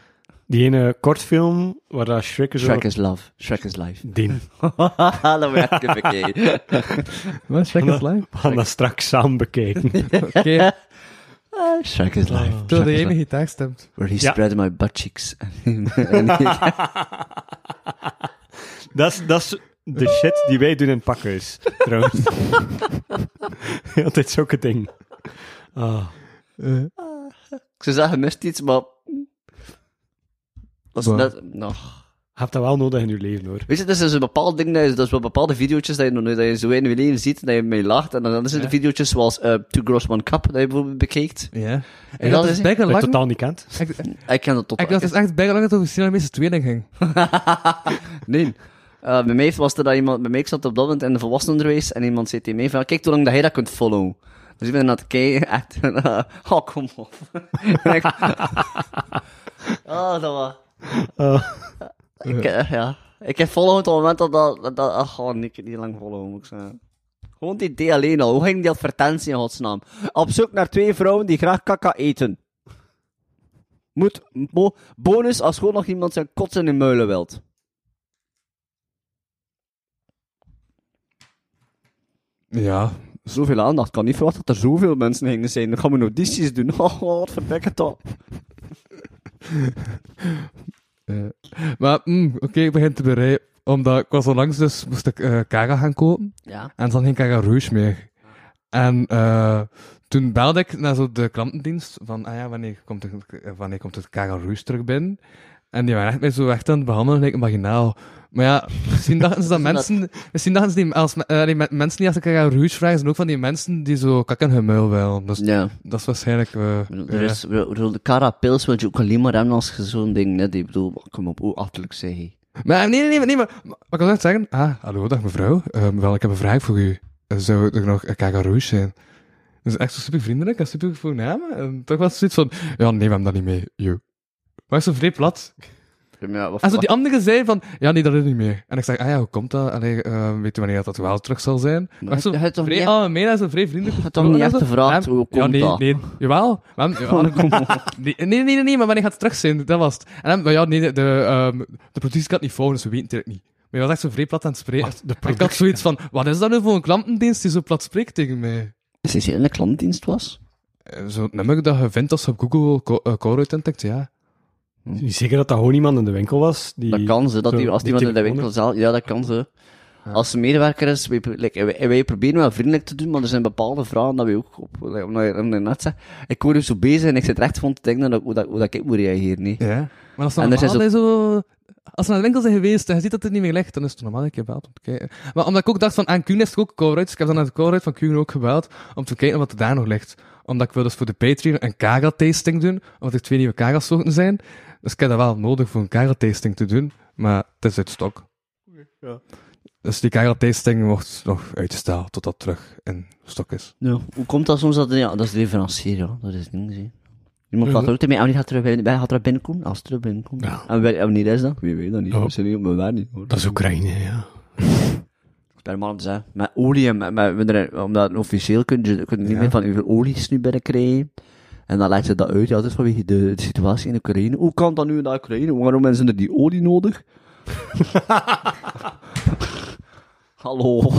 Speaker 4: Die ene kortfilm waar dat Shrek is
Speaker 3: Shrek is love. Shrek is life.
Speaker 4: Dien.
Speaker 3: dat werkt even oké.
Speaker 1: Wat? Strek is live?
Speaker 4: We gaan dat straks samen bekijken.
Speaker 1: Oké,
Speaker 3: Ah, Shrek is life.
Speaker 1: terwijl de
Speaker 3: is
Speaker 1: ene
Speaker 3: live.
Speaker 1: gitaar stemt.
Speaker 3: Where he
Speaker 4: Ja.
Speaker 3: spread my butt cheeks. En-
Speaker 4: dat, is, dat is de shit die wij doen in het pakhuis, trouwens. Altijd zulke ding. Ah,
Speaker 1: Eh,
Speaker 3: ik zou zeggen, mist iets, maar... Dat is
Speaker 1: Wat?
Speaker 3: net... Nou.
Speaker 4: je hebt dat wel nodig in je leven, hoor.
Speaker 3: Weet je, dat is een bepaald ding, dat is, dat is wel bepaalde video's dat je, nog nooit- dat je zo in je leven ziet, dat je mee lacht. En dan, dan zijn er video's zoals eh Two Girls, One Cup, dat je bijvoorbeeld bekijkt.
Speaker 1: Ja.
Speaker 3: En
Speaker 1: En
Speaker 3: dat
Speaker 1: dat
Speaker 3: is-
Speaker 1: is bijna
Speaker 4: Dat je
Speaker 1: lang.
Speaker 4: totaal niet kent.
Speaker 1: Ik, ik,
Speaker 3: Ik ken dat tot
Speaker 1: dacht, het is echt bijna lang dat het over Cinema's tweeling ging.
Speaker 3: Nee. Eh, bij mij was er dat iemand, bij mij ik zat op dat moment in de volwassenenonderwijs en iemand zei tegen mij van, kijk hoe lang dat jij dat kunt followen. Dus ik ben aan het kijken, echt, en, eh, oh, kom op. En ik- oh, dat was...
Speaker 4: Ah.
Speaker 3: Ik, eh, ja. Ik heb follow op het moment dat dat, dat, dat ach, oh, nee, ik heb niet lang follow moet ik zeggen. Gewoon het idee alleen al. Hoe ging die advertentie in godsnaam? Op zoek naar twee vrouwen die graag kaka eten. Moet, bo- bonus als gewoon nog iemand zijn kot in de muilen wilt.
Speaker 1: Ja.
Speaker 3: zoveel aandacht. Ik kan niet verwachten dat er zoveel mensen hingen zijn. Dan gaan we notities doen. Oh, wat verdekken toch.
Speaker 1: Maar, mm, oké, ik begin te bereiden. Omdat ik was onlangs dus, moest ik eh Kaga gaan kopen.
Speaker 3: Ja.
Speaker 1: En dan ging Kaga Rouge meer. En eh, toen belde ik naar zo de klantendienst van, ah ja, wanneer komt het, eh, wanneer komt het Kaga Rouge terug binnen? En die waren echt mij zo echt aan het behandelen, gelijk een marginaal. Maar ja, misschien dachten ze dat
Speaker 3: dat-
Speaker 1: mensen, misschien dachten ze die, als, me- eh, die me- mensen die als ik Kaga Rouge vragen, zijn ook van die mensen die zo kakken hun muil wel. Dus
Speaker 3: Ja.
Speaker 1: dat is waarschijnlijk, eh,
Speaker 3: Er is, ik bedoel, de carapils wil je ook alleen maar hebben als je zo'n ding net. Ik bedoel, kom op, hoe achterlijk zeg je.
Speaker 1: Maar nee, nee, nee, maar- nee, maar, maar ik kan echt zeggen, ah, hallo, dag mevrouw, Ehm, wel, ik heb een vraag voor u. Eh, Zou er nog een kakaroes zijn? Dat is echt zo super vriendelijk en super voornaam. En toch was het zoiets van, ja, nee, we hebben dat niet mee, joh. Maar zo vrij plat.
Speaker 3: Ja, wat,
Speaker 1: En zo die andere zei van, ja, nee, dat is niet meer. En ik zeg, ah ja, hoe komt dat? Allee, ehm, weet u wanneer dat wel terug zal zijn? Maar zo
Speaker 3: je hebt toch
Speaker 1: vrij
Speaker 3: niet-
Speaker 1: algemeen en zo vrij vriendelijk.
Speaker 3: Je hebt toch niet echt gevraagd,
Speaker 1: Ja,
Speaker 3: hoe
Speaker 1: ja,
Speaker 3: komt
Speaker 1: nee,
Speaker 3: dat?
Speaker 1: Nee, jawel. Maar, jawel. Nee, nee, nee, nee, nee, maar wanneer gaat het terug zijn? Dat was het. En dan, maar ja, nee, de, de, ehm, de productie kan het niet volgen, dus we weten het eigenlijk niet. Maar je was echt zo vrij plat aan het spreken.
Speaker 4: Wat, de
Speaker 1: ik had
Speaker 4: productie-
Speaker 1: zoiets van, wat is dat nu voor een klantendienst die zo plat spreekt tegen mij?
Speaker 3: Is dit hier in de klantdienst was?
Speaker 1: Eh, Zo'n nummer dat je vindt als je op Google co- eh, Colruyt intikt, ja.
Speaker 4: Niet zeker dat dat gewoon iemand in de winkel was. Die,
Speaker 3: Dat kan ze, dat
Speaker 4: zo,
Speaker 3: die, als
Speaker 4: die
Speaker 3: iemand in de winkel
Speaker 4: telefoon-
Speaker 3: zal, ja, dat kan ze. Als ze medewerker is, wij, pro- like, en wij, en wij proberen wel vriendelijk te doen, maar er zijn bepaalde vragen dat we ook op, like, omdat je- omdat je net zegt, ik word dus zo bezig en ik zit echt van te denken dat, hoe, dat, hoe dat ik moet reageren, nee.
Speaker 1: Ja. Maar als,
Speaker 3: En er
Speaker 1: normaal,
Speaker 3: zijn
Speaker 1: dat je zo... als ze naar de winkel zijn geweest en je ziet dat het niet meer ligt, dan is het normaal dat je belt om te kijken. Maar omdat ik ook dacht van, aan Kuhn is het ook Colruyt, dus ik heb dan naar de Colruyt van Kuhn ook gebeld om te kijken wat er daar nog ligt. Omdat ik wil dus voor de Patreon een kaga-tasting doen, omdat er twee nieuwe kaga-soorten zijn. Dus ik heb dat wel nodig voor een kaga-tasting te doen, maar het is uit stok.
Speaker 4: ja.
Speaker 1: Dus die kaga-tasting wordt nog uitgesteld totdat het terug in stok is.
Speaker 3: Ja, hoe komt dat soms dat... Ja, dat is leverancier, ja. Dat is het ding, zie. Iemand gaat er ook mee. En die gaat er, bij- bij- gaat er binnenkomen? Als het er binnenkomt.
Speaker 4: Ja.
Speaker 3: En wel- en wanneer is dat? Wie weet dat niet.
Speaker 4: Ja.
Speaker 3: We zijn niet op mijn waar niet, hoor.
Speaker 4: Dat is Oekraïne, ja.
Speaker 3: Ik ben maar aan het zeggen. Met olie en met, met, met er- omdat officieel kun je, kun je niet meer van hoeveel olies nu binnenkrijgen. En dan legt ze dat uit. Ja, dat is vanwege de, de situatie in Oekraïne. Hoe kan dat nu in de Oekraïne? Waarom hebben ze er die olie nodig? Hallo.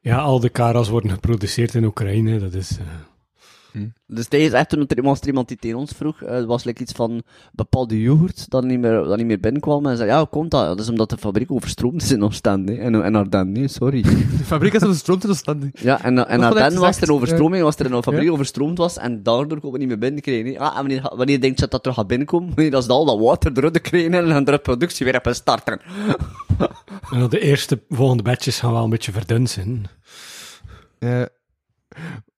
Speaker 4: Ja, al de karas worden geproduceerd in Oekraïne. Dat is... eh,
Speaker 3: Dus tijdens echt toen er iemand, iemand die tegen ons vroeg, eh, het was like iets van bepaalde yoghurt dat niet meer, dat niet meer binnenkwam. En zei, ja, hoe komt dat? Dat is omdat de fabriek overstroomd is in Oostende hè. en, en Ardennen, nee, sorry.
Speaker 1: De fabriek is op de stroom te staan.
Speaker 3: Ja, en, en
Speaker 1: had ik
Speaker 3: Ardennen was
Speaker 1: gezegd,
Speaker 3: er een overstroming, was er een fabriek overstroomd was, en daardoor kon we niet meer binnenkrijgen. hè. Ah, en wanneer, wanneer denk je dat dat terug gaat binnenkomen? Wanneer dat ze al dat water eruit krijgen en dan de productie weer hebben starten.
Speaker 4: En dan de eerste volgende batches gaan wel een beetje verdund zijn.
Speaker 1: Ja.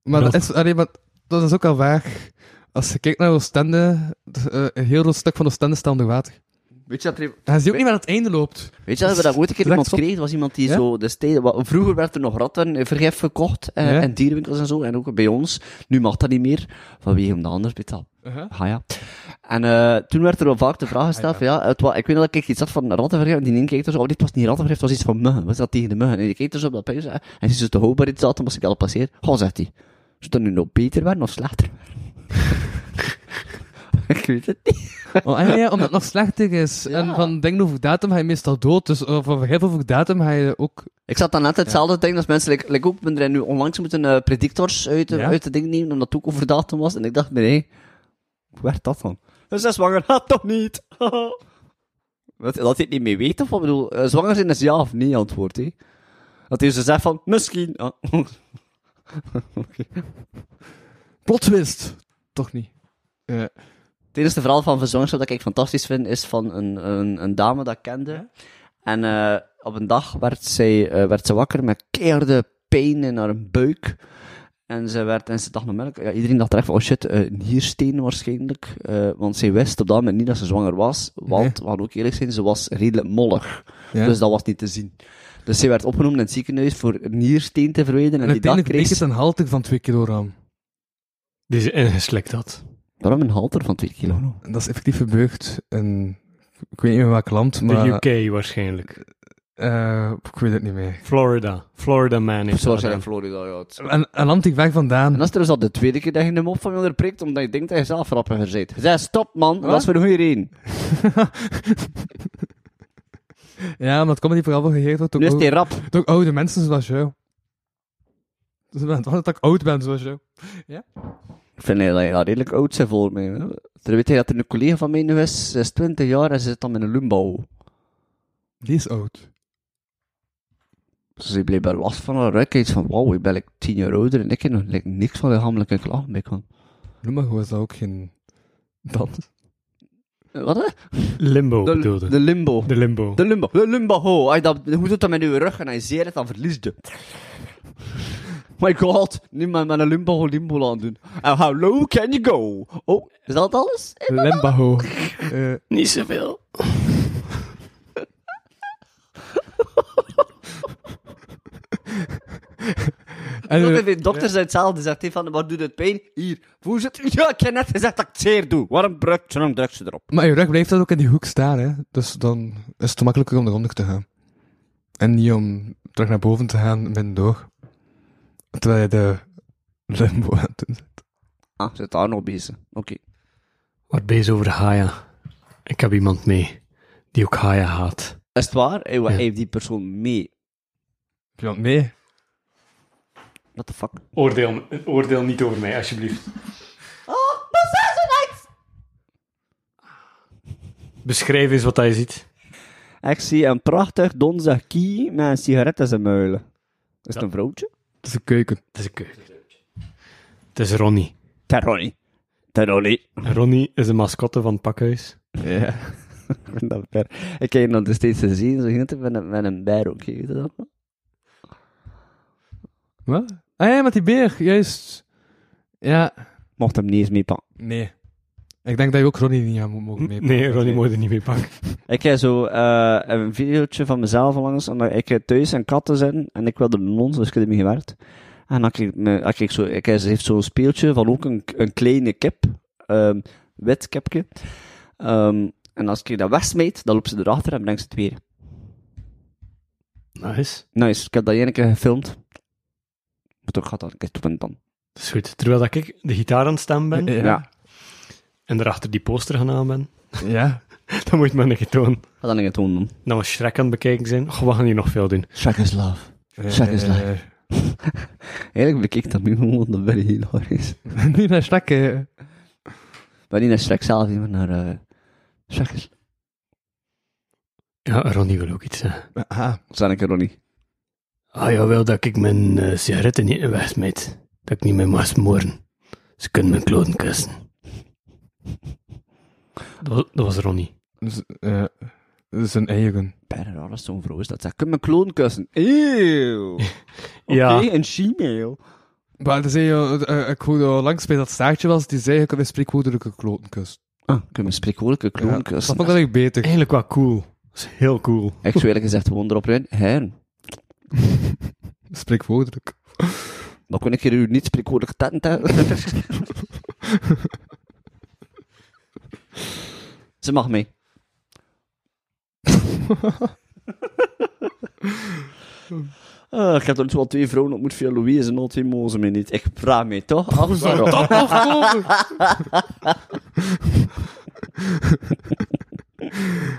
Speaker 1: Maar dat is, allee, maar dat is ook al vaag. Als je kijkt naar Oostende, d- eh, een heel groot stuk van Oostende staat onder water.
Speaker 3: Weet je dat er
Speaker 1: En je ziet ook niet waar het einde loopt.
Speaker 3: Weet je, dat we dat ooit een keer
Speaker 1: Direct
Speaker 3: iemand
Speaker 1: stop.
Speaker 3: kregen, was iemand die
Speaker 1: Ja?
Speaker 3: zo de steden, wa- vroeger werd er nog rattenvergif verkocht, eh,
Speaker 1: Ja.
Speaker 3: en dierenwinkels en zo, en ook bij ons. Nu mag dat niet meer, vanwege om de anders betaal.
Speaker 1: Uh-huh.
Speaker 3: Ah ja. En eh, toen werd er wel vaak de vraag
Speaker 1: Ah,
Speaker 3: gesteld, van, ja, het wa- ik weet nog dat ik iets had van rattenvergif, en die ene keek er zo, oh, dit was niet rattenvergif, het was iets van muggen, wat is dat tegen de muggen? En die keek er zo op dat puis, eh, en ze zo te hoog bij iets zat, dan moest ik al passeren. Goh, zegt hij, zou dat nu nog beter werden of slechter werden? ik weet het niet.
Speaker 1: Oh, ah, ja, ja, omdat het nog slechter is.
Speaker 3: Ja.
Speaker 1: En van dingen over datum ga je meestal dood. Dus eh, van vergif over datum ga je ook...
Speaker 3: Ik zat dan net hetzelfde te denken als mensen, like, like ook, ben er nu onlangs moeten eh, predictors uit, de
Speaker 4: Ja?
Speaker 3: uit de ding nemen, omdat het ook over datum was. En ik dacht, nee, hoe werd dat dan? Ze zijn zwanger, ha, toch niet? Wat, dat hij het niet meer weet, of wat Ik bedoel? eh, zwanger zijn is ja of nee antwoord, hè? Dat hij ze zegt van, misschien. Ah, Oké.
Speaker 1: Plotwist! Toch niet.
Speaker 3: Het enige verhaal van van zwangerschap dat ik fantastisch vind, is van een, een, een dame dat ik kende. En eh, op een dag werd, zij, eh, werd ze wakker met keiharde pijn in haar buik. En ze, werd, en ze dacht namelijk, ja, iedereen dacht er echt van, oh shit, eh, een niersteen waarschijnlijk. Eh, want zij wist op dat moment niet dat ze zwanger was. Want, we gaan ook eerlijk zijn, ze was redelijk mollig.
Speaker 1: Ja.
Speaker 3: Dus dat was niet te zien. Dus zij werd opgenomen in het ziekenhuis voor een niersteen te verwijderen.
Speaker 1: En
Speaker 3: En, Dus die dag
Speaker 1: uiteindelijk
Speaker 3: kreeg
Speaker 1: bleek het
Speaker 3: ze...
Speaker 1: een halte van 2 kilo raam.
Speaker 4: Die eh, ze ingeslikt had.
Speaker 3: Waarom een halter van 2 kilo?
Speaker 1: En dat is effectief gebeurd in... Ik weet niet meer welk land,
Speaker 4: De
Speaker 1: maar...
Speaker 4: UK waarschijnlijk.
Speaker 1: eh, ik weet het niet meer.
Speaker 4: Florida. Florida man
Speaker 3: Of
Speaker 4: heeft
Speaker 3: zo
Speaker 4: dat
Speaker 3: was in
Speaker 4: gedaan.
Speaker 3: Florida, ja. het-
Speaker 1: Een, een land die weg vandaan.
Speaker 3: En dat is trouwens al de tweede keer dat je hem op van wilde prikt, omdat je denkt dat je zelf rappiger bent. Je zei, stop man, dat is voor een goede reden.
Speaker 1: Ja, omdat comedy vooral wel gegeerd wordt door,
Speaker 3: Nu is
Speaker 1: ou-
Speaker 3: hij rap.
Speaker 1: door oude mensen zoals jou. Dus ik ben het wel dat ik oud ben zoals jou.
Speaker 3: Ik vind dat je al redelijk oud zijn volgens mij. hè. Terwijl weet je dat er een collega van mij nu is, ze is 20 jaar en ze zit dan met een lumbo.
Speaker 1: Die is oud.
Speaker 3: Dus ze bleef bij last van haar rek. Iets van, wauw, ik ben like 10 jaar ouder en ik heb nog like, niks van lichamelijke klachten bij kan.
Speaker 1: Noem maar gewoon, is dat ook geen dans?
Speaker 3: Eh, Wat hè?
Speaker 4: Limbo bedoelde.
Speaker 3: De, de limbo.
Speaker 4: De limbo.
Speaker 3: De limbo. De limbo. ho. Als je dat, hoe doet dat met uw rug en hij zeer het, dan verlies je. My god, nu maar met een limbo limbo aan doen. And how low can you go? Oh, is dat alles?
Speaker 1: Lembaho. Eh,
Speaker 4: Niet zoveel.
Speaker 1: en,
Speaker 3: Ook
Speaker 1: eh,
Speaker 3: de dokter zei hetzelfde. Zegt hij van, wat doet het pijn? Hier. Hoe zit het? Ja, ik heb net gezegd dat ik het zeer doe. Waarom drukt ze, waarom drukt ze erop?
Speaker 1: maar je rug blijft dan ook in die hoek staan, hè. Dus dan is het makkelijker om eronder te gaan. En niet om terug naar boven te gaan middendoor. Terwijl je de limbo aan het doen bent.
Speaker 3: Ah, ze zit daar nog bezig. Oké.
Speaker 4: Wat bezig over Haya. Ik heb iemand mee die ook Haya haat.
Speaker 3: Is het waar? Hey, wat
Speaker 4: Ja.
Speaker 3: heeft die persoon mee?
Speaker 1: Heb je wat mee?
Speaker 3: What the fuck?
Speaker 4: Oordeel, oordeel niet over mij, alsjeblieft.
Speaker 3: Oh, dat is zo nice!
Speaker 4: Beschrijf eens wat hij ziet.
Speaker 3: Ik zie een prachtig donzig kie met een sigaret in zijn muilen. Is het een vrouwtje?
Speaker 1: Het is een keuken.
Speaker 4: Het is een keuken. Het is Ronnie.
Speaker 3: Terroni. Terroni.
Speaker 4: Ronnie is de mascotte van het pakhuis.
Speaker 3: Ja. Ik vind dat ver. Ik heb je nog steeds gezien, zo ging het met een, met een beer ook. Weet je dat? nog?
Speaker 1: Wat? Ah ja, met die beer, juist. Ja.
Speaker 3: Mocht hem niet eens meepakken.
Speaker 1: Nee. Ik denk dat je ook Ronnie niet aan moet mogen meepakken.
Speaker 4: Nee, Ronnie moet er niet mee pakken.
Speaker 3: Ik heb zo eh, een videootje van mezelf langs, omdat ik eh, thuis een kat te zijn en ik wilde een nons, dus ik heb ermee gewerkt. En dan kreeg ik, me- dan kreeg ik zo, ik, heb- ze heeft zo'n speeltje van ook een, een kleine kip, ehm, wit kipje. Ehm, en als ik dat wegsmeet, dan loopt ze erachter en brengt ze het weer.
Speaker 4: Nice.
Speaker 3: Nice, ik heb dat één keer gefilmd. Moet ook gaat dat een keer doen dan.
Speaker 4: Dat is goed. Terwijl dat ik de gitaar aan het stemmen ben
Speaker 3: Ja.
Speaker 4: en daarachter die poster gaan aan ben,
Speaker 1: Ja.
Speaker 4: dan moet men een keer tonen.
Speaker 3: Ga dat een keer doen dan.
Speaker 4: Dan we Shrek aan het bekijken zijn. Oh, we gaan hier nog veel doen.
Speaker 1: Eh,
Speaker 3: Shrek is love. Shrek is life. Eigenlijk bekijk dat nu gewoon, dat ben ik hilarisch.
Speaker 1: Niet naar Shrek, eh.
Speaker 3: Maar niet naar Shrek zelf, niet, maar naar eh Shrek is.
Speaker 4: Ja, Ronnie wil ook iets zeggen.
Speaker 1: Ah,
Speaker 3: Zanneke Ronnie.
Speaker 4: Ah ja, wel dat ik mijn eh, sigaretten niet wegsmijt. Dat ik niet meer mag smoren. Ze kunnen mijn kloten kussen. Dat, wa- dat was Ronnie.
Speaker 1: dus, eh, dat is een eigen.
Speaker 3: Bijna raar als zo'n vrouw is oh, dat. Ze kunnen mijn kloon kussen. Eeuw. Oké,
Speaker 4: Ja.
Speaker 3: een she-mail.
Speaker 1: Maar dan zei je, eh, ik hoorde al langs bij dat staartje was, die zei, ik heb een spreekwoordelijke klotenkust.
Speaker 3: Ah, kunnen mijn spreekwoordelijke kloon
Speaker 1: dat
Speaker 3: kussen.
Speaker 1: vond ik eigenlijk beter.
Speaker 4: Eigenlijk wel cool. Dat is heel cool.
Speaker 3: Ik zou eerlijk gezegd gewoon erop rijden. Heren,
Speaker 1: Spreekwoordelijk.
Speaker 3: maar kon ik hier u niet spreekwoordelijke tetten tellen? Ze mag mee. Ah, ik heb er wel twee vrouwen ontmoet via Louise en al twee mozen mij niet. Ik vraag mij toch af waarom.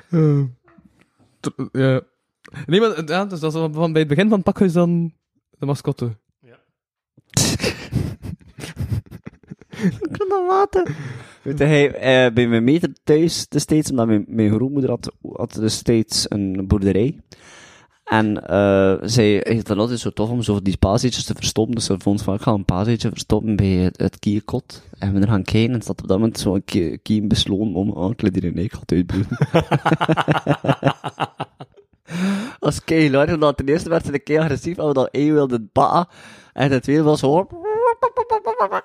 Speaker 1: Eh, tr- ja. Nee, maar eh, ja, dus dat is wel van bij het begin van het pakhuis dan de mascotte.
Speaker 3: kan dat laten. Weet je, hij, eh, bij mijn meter thuis destijds, omdat mijn, mijn grootmoeder had, had destijds een boerderij. En eh, zij heeft het altijd zo tof om zo die paaseetjes te verstoppen. Dus ze vond van, ik ga een paaseetje verstoppen bij het, het kierkot. En we er gaan kijken en staat op dat moment zo'n kie- kiem besloten om enkele die in ik gaat uitbloeden. Als keihard, omdat ten eerste werd ze een keer agressief, en we dan één wilde ba. En het tweede was hoor.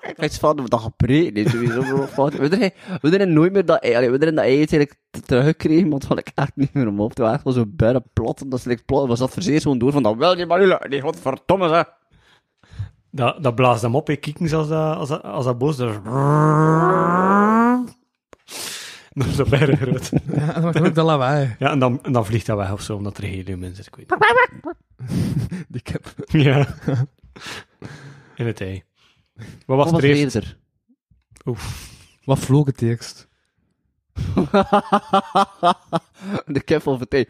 Speaker 3: Ik weet van, dat gepreet niet. sowieso. We doen- we doen nooit meer dat ei. allee, We hebben dat ei eigenlijk t- teruggekregen, want van ik echt niet meer om op. Toen was het wel zo bijna plat. En dat is like plat. Was dat verzeer gewoon door van, dat wil je maar niet lukken. Nee, godverdomme zeg.
Speaker 4: Dat, dat blaast hem op. Ik kieken als dat, als dat, als dat boos is. Dat is dat bijna groot.
Speaker 1: Ja, dat maakt ook dat lawaai.
Speaker 4: Ja, en dan, en dan vliegt dat weg of zo, omdat er helium in zit. Ik weet het
Speaker 1: Die kip.
Speaker 4: niet. Ja. In het ei. Wat
Speaker 3: Wat
Speaker 4: was
Speaker 3: was
Speaker 4: er
Speaker 3: er
Speaker 4: eerst?
Speaker 3: eerder?
Speaker 1: Wat vloog het eerst?
Speaker 3: De kef of het ei.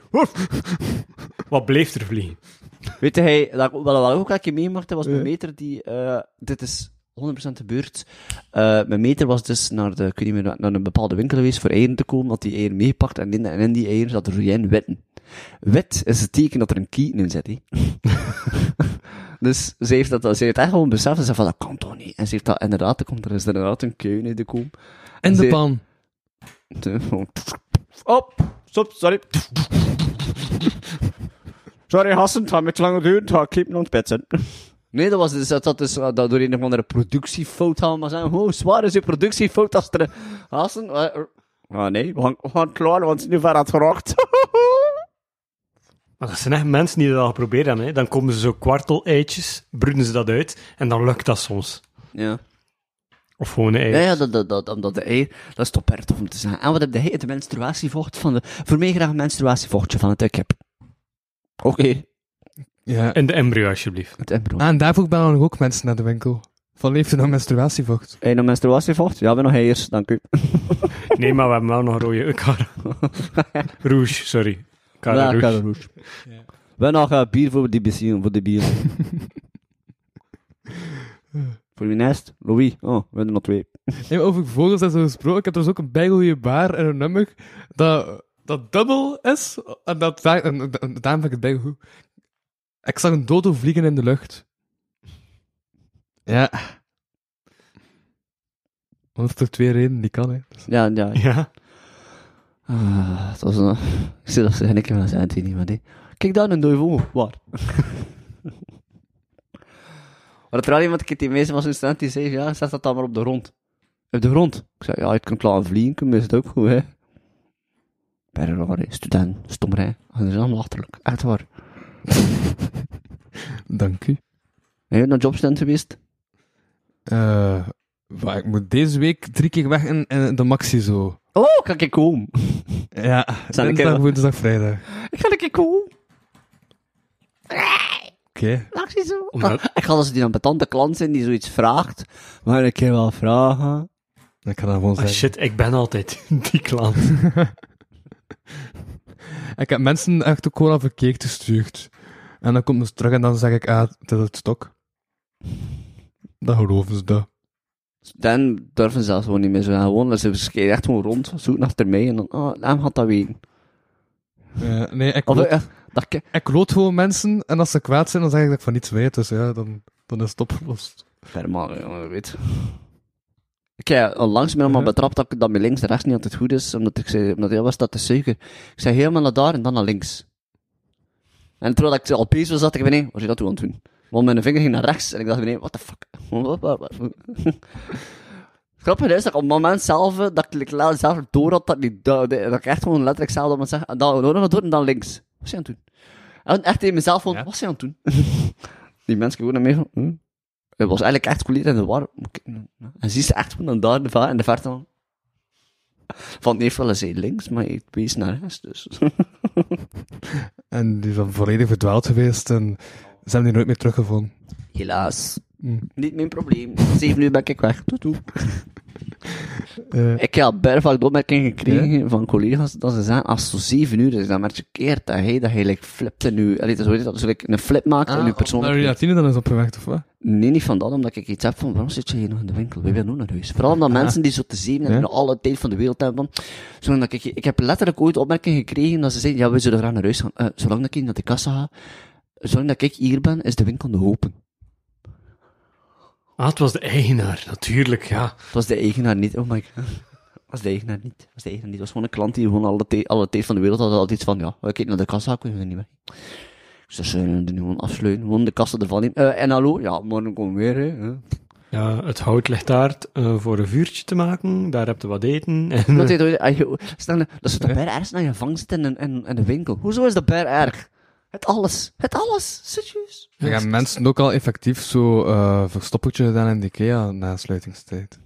Speaker 4: Wat bleef er vliegen?
Speaker 3: Weet je, hij, dat, wat, wat ik ook een keer meemaakte, was mijn meter die... eh, dit is 100% gebeurd. Eh, mijn meter was dus naar, de, ik weet niet meer, naar een bepaalde winkel geweest voor eieren te komen, had die eieren meegepakt en in, en in die eieren zat roeien witten. Wit is het teken dat er een kieten in zit, hè. Dus ze heeft, dat, ze heeft echt gewoon beseft en ze van, dat kan toch niet. En ze heeft dat inderdaad, er komt er is inderdaad een kuin in de koem.
Speaker 1: En de
Speaker 3: Zeer-
Speaker 1: pan.
Speaker 3: Op, Oh, stop, sorry. Sorry, Hassen, het gaat met langer duren, het gaat keep on pitsen. Nee, dat was dus, dat, dat is eh, dat door een of andere productiefout gaan we maar zeggen, hoe zwaar is je productiefout als er een- Hassen, eh, er- ah nee, we gaan, we gaan klaar, want het is nu ver aan het geraakt.
Speaker 4: Maar dat zijn echt mensen die dat al geprobeerd hebben. Hè. Dan komen ze zo kwartel-eitjes, broeden ze dat uit, en dan lukt dat soms.
Speaker 3: ja.
Speaker 4: Of gewoon een ei.
Speaker 3: Ja, ja, dat, dat, dat, omdat de ei, dat is toch per tof om te zeggen. En wat heb de het menstruatievocht van de, voor mij graag een menstruatievochtje van het eh, kip. Oké.
Speaker 1: Ja.
Speaker 4: En de embryo, alsjeblieft.
Speaker 3: Het embryo.
Speaker 1: Ah, en daarvoor bellen ook mensen naar de winkel. Van heeft u nog menstruatievocht?
Speaker 3: Eén een menstruatievocht? Ja, we nog heers, dank u.
Speaker 4: Nee, maar we hebben wel nog rode... eh, Cara. Rouge, sorry. Cara
Speaker 3: Ja,
Speaker 4: Rouge.
Speaker 3: Karel Roes. We nog eh, bier voor die benzine, voor de bier. voor wie nest? Louis. Oh, we hebben er nog twee.
Speaker 1: Nee, maar over vogels en zo gesproken. Ik heb dus ook een bijgoeie baar en een nummer dat, dat dubbel is. En, dat, daar- en, en- en daarom vind ik het bijgoed. Ik zag een dodo vliegen in de lucht. Ja. Want er twee redenen die kan, hè. Dus-
Speaker 3: Ja, ja.
Speaker 4: Ja.
Speaker 3: Ah, het was een... Ik zit dat ze geen keer van zijn, het weet niemand, hè. Kijk daar, een duivel. Waar? maar er was iemand, ik heb die meeste was een student, die zei, ja, zet dat dan maar op de grond. Op de grond? Ik zei, ja, je kunt laten vliegen, kun je het ook goed, hè. Bijna raar, hè. Student, stom, hè. Dat is allemaal achterlijk. Echt waar.
Speaker 1: Dank u.
Speaker 3: Ben je naar jobstand geweest?
Speaker 1: Eh, maar ik moet deze week drie keer weg in, in de maxi zo.
Speaker 3: Oh, kan ik komen?
Speaker 1: Ja,
Speaker 3: Zijn ik
Speaker 1: dinsdag,
Speaker 3: er-
Speaker 1: woensdag, vrijdag.
Speaker 3: Ik ga een keer komen.
Speaker 1: Oké.
Speaker 3: Actie zo.
Speaker 4: Omdat-
Speaker 3: Ik ga als die ambetante klant zijn die zoiets vraagt. Maar ik kan wel vragen.
Speaker 1: Ik ga dan gewoon
Speaker 4: Ah,
Speaker 1: zeggen.
Speaker 4: shit, ik ben altijd die klant.
Speaker 1: Ik heb mensen echt ook gewoon al verkeerd gestuurd. En dan komt ze terug en dan zeg ik, ah, het is het stok. Dan geloven ze dat.
Speaker 3: Dan durven ze zelfs gewoon niet meer zo gaan wonen. Ze skeren echt gewoon rond, zoeken achter mij en dan, oh, Lam had dat weten.
Speaker 1: Ja, nee, ik,
Speaker 3: Of,
Speaker 1: loot,
Speaker 3: eh, dat ik,
Speaker 1: ik loot gewoon mensen en als ze kwaad zijn, dan zeg ik dat ik van niets weet. Dus ja, dan, dan is het opgelost.
Speaker 3: Vermaal, jongen, weet. Ik heb onlangs me maar betrapt dat, ik- dat mijn links en rechts niet altijd goed is, omdat ik zei, omdat heel was dat te suiker. Ik zei helemaal naar daar en dan naar links. En terwijl ik al bezig was, dacht ik van nee, wat is dat toe aan het doen? Want mijn vinger ging naar rechts en ik dacht van nee, what the fuck? Wat- wat- wat- wat- Grappig is dat ik op het moment zelf, eh, dat ik laat zelf door had, dat ik niet duidde, en dat ik echt gewoon letterlijk zelf dat me zeg, en dan nog door en dan links. Wat is hij aan het doen? En echt in mezelf gewoon,
Speaker 4: Ja.
Speaker 3: wat is hij aan het doen? Die mensen gewoon naar mij van, hm? Het was eigenlijk echt compleet in de war. En zie ze echt gewoon daar in de va- in de verte van. Van nee, willen zij links, maar ik wees naar rechts. Dus.
Speaker 1: En die zijn volledig verdwaald geweest en ze hebben die nooit meer teruggevonden.
Speaker 3: Helaas.
Speaker 1: Hm.
Speaker 3: Niet mijn probleem. Zeven uur ben ik weg. Doe, doe.
Speaker 1: Eh,
Speaker 3: Ik heb bijna vaak de opmerking gekregen van collega's dat ze zeggen, als het zo zeven uur is, dan merk je keert dat hij dat hij like, flipt in je... Allee, dat is hoe heet dat, zo like, een flip maakt in je
Speaker 1: Omdat
Speaker 3: persoonlijkheid.
Speaker 1: Riatine dan is opgewekt, of wat?
Speaker 3: Nee, niet van dat, omdat ik iets heb van, waarom zit je hier nog in de winkel? We willen ook naar huis. Vooral omdat mensen die zo te zeven en
Speaker 1: Ja.
Speaker 3: in alle tijd van de wereld hebben. van, Zolang dat ik, ik heb letterlijk ooit opmerkingen gekregen dat ze zeiden, ja, we zullen graag naar huis gaan. Eh, zolang dat ik naar de kassa ga, zolang dat ik hier ben, is de winkel nog open.
Speaker 4: Ah, het was de eigenaar, natuurlijk, ja.
Speaker 3: Het was de eigenaar niet, oh my god. Het was de eigenaar niet. Het was de eigenaar niet. Het was gewoon een klant die gewoon alle, tijd- alle tijd van de wereld had altijd iets van, ja, we kijken naar de kassa, kunnen we niet meer. Dus dat zullen we nu gewoon afsluiten. Gewoon de kassa ervan in. Eh, en hallo? Ja, morgen komen we weer, hè. Eh.
Speaker 4: ja het hout ligt daar eh, voor een vuurtje te maken. Daar heb je wat eten. En,
Speaker 3: Dat, is, dat is toch bijna erg naar je vang zit in, een- in, in de winkel. Hoezo is dat bijna erg? Het alles. Het alles. Sitjes.
Speaker 1: Er hebben mensen ook al effectief zo eh verstoppertje gedaan in de IKEA na sluitingstijd.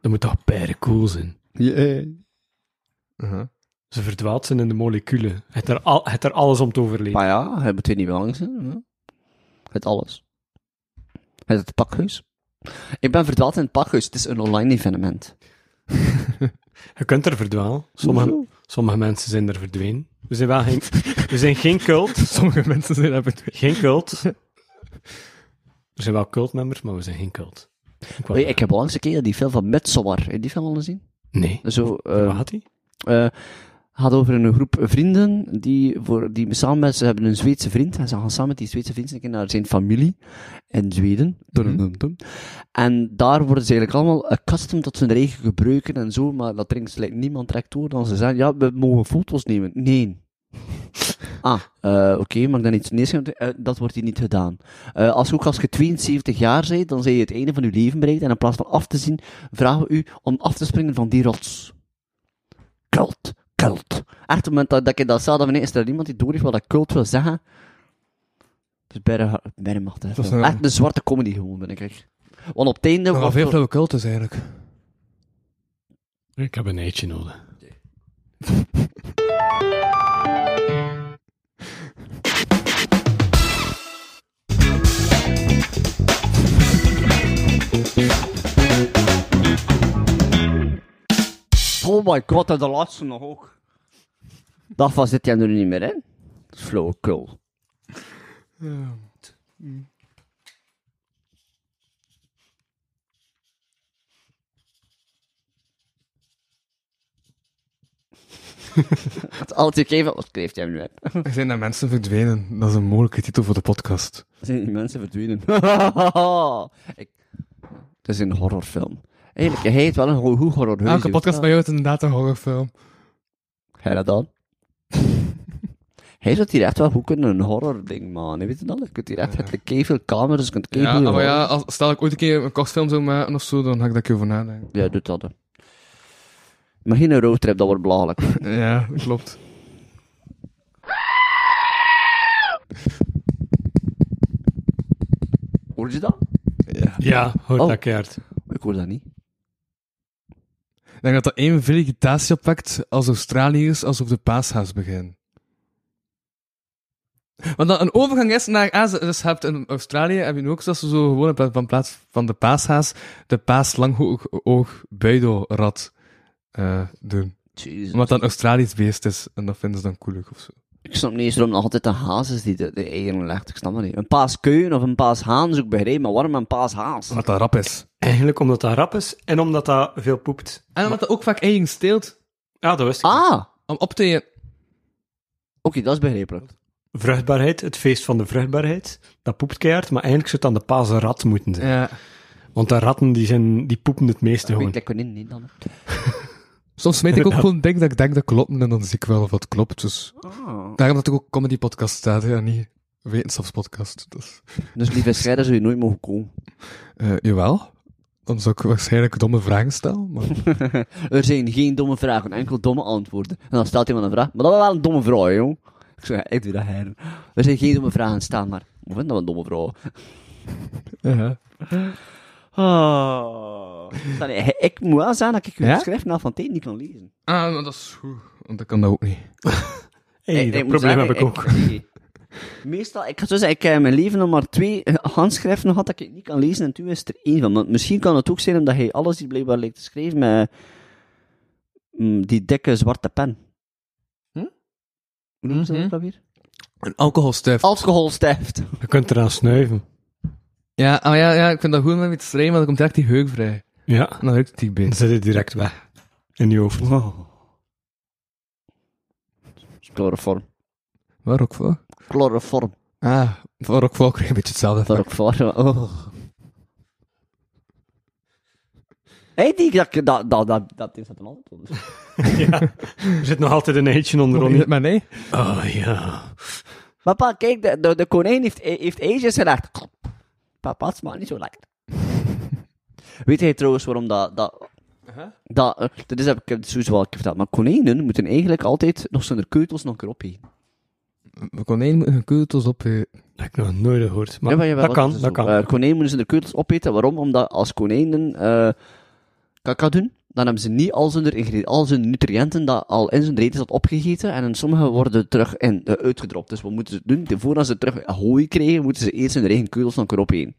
Speaker 4: dat moet toch bijna cool zijn.
Speaker 1: Uh-huh.
Speaker 4: Ze verdwaalt zijn in de moleculen. Het er, al, het er alles om te overleven.
Speaker 3: Maar ja, hebben het weer niet belangrijk zijn. hè? Het alles. Het, het pakhuis. Ik ben verdwaald in het pakhuis. Het is een online evenement.
Speaker 4: Je kunt er verdwalen. Sommige, sommige mensen zijn er verdwenen. We zijn wel geen, we zijn geen cult.
Speaker 1: Sommige mensen zijn hebben het
Speaker 4: Geen cult. Er zijn wel cultmembers, maar we zijn geen cult. Ik wou-
Speaker 3: Weet je, ik heb onlangs een keer die film van Midsommar. Heb je die film al gezien?
Speaker 4: Nee.
Speaker 3: Zo, eh,
Speaker 4: Wat had hij?
Speaker 3: eh gaat over een groep vrienden die, voor, die samen met ze hebben een Zweedse vriend en ze gaan samen met die Zweedse vriend een keer naar zijn familie in Zweden. Mhm. Dum, dum, dum. En daar worden ze eigenlijk allemaal accustomed tot hun eigen gebruiken en zo, maar dat drinkt slechts niemand direct door dan ze zeggen, ja, we mogen foto's nemen. Nee. Ah, eh, oké, maar ik dan iets neerschrijven? Eh, dat wordt hier niet gedaan. Eh, als ook als je 72 jaar bent, dan zijn je het einde van je leven bereikt. En in plaats van af te zien, vragen we u om af te springen van die rots cult, cult. Echt, op het moment dat, dat ik dat zag, dan nee, is er niemand die door heeft wat dat cult wil zeggen. Dus bijna, bijna mag dat.
Speaker 1: Dat is
Speaker 3: wel.
Speaker 1: een-
Speaker 3: Echt een zwarte comedy gewoon, ben ik echt. Want op het einde...
Speaker 1: Nogal
Speaker 3: wordt
Speaker 1: veel
Speaker 3: er-
Speaker 1: flauwe cultus eigenlijk.
Speaker 4: Ik heb een eitje nodig.
Speaker 3: Oh my god, en de laatste nog ook. Dat van zit jij er nu niet meer in. Dat is flauwekul. Het altijd even, wat schreef jij hem nu uit?
Speaker 1: Er zijn daar mensen verdwenen. Dat is een mogelijke titel voor de podcast.
Speaker 3: zijn die mensen verdwenen. ik... Het is een horrorfilm. Eigenlijk, hij heeft wel een ho- goed horrorfilm.
Speaker 1: Elke podcast bij jou is inderdaad een horrorfilm.
Speaker 3: Hij dat dan? Hij zou hier echt wel goed kunnen een horror ding man. Weet je dat? Je kunt hier echt met veel camera's, je kunt
Speaker 1: Ja,
Speaker 3: keiveel
Speaker 1: maar ja,
Speaker 3: horror-
Speaker 1: als, stel ik ooit een keer een kortfilm zou maken of zo, dan ga ik daar een keer over nadenken.
Speaker 3: Ja, doet dat. hè. Maar geen roadtrip, dat wordt belachelijk.
Speaker 1: Ja, klopt.
Speaker 3: Hoor je dat?
Speaker 4: Ja, hoort
Speaker 3: Oh.
Speaker 4: dat keert.
Speaker 3: Ik hoor dat niet.
Speaker 1: Ik denk dat dat één vegetatie oppakt als Australiërs alsof de paashaas beginnen. Want dat een overgang is naar Azië. Dus je hebt in Australië heb je nu ook dat ze zo gewoon in pla- van plaats van de paashaas de paaslangoog buidelrat eh doen.
Speaker 3: Jezus.
Speaker 1: Omdat dat een Australisch beest is en dat vinden ze dan koelig of zo.
Speaker 3: Ik snap niet eens waarom nog altijd de haas is die de, de eieren legt. Ik snap het niet. Een paaskuien of een paashaan zoek begrepen, maar waarom een paashaas?
Speaker 7: Wat dat rap is.
Speaker 4: Eigenlijk omdat dat rap is en omdat dat veel poept.
Speaker 1: En omdat dat ook vaak eigen steelt
Speaker 4: Ja, dat wist ik.
Speaker 3: Ah, oké,
Speaker 1: om op te eten.
Speaker 3: dat is begrijpelijk.
Speaker 4: Vruchtbaarheid, het feest van de vruchtbaarheid, dat poept keihard, maar eigenlijk zou het aan de paasrat moeten zijn.
Speaker 1: Ja.
Speaker 4: Want de ratten die, zijn, die poepen het meeste
Speaker 3: Ik
Speaker 4: gewoon.
Speaker 3: weet dat konijn niet dan.
Speaker 1: Soms smijt ik ook gewoon denk dat ik denk dat klopt en dan zie ik wel of het klopt. Dus
Speaker 3: Ah.
Speaker 1: daarom dat ik ook comedy podcast staat, ja, niet wetenschapspodcast. Dus,
Speaker 3: Dus lieve schrijder zou je nooit mogen komen.
Speaker 1: eh, jawel. Dan zou ik waarschijnlijk domme vragen stellen. Maar...
Speaker 3: Er zijn geen domme vragen, enkel domme antwoorden. En dan stelt iemand een vraag, maar dat was wel een domme vraag, joh. Ik zeg, ik doe dat her. Er zijn geen domme vragen staan, maar hoe vind dat een domme vraag?
Speaker 1: ja.
Speaker 3: Ah. Dan, eh, Ik moet wel zeggen dat ik uw
Speaker 1: Ja?
Speaker 3: schriftnaam van tijd niet kan lezen.
Speaker 1: Ah, maar dat is goed. Want ik kan dat ook niet.
Speaker 4: Hey,
Speaker 3: Nee,
Speaker 4: dat probleem heb ik ook.
Speaker 3: nee. Meestal, ik ga zo zeggen, ik heb in mijn leven nog maar twee eh, handschriften gehad dat ik niet kan lezen en toen is er één van. Maar misschien kan het ook zijn omdat hij alles die blijkbaar leek te schrijven met mm, die dikke zwarte pen.
Speaker 1: Hm?
Speaker 3: Hoe noemen ze dat
Speaker 1: Mhm.
Speaker 3: ook alweer?
Speaker 1: Een alcoholstijf.
Speaker 3: Alcoholstift.
Speaker 4: Je kunt eraan snuiven.
Speaker 1: Ja, ah, ja, ja, ik vind dat goed om iets te schrijven, maar dan komt direct die heuk vrij.
Speaker 4: Ja,
Speaker 1: En dan ruikt het die
Speaker 4: dan
Speaker 1: beet.
Speaker 4: zit het direct weg. In je hoofd.
Speaker 3: Chloroform.
Speaker 1: Waar ook voor?
Speaker 3: Chloroform.
Speaker 1: Ah, waar ook voor krijg je een beetje hetzelfde
Speaker 3: Dat
Speaker 1: effect.
Speaker 3: ook voor. Oh. Hey, die, dat, dat, dat, dat, dat is dat een antwoord.
Speaker 4: ja. Er zit nog altijd een eitje onder
Speaker 1: Is
Speaker 4: Ronnie.
Speaker 1: het maar nee?
Speaker 4: Oh ja.
Speaker 3: Papa, kijk, de, de, de konijn heeft, e-, heeft eitjes gelegd. Papa, het smaakt niet zo lekker. Weet jij trouwens waarom dat... dat, dat, eh, dat is, heb ik heb het sowieso wel een keer verteld, maar konijnen moeten eigenlijk altijd nog zijn keutels nog een keer opeten.
Speaker 1: We konden één keutels op. eh,
Speaker 4: Dat heb ik nog nooit gehoord. Maar
Speaker 3: Ja, maar jawel,
Speaker 4: dat kan,
Speaker 3: is
Speaker 4: dat
Speaker 3: zo.
Speaker 4: kan.
Speaker 3: Eh, konijnen moeten ze de keutels opeten. Waarom? Omdat als konijnen eh kaka doen, dan hebben ze niet al hun, ingrediënten, al hun nutriënten dat al in zijn reet is dat opgegeten. En in sommige worden terug in, eh, uitgedropt. Dus wat moeten ze doen? De- Voordat ze terug hooi krijgen, moeten ze eerst hun eigen keutels nog erop heen.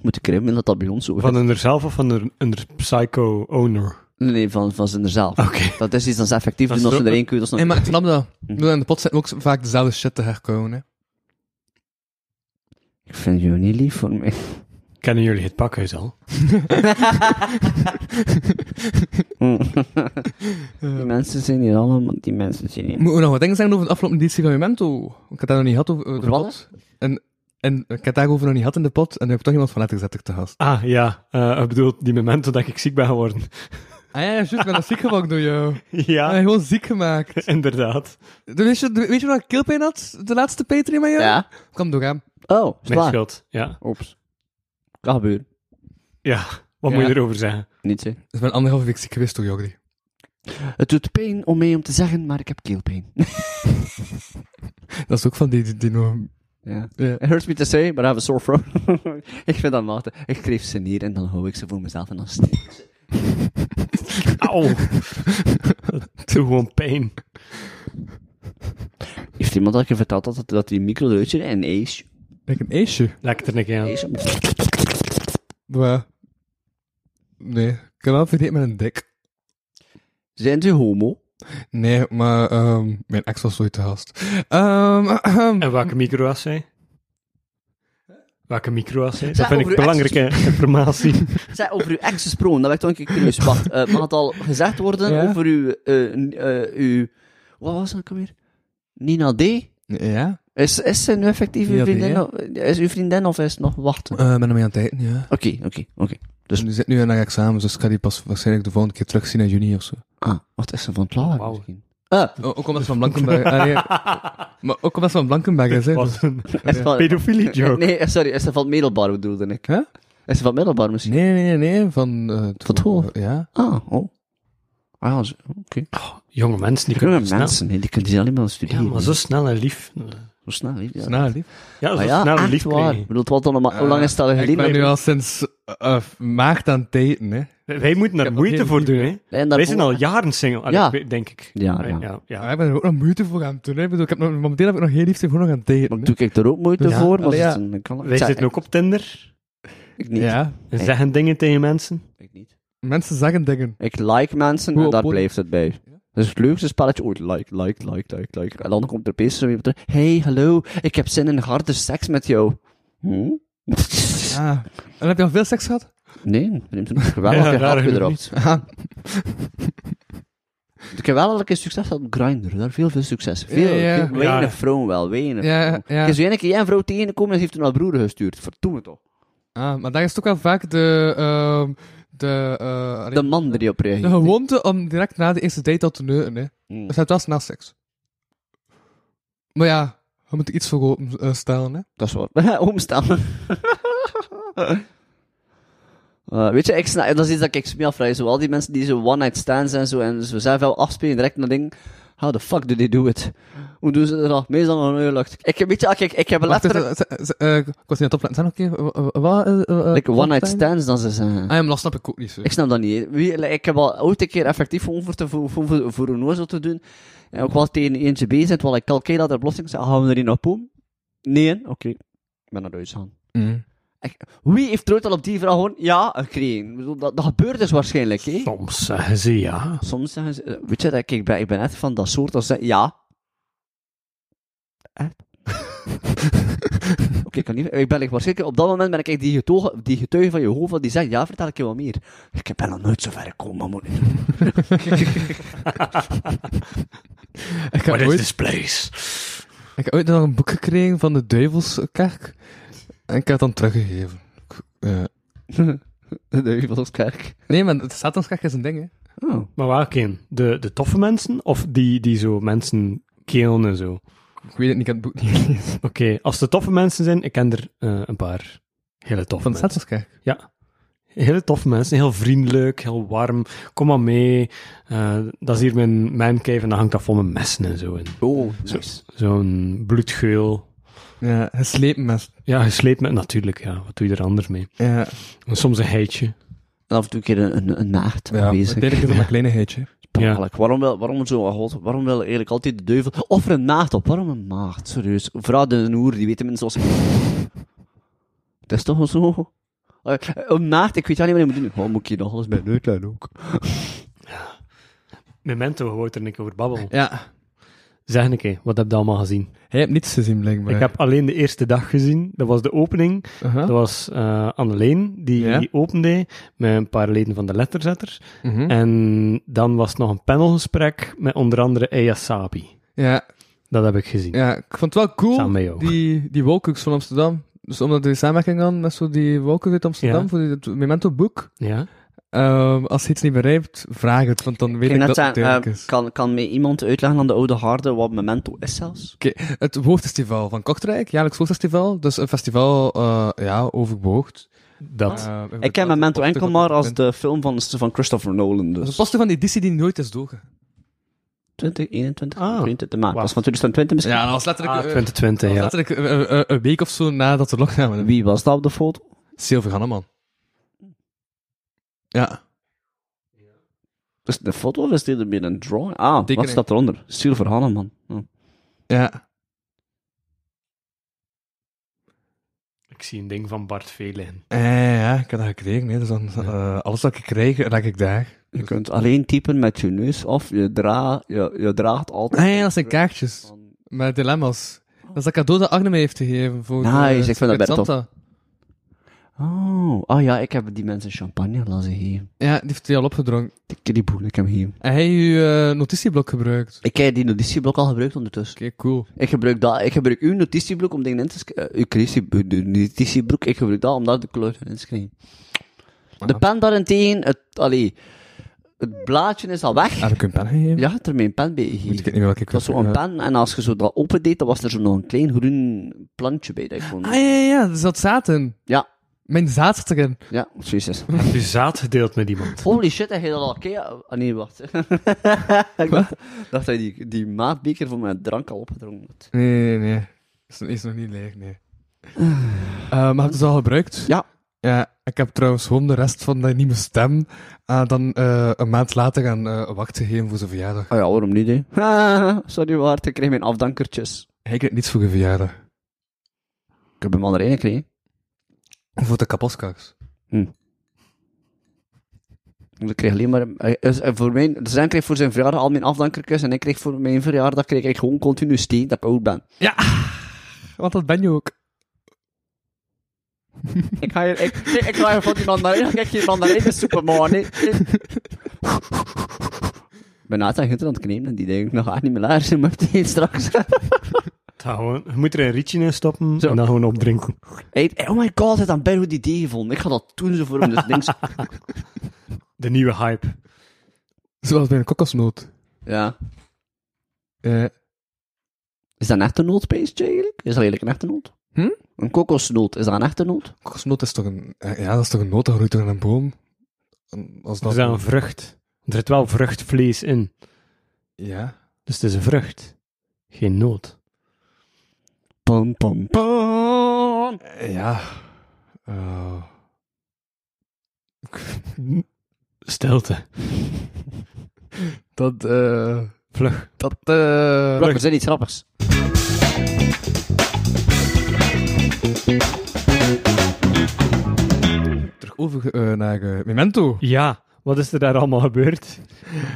Speaker 3: Moet ik erin dat dat bij ons zo is.
Speaker 4: Van hun zelf of van hun, hun psycho-owner?
Speaker 3: Nee, nee, van, van ze er zelf.
Speaker 4: Oké.
Speaker 3: Dat is iets dat ze effectief
Speaker 4: Ah. Dat
Speaker 3: doen
Speaker 4: is
Speaker 3: als ze
Speaker 4: zo-
Speaker 3: er één keutels nog...
Speaker 1: Nee, maar ik snap
Speaker 3: Hm.
Speaker 1: dat. Ik bedoel, in de pot zitten ook vaak dezelfde shit te herkomen. Hè.
Speaker 3: Ik vind jullie niet lief voor mij.
Speaker 4: Kennen jullie het pakhuis al?
Speaker 3: Mm. die mensen zijn hier allemaal... Die mensen zijn hier...
Speaker 1: Moeten we nog wat dingen zeggen over de afgelopen editie van Memento? Ik had dat nog niet gehad over, eh, de
Speaker 3: Over wat,
Speaker 1: pot. En, en ik had daarover nog niet gehad in de pot. En dan heb ik toch iemand van letter gezet ik te gast.
Speaker 4: Ah, ja. Eh ik bedoel, die momenten dat ik ziek ben geworden.
Speaker 1: Ah ja, ja, juist. Ik ben dat ziek gemaakt door jou. Ik ben
Speaker 4: ja,
Speaker 1: gewoon ziek gemaakt.
Speaker 4: inderdaad.
Speaker 1: Dus weet, je, weet je wat ik keelpijn had? De laatste Patreon met jou?
Speaker 3: Ja?
Speaker 1: Kom door hem.
Speaker 3: Oh, is het
Speaker 4: Mijn
Speaker 3: waar?
Speaker 4: schuld, ja.
Speaker 3: Oeps. Kan gebeuren.
Speaker 4: Ja, wat
Speaker 1: Ja.
Speaker 4: moet je erover zeggen?
Speaker 3: Niet hè.
Speaker 1: Dus ik ben anderhalve week ziek geweest door Jordi.
Speaker 3: Het doet pijn om mee om te zeggen, maar ik heb keelpijn.
Speaker 1: Dat is ook van die, die, die no-
Speaker 3: Ja.
Speaker 1: Ja.
Speaker 3: It hurts me to say, but I have a sore throat. ik vind dat matig. Ik kreeg ze neer en dan hou ik ze voor mezelf en dan steek ik ze.
Speaker 4: Auw. Dat doet gewoon pijn.
Speaker 3: Heeft iemand dat je verteld had dat, dat die micro eruit zit en ijs?
Speaker 1: Kijk, een ijsje.
Speaker 4: Lekker er een keer aan.
Speaker 3: ijs op-
Speaker 1: Waar? Nee. Ik kan wel vergeten met een dik.
Speaker 3: Zijn ze homo?
Speaker 1: Nee, maar ehm, mijn ex was ooit te gast. Ehm,
Speaker 4: En welke micro was zij? Welke micro was zij?
Speaker 3: Zeg,
Speaker 4: Dat vind
Speaker 3: over
Speaker 4: ik
Speaker 3: uw
Speaker 4: belangrijke informatie.
Speaker 3: Zij over uw ex gesproken, dat werd toch een keer curieus. Wacht, eh, mag het al gezegd worden
Speaker 1: Ja?
Speaker 3: over uw, eh, n- eh, uw... Wat was dat ook alweer? Nina D?
Speaker 1: ja?
Speaker 3: Is, is ze nu effectief uw
Speaker 1: Nina D,
Speaker 3: vriendin?
Speaker 1: ja.
Speaker 3: of- Is uw vriendin of is het nog wachten?
Speaker 1: Eh, ben ermee aan het eten, ja.
Speaker 3: Oké, oké, oké.
Speaker 1: Dus nu zit nu aan haar examens, dus ik ga die pas waarschijnlijk de volgende keer terugzien in juni of zo.
Speaker 3: Ah, wat is er van klaar?
Speaker 4: Wauw.
Speaker 3: misschien? Ah,
Speaker 1: ook omdat ze van Blankenberg... ah, nee. maar ook omdat ze van Blankenberg is, hè.
Speaker 4: Wat een
Speaker 3: is van,
Speaker 4: pedofilie joke.
Speaker 3: nee, eh, sorry, is er van het middelbaar bedoelde ik.
Speaker 1: Huh?
Speaker 3: Is er van het middelbaar misschien?
Speaker 1: Nee, nee, nee, nee, van... eh, het
Speaker 3: Van het Hof.
Speaker 1: Ja.
Speaker 3: Ah, oh. Ah, ja, zo- oké.
Speaker 4: Jonge mensen, die kunnen
Speaker 3: Jonge
Speaker 4: snel.
Speaker 3: mensen, hè, die kunnen ze alleen maar
Speaker 4: Ja,
Speaker 3: studeren.
Speaker 4: maar zo snel en lief.
Speaker 3: Zo snel, hè, ja.
Speaker 1: Is nou lief.
Speaker 4: Ja, zo
Speaker 3: Ah, ja,
Speaker 4: snel en
Speaker 3: echt
Speaker 4: lief
Speaker 3: waar. Ik
Speaker 4: krijgen.
Speaker 3: bedoel, het was dan nog maar- hoe lang is dat
Speaker 1: Ik
Speaker 3: geleden?
Speaker 1: ben nu al sinds eh, maart aan het eten, hè.
Speaker 4: Wij- Wij moeten daar
Speaker 1: heb
Speaker 4: moeite
Speaker 1: nog
Speaker 4: voor doen, hè.
Speaker 3: En daarvoor-
Speaker 4: Wij zijn al jaren single, Allee,
Speaker 3: Ja.
Speaker 4: ik weet- denk ik.
Speaker 3: Ja,
Speaker 4: Wij-
Speaker 3: ja.
Speaker 1: Ja, ik ben er ook nog moeite voor aan het doen, hè. Ik bedoel, ik heb nog, momenteel heb ik nog geen liefde voor nog aan het
Speaker 3: Maar
Speaker 1: eten. hè.
Speaker 3: doe ik er ook moeite
Speaker 1: Ja,
Speaker 3: voor, maar
Speaker 1: allee,
Speaker 3: ja.
Speaker 1: ja.
Speaker 3: een, kan,
Speaker 4: Wij
Speaker 3: zeg,
Speaker 4: zitten ook op Tinder
Speaker 3: Ik niet.
Speaker 1: Ja.
Speaker 4: en zeggen dingen tegen mensen.
Speaker 3: Ik niet.
Speaker 1: Mensen zeggen dingen.
Speaker 3: Ik like mensen
Speaker 1: Hoe
Speaker 3: en
Speaker 1: op
Speaker 3: daar
Speaker 1: podium?
Speaker 3: blijft het bij. Dat is het leukste spelletje ooit. Like, like, like, like, like. En dan komt er opeens zo iemand terug. Hey, hallo, ik heb zin in harde seks met jou. Hm?
Speaker 1: Ah. En heb je al veel seks gehad?
Speaker 3: Nee, neemt een geweldige
Speaker 4: Ja,
Speaker 3: ja,
Speaker 4: raar
Speaker 3: hap
Speaker 4: genoeg
Speaker 3: gedrapt. Ik heb wel al een keer succes gehad op Grindr. Daar veel, veel succes.
Speaker 1: Ja,
Speaker 3: Veel,
Speaker 1: ja.
Speaker 3: veel- weinig
Speaker 4: Ja.
Speaker 3: vrouwen wel, weinig.
Speaker 1: Ja,
Speaker 3: Ik
Speaker 1: ja.
Speaker 3: heb zo één keer één vrouw tegengekomen en ze heeft toen haar broer gestuurd. Vertoe me toch.
Speaker 1: Ah, maar daar is toch wel vaak de... ehm, de, eh, allee,
Speaker 3: De man die op
Speaker 1: de
Speaker 3: reageert.
Speaker 1: gewoonte om direct na de eerste date al te neuten, hè.
Speaker 3: Hm.
Speaker 1: Dat staat wel na seks. Maar ja, we moeten iets voor open eh, stellen, hè.
Speaker 3: Dat is waar. Omstaan. Eh, weet je, ik snap, dat is iets dat ik me afvraag. Zo, al die mensen die zo one-night stands en zo, en zo zelf wel afspelen direct naar ding. How the fuck do they do it? Hoe doen ze dat? Meestal nog een lucht. Ik heb, weet je, ah, kijk, ik heb
Speaker 1: Wacht,
Speaker 3: letterlijk...
Speaker 1: eh, eh, eh, eh, ik was niet aan het opletten. Zijn nog een keer... eh, eh, wat, eh, eh, eh,
Speaker 3: Like one-night
Speaker 1: opletten?
Speaker 3: stands, dan ze zeggen.
Speaker 1: Ah ja, maar dat snap ik ook niet, zo.
Speaker 3: Ik snap dat niet. hè. Wie, like, ik heb al ooit een keer effectief om voor, te, voor, voor, voor een oorzel te doen. En ook wel tegen eentje bezig. Terwijl ik kalkeer dat er oplossing zei, "Ah, gaan we er een op doen? Nee, hè? oké. Ik ben naar huis gaan.
Speaker 1: Mm.
Speaker 3: Wie heeft er ooit al op die vraag gewoon ja gekregen? Ik bedoel, Dat, dat gebeurt dus waarschijnlijk, hè?
Speaker 4: Soms zeggen ze ja.
Speaker 3: Soms zeggen ze... eh, Weet je, dat ik, ik, ben, ik ben echt van dat soort als ze ja. Echt? Oké, ik kan niet... Ik ben ik waarschijnlijk... Op dat moment ben ik echt die getuige, die getuige van Jehovah die zegt ja, vertel ik je wat meer. Ik ben nog nooit zo ver gekomen, man.
Speaker 1: Ik heb
Speaker 4: What is
Speaker 1: ooit...
Speaker 4: this place?
Speaker 1: Ik heb ooit nog een boek gekregen van de Duivelskerk. En ik heb het dan teruggegeven. Ik- eh,
Speaker 3: De Duivelskerk.
Speaker 1: nee, maar de Satanskerk is een ding, hè.
Speaker 3: Oh.
Speaker 4: Maar waar, Keen? De, de toffe mensen of die, die zo mensen killen en zo?
Speaker 1: Ik weet het niet, ik heb het boek niet gelezen.
Speaker 4: Oké, als de toffe mensen zijn, ik ken er eh, een paar hele toffe
Speaker 1: Van de
Speaker 4: mensen.
Speaker 1: Satanskerk.
Speaker 4: Hele toffe mensen, heel vriendelijk, heel warm. Kom maar mee. Eh, dat is hier mijn mancave en dan hangt dat vol met messen en zo. in.
Speaker 3: Oh, nice.
Speaker 4: Zo'n bloedgeul.
Speaker 1: Ja, geslepen mes.
Speaker 4: Ja, gesleept met natuurlijk, ja. Wat doe je er anders mee?
Speaker 1: Ja,
Speaker 4: En soms een heitje.
Speaker 3: En af en toe een keer een, een, een naagd
Speaker 1: ja
Speaker 3: aanwezig.
Speaker 1: uiteindelijk is dat maar een kleinigheidje.
Speaker 4: Ja.
Speaker 3: Eigenlijk, waarom wil, waarom zo, oh god, waarom wil eigenlijk altijd de duivel, of er een maagd op, waarom een maagd, serieus, vooral de noer, die weten mensen zoals, het is toch wel zo, Eh, een maagd, ik weet al niet wat ik moet doen, oh, moet ik hier nog alles bij uitleggen ook,
Speaker 4: Memento, je wou er een keer over babbelen.
Speaker 1: Ja.
Speaker 4: Zeg een keer, wat heb je allemaal gezien?
Speaker 1: Hij hebt niets gezien, blijkbaar.
Speaker 4: Ik heb alleen de eerste dag gezien. Dat was de opening.
Speaker 1: Aha.
Speaker 4: Dat was eh Anneleen die
Speaker 1: Ja.
Speaker 4: opende met een paar leden van de letterzetter.
Speaker 1: Mhm.
Speaker 4: En dan was nog een panelgesprek met onder andere Eya Sabi.
Speaker 1: Ja,
Speaker 4: Dat heb ik gezien.
Speaker 1: ja, ik vond het wel
Speaker 4: Samen
Speaker 1: cool,
Speaker 4: met jou.
Speaker 1: die, die Wolkux van Amsterdam. Dus omdat die samenwerking dan met zo die Wolkux uit Amsterdam,
Speaker 4: Ja.
Speaker 1: voor die- het Memento-boek.
Speaker 4: Ja?
Speaker 1: Ehm, als je iets niet bereikt, vraag het, want dan weet
Speaker 3: Kijk,
Speaker 1: ik
Speaker 3: net
Speaker 1: dat
Speaker 3: zijn,
Speaker 1: het duidelijk
Speaker 3: eh,
Speaker 1: is.
Speaker 3: kan, kan mij iemand uitleggen aan de oude harde wat memento is zelfs?
Speaker 1: Het Woogfestival van Kortrijk, jaarlijks Woogfestival. Dus een festival eh, ja, Eh, over behoogd.
Speaker 4: Dat.
Speaker 1: Ah.
Speaker 3: Ik ken memento enkel maar als de film van, van Christopher Nolan,
Speaker 1: Dat is een
Speaker 3: dus.
Speaker 1: poster van die editie die nooit is doorgegaan.
Speaker 3: 2021,
Speaker 4: Ah.
Speaker 3: 22 maart, dat
Speaker 4: Wacht.
Speaker 3: was van 2020 misschien?
Speaker 1: dat was letterlijk,
Speaker 4: Ah,
Speaker 1: eh,
Speaker 4: 2020,
Speaker 1: dat
Speaker 4: ja.
Speaker 1: was letterlijk eh, eh, eh, een week of zo nadat de lockdown was.
Speaker 3: Wie was dat op de foto?
Speaker 1: Silver Hanneman. Ja.
Speaker 3: Is het een foto of is dit meer een drawing? Ah,
Speaker 1: Tekening.
Speaker 3: wat staat eronder? Silver Hanneman. Hm.
Speaker 1: Ja.
Speaker 4: Ik zie een ding van Bart Velen.
Speaker 1: Eh, ja, ik heb dat gekregen. Hè. Dus dan, eh, alles wat ik krijg, raak ik daar.
Speaker 3: Je kunt alleen typen met je neus of je, dra je, je draagt altijd...
Speaker 1: Ah ja, dat zijn kaartjes.
Speaker 3: Van-
Speaker 1: Met dilemma's. Dat is dat cadeau dat Arne mij heeft gegeven. Voor
Speaker 3: Nice,
Speaker 1: eh,
Speaker 3: ik vind dat
Speaker 1: Secret
Speaker 3: best tof.
Speaker 1: Santa.
Speaker 3: Oh, ah ja, ik heb die mensen champagne laten geven.
Speaker 1: Ja, die heeft hij al opgedronken.
Speaker 3: Dikke die boel, ik heb hier.
Speaker 1: En hij heeft uw eh, notitieblok gebruikt.
Speaker 3: Ik heb die notitieblok al gebruikt ondertussen.
Speaker 1: Oké, cool.
Speaker 3: Ik gebruik, dat, ik gebruik uw notitieblok om dingen in te schrijven. uw creatie- de notitieblok, ik gebruik dat om daar de kleur in te schrijven. De pen daarentegen, het, allee, het blaadje is al weg.
Speaker 1: Heb ik u een pen gegeven?
Speaker 3: Ja, er mijn pen bij
Speaker 1: Moet ik
Speaker 3: gegeven.
Speaker 1: het niet meer welke
Speaker 3: Dat was zo'n pen, en als je zo dat opendeed, dan was er zo nog een klein groen plantje bij dat ik kon...
Speaker 1: Ah, ja, ja, ja, er zat zaad in.
Speaker 3: Ja.
Speaker 1: Mijn zaad zat erin.
Speaker 3: Ja, jezus.
Speaker 4: Heb je zaad gedeeld met iemand?
Speaker 3: Holy shit, heb je dat al een keer... Ah nee, wacht. ik dacht, dacht dat je die, die maatbeker van mijn drank al opgedronken had.
Speaker 1: Nee, nee, nee. Is, is nog niet leeg, nee. Eh, maar heb je het al gebruikt?
Speaker 3: Ja.
Speaker 1: Ja, ik heb trouwens gewoon de rest van die nieuwe stem eh, dan eh, een maand later gaan eh, wachten geven voor zijn verjaardag.
Speaker 3: Ah ja, waarom niet, hè? Sorry, Waart, ik kreeg mijn afdankertjes.
Speaker 1: Hij krijgt niets voor zijn verjaardag.
Speaker 3: Ik heb hem al erin gekregen.
Speaker 1: Voor de kapotkaks.
Speaker 3: Want ik kreeg alleen maar... eh, dus, eh, voor mijn, dus hij kreeg voor zijn verjaardag al mijn afdankerkus. En ik kreeg voor mijn verjaardag kreeg ik gewoon continu steen dat ik oud ben.
Speaker 1: Want dat ben je ook.
Speaker 3: Ik ga hier... Ik, ik, ik ga hier van die mandarijn... Ik ga hier mandarijn de superman. Ik ben Naat en Gunther aan het knemen. En die denken, nog gaat niet meer laar zijn, maar die straks...
Speaker 4: Dat gewoon, je moet er een rietje in stoppen
Speaker 3: Zo.
Speaker 4: en dan gewoon opdrinken.
Speaker 3: Hey, oh my god, het aan Ben hoe die idee vond. Ik ga dat toen zo voor hem. Dus links...
Speaker 4: De nieuwe hype.
Speaker 1: Zoals bij een kokosnoot.
Speaker 3: Ja.
Speaker 1: Eh,
Speaker 3: Is dat een echte noodpaste eigenlijk? Is dat eigenlijk een echte noot?
Speaker 1: Hm?
Speaker 3: Een kokosnoot, is dat een echte noot?
Speaker 1: kokosnoot is toch een... eh, Ja, dat is toch een noot, dat groeit toch aan een boom? En Als
Speaker 4: Dat
Speaker 1: dat...
Speaker 4: is dan een vrucht. Er zit wel vruchtvlees in.
Speaker 1: Ja.
Speaker 4: Dus het is een vrucht. Geen noot.
Speaker 3: Pam, pam, pam.
Speaker 1: Eh, Ja. Eh,
Speaker 4: Stilte.
Speaker 1: dat, eh...
Speaker 4: Vlug.
Speaker 1: Dat, eh...
Speaker 3: Bro, er zijn iets grappigs.
Speaker 1: terug over eh, naar eh, Memento.
Speaker 4: Ja, wat is er daar allemaal gebeurd?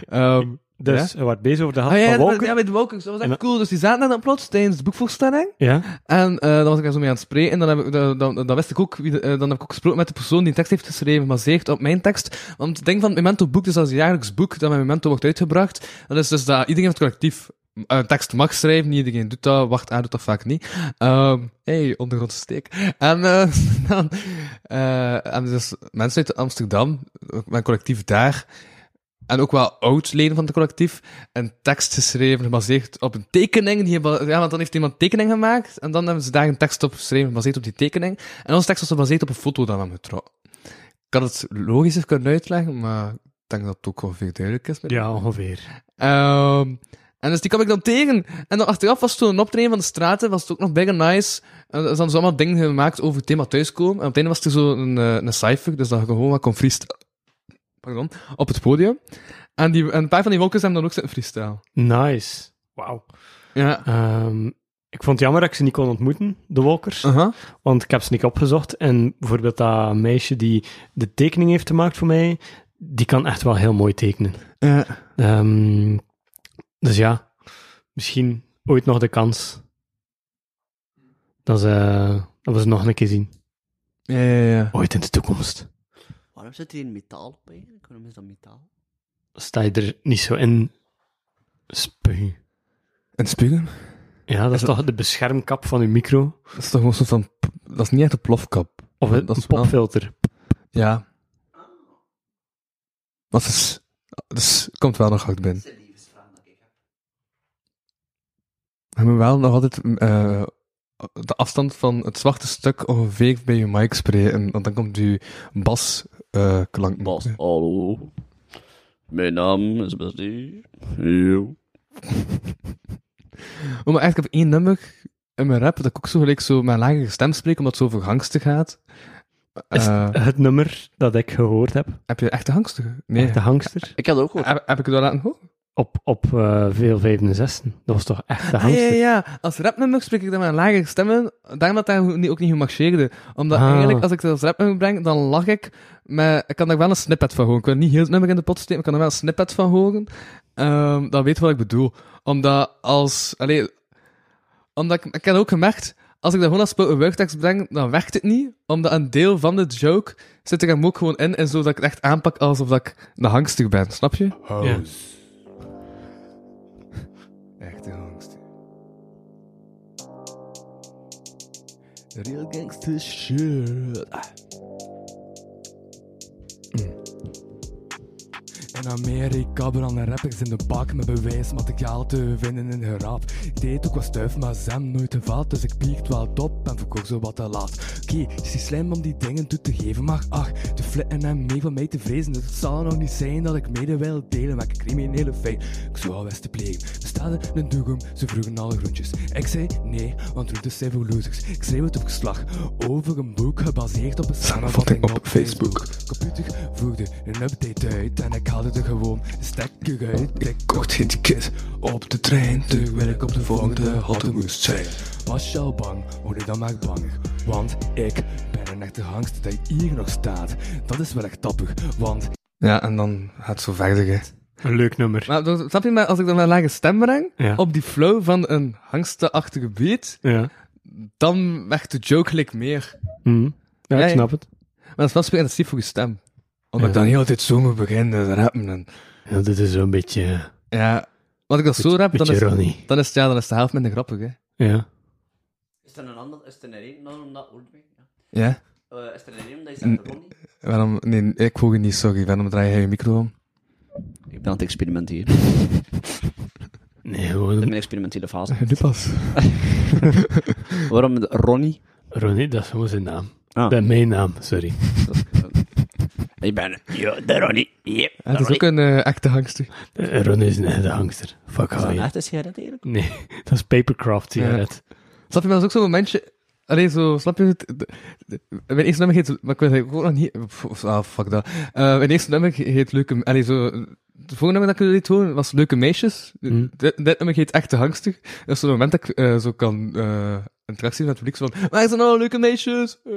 Speaker 1: Ehm,
Speaker 4: Dus, we waren bezig over de hand
Speaker 1: ah, ja,
Speaker 4: van
Speaker 1: dat-
Speaker 4: Walker.
Speaker 1: ja, met Walkers. Dat was echt
Speaker 4: En-
Speaker 1: cool. Dus die zaten daar dan plots tijdens de boekvoorstelling.
Speaker 4: Ja.
Speaker 1: En eh dan was ik daar zo mee aan het spreken. En dan, heb ik, dan, dan, dan wist ik ook, wie de- eh, dan heb ik ook gesproken met de persoon die een tekst heeft geschreven, maar zeegt op mijn tekst. Want ik denk van het Memento boek, dus dat is een jaarlijks boek dat met Memento wordt uitgebracht. Dat is dus dat iedereen in het collectief Eh, een tekst mag schrijven, niet iedereen doet dat, wacht, hij doet dat vaak niet. Ehm hey, ondergrondse steek. En, eh, dan, eh, en dus mensen uit Amsterdam, ook mijn collectief daar, en ook wel oud-leden van het collectief, een tekst geschreven gebaseerd op een tekening. Die hebben- ja, want dan heeft iemand een tekening gemaakt en dan hebben ze daar een tekst op geschreven gebaseerd op die tekening. En onze tekst was gebaseerd op een foto dat we hebben getrokken. Ik had het logischer kunnen uitleggen, maar ik denk dat het ook wel veel duidelijk is. met-
Speaker 4: ja, ongeveer.
Speaker 1: Ehm, en dus die kwam ik dan tegen. En dan achteraf was het toen een optreden van de straten, was het ook nog big and nice. En er zijn zo allemaal dingen gemaakt over het thema thuiskomen. En op het einde was er zo een, eh, een cijfer, dus dat je gewoon wat kon freestyle. Pardon, op het podium. En, die, en een paar van die wolkers hebben dan ook zitten freestyle.
Speaker 4: Nice. Wauw.
Speaker 1: Ja.
Speaker 4: Ehm, ik vond het jammer dat ik ze niet kon ontmoeten, de Walkers.
Speaker 1: Aha.
Speaker 4: Want ik heb ze niet opgezocht. En bijvoorbeeld dat meisje die de tekening heeft gemaakt voor mij, die kan echt wel heel mooi tekenen. Ehm, dus ja, misschien ooit nog de kans. Dat, ze, dat we ze nog een keer zien.
Speaker 1: ja, ja, ja.
Speaker 4: Ooit in de toekomst.
Speaker 3: Waarom zit hier een metaal op eigenlijk? Waarom is dat metaal?
Speaker 4: Sta je er niet zo in. Spu.
Speaker 1: En spiegel?
Speaker 4: Ja, dat is toch de beschermkap van je micro?
Speaker 1: Dat is toch gewoon zo van... Dat is niet echt een plofkap.
Speaker 4: Of een
Speaker 1: Dat is wel-
Speaker 4: popfilter?
Speaker 1: Ja. Maar het is... Dus komt wel nog hard binnen.
Speaker 3: is een liefdesvraag dat ik heb.
Speaker 1: Je moet wel nog altijd eh, de afstand van het zwarte stuk ongeveer bij je mic spreken, want dan komt eh, je basklank.
Speaker 3: Bas, hallo. Mijn naam is Basti. Yo.
Speaker 1: Oh, maar echt, ik heb één nummer in mijn rap dat ik ook zo gelijk zo met een lagere stem spreek, omdat het zo over gangsten gaat.
Speaker 4: Is het-
Speaker 1: Eh,
Speaker 4: het nummer dat ik gehoord heb,
Speaker 1: Heb je echte gangsten? Nee.
Speaker 4: de hangster,
Speaker 3: Ik heb dat ook gehoord.
Speaker 1: Heb, heb ik het wel laten horen?
Speaker 4: op, op eh, veel vijfde en zesde. Dat was toch echt de
Speaker 1: Ah, ja,
Speaker 4: hangster?
Speaker 1: ja, ja. Als rapnummer spreek ik dan met een lagere stem in, daarom dat daar ook niet- ook niet goed marcheerde. Omdat
Speaker 4: Ah.
Speaker 1: eigenlijk, als ik dat als rapnummer breng, dan lach ik, maar ik kan daar wel een snippet van horen. Ik wil niet heel het nummer in de pot steken, maar ik kan er wel een snippet van horen. Ehm dat weet wat ik bedoel. Omdat als... Allee, omdat ik, ik heb ook gemerkt, als ik dat gewoon als spoken wordtekst breng, dan werkt het niet. Omdat een deel van de joke zit er hem ook gewoon in, en zo dat ik het echt aanpak alsof dat ik de hangster ben. Snap je?
Speaker 4: Ja.
Speaker 1: Echte hangster.
Speaker 3: Real gangster shit.
Speaker 5: In Amerika branden rappers in de bak met bewijsmateriaal te vinden in hun rap. Ik deed ook wat stuif, maar zem nooit te vat, dus ik piekt wel top en verkocht zo wat te laat. Oké, is die slim om die dingen toe te geven, maar ach, de flitten en mee van mij te vrezen. Dus het zal nog niet zijn dat ik mede wil delen met criminele feit. Ik zou al wist te plegen. We stelden een doegum, ze vroegen alle groentjes. Ik zei nee, want groentes zijn voor losers. Ik schreef het op geslag over een boek gebaseerd op een samenvatting op, Facebook. Computer voegde een update uit en ik haalde er gewoon de stekker uit. Ik kocht geen ticket op de trein, terwijl ik op de volgende halte moest zijn. Was je al bang, word je dan maar bang. Want ik ben een echte hangster dat hier nog staat. Dat is wel echt tappig, want
Speaker 1: Ja, en dan gaat het zo verder, hè.
Speaker 4: Een leuk nummer.
Speaker 5: Maar dan- snap je, maar als ik dan een lage stem breng,
Speaker 4: Ja.
Speaker 5: op die flow van een hangsterachtige beat,
Speaker 4: Ja.
Speaker 5: dan echt de joke like meer.
Speaker 4: Mhm. ja,
Speaker 5: Ja,
Speaker 4: ik
Speaker 5: ja.
Speaker 4: snap het.
Speaker 5: Maar dat is wel specifiek voor je stem.
Speaker 1: Omdat ik dan heel de tijd zomaar begin te rappen. En,
Speaker 4: Ja, dit is zo'n beetje...
Speaker 5: Ja. Want ik dat zo rap, dan
Speaker 4: beetje
Speaker 5: is,
Speaker 4: Ronnie.
Speaker 5: dan, is, het- ja, dan is de helft minder grappig, hè.
Speaker 4: Ja.
Speaker 3: Is er een ander, is er een reden om dat woord te
Speaker 1: ja?
Speaker 3: Is er een reden dat je zegt, Ronnie?
Speaker 1: Waarom... Nee, ik hoor je niet, sorry. Waarom draai jij je micro om?
Speaker 3: Ik ben aan het experimenteren.
Speaker 4: Nee,
Speaker 3: In
Speaker 4: gewoon...
Speaker 3: mijn experimentele fase.
Speaker 1: Nu pas.
Speaker 3: Waarom de- Ronnie?
Speaker 4: Ronnie, dat is gewoon zijn naam.
Speaker 3: Ah.
Speaker 4: Dat is mijn naam, sorry.
Speaker 3: Ik ben... Ja, de Ronnie. Yep. de
Speaker 5: Het is
Speaker 3: Ronnie.
Speaker 5: ook een eh, echte hangster.
Speaker 4: Eh, Ronnie is een echte hangster. Fuck
Speaker 3: Is dat
Speaker 4: high.
Speaker 3: echt een sigaret eigenlijk?
Speaker 4: Nee, dat is Papercraft sigaret.
Speaker 5: Snap je, maar dat is ook zo'n momentje... Allee, zo, snap je het? De- de- Mijn eerste nummer heet... Maar ik weet het ook nog niet... pff, Ah, fuck dat. Eh, mijn eerste nummer heet Leuke... Allee, zo... Het volgende nummer dat ik liet horen was Leuke Meisjes.
Speaker 4: Hm.
Speaker 5: Dit, dit nummer heet Echte Hangster. Dat is zo'n moment dat ik eh, zo kan... eh interactie met het publiek. zo Van, waar zijn nou leuke meisjes? Eh.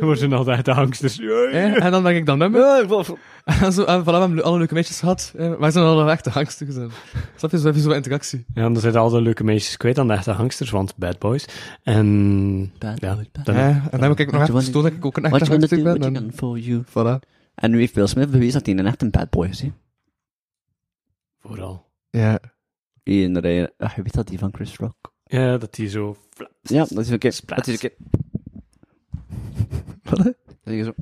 Speaker 4: We zijn altijd de hangsters. Ja, ja.
Speaker 5: Eh, en dan denk ik dat nummer. En zo, en voilà, we hebben alle leuke meisjes gehad. Eh, wij zijn alle echte hangsters. En, snap je, zo heb je zo'n interactie.
Speaker 4: Ja, en dan zijn al de leuke meisjes kwijt aan de echte hangsters, want bad boys. En...
Speaker 3: Bad
Speaker 4: ja,
Speaker 3: boy, bad
Speaker 4: dan-
Speaker 5: Eh, en dan heb ik
Speaker 3: What you
Speaker 5: ook nog even
Speaker 3: wanna
Speaker 5: gestoord dat
Speaker 3: do?
Speaker 5: ik ook een
Speaker 3: What
Speaker 5: echte
Speaker 3: you gonna do, what
Speaker 5: hangster ben.
Speaker 3: you
Speaker 5: En,
Speaker 3: gonna for you.
Speaker 5: voilà.
Speaker 3: En nu heeft Will Smith bewezen dat hij een echt een bad boy is, hè?
Speaker 4: Vooral.
Speaker 5: Ja.
Speaker 3: In de... Ah, je weet dat, die van Chris Rock.
Speaker 4: Ja, dat die zo...
Speaker 3: Ja, dat is een keer. Dat is een keer. Wat? Dat is zo.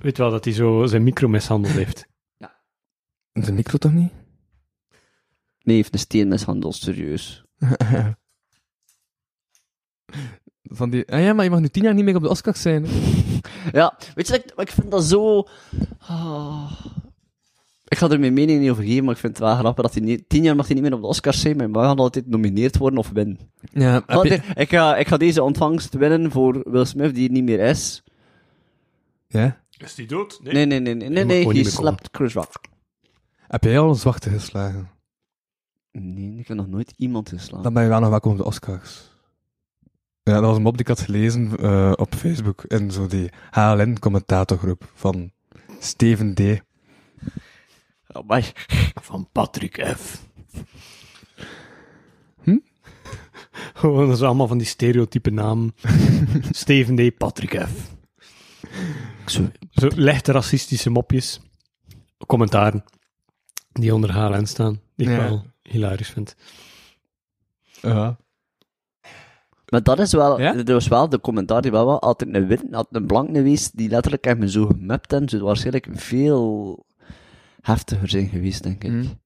Speaker 4: Weet je wel, dat hij zo zijn micro mishandeld heeft.
Speaker 1: De micro toch niet?
Speaker 3: Nee, heeft een steen mishandeld, serieus.
Speaker 5: Van die, ah ja, maar je mag nu tien jaar niet meer op de Oscars zijn. hè.
Speaker 3: Ja, weet je, ik, ik vind dat zo... Ah. Ik ga er mijn mening niet over geven, maar ik vind het wel grappig dat hij niet... Tien jaar mag hij niet meer op de Oscars zijn, maar hij gaat altijd nomineerd worden of winnen.
Speaker 5: Ja, heb
Speaker 3: Wat,
Speaker 5: je-
Speaker 3: eh, ik, ga, ik ga deze ontvangst winnen voor Will Smith, die er niet meer is.
Speaker 1: Ja?
Speaker 4: Is die dood?
Speaker 3: Nee, nee, nee, nee, nee,
Speaker 4: mag
Speaker 3: nee,
Speaker 4: gewoon
Speaker 3: hij
Speaker 4: niet meer komen.
Speaker 3: slapt Chris Rock.
Speaker 1: Heb jij al een zwarte geslagen?
Speaker 3: Nee, ik heb nog nooit iemand geslagen.
Speaker 1: Dan ben je wel nog welkom op de Oscars. Ja, dat was een mop die ik had gelezen eh, op Facebook. In zo die HLN-commentatorgroep van Steven D.
Speaker 3: Oh, maar
Speaker 4: Van Patrick F.
Speaker 1: Hm?
Speaker 4: Gewoon, dat is allemaal van die stereotype namen. Steven D. Patrick F.
Speaker 3: zo-
Speaker 4: Zo lichte racistische mopjes. Commentaren. Die onder HLN staan. Die ik
Speaker 1: Ja.
Speaker 4: wel hilarisch vind.
Speaker 1: Ja.
Speaker 3: Maar dat is wel,
Speaker 5: Ja?
Speaker 3: dat was wel de commentaar die wel wel altijd een wit, altijd een blank geweest, die letterlijk hebben zo gemapt hebben, zou het waarschijnlijk veel heftiger zijn geweest, denk ik.
Speaker 5: Mm.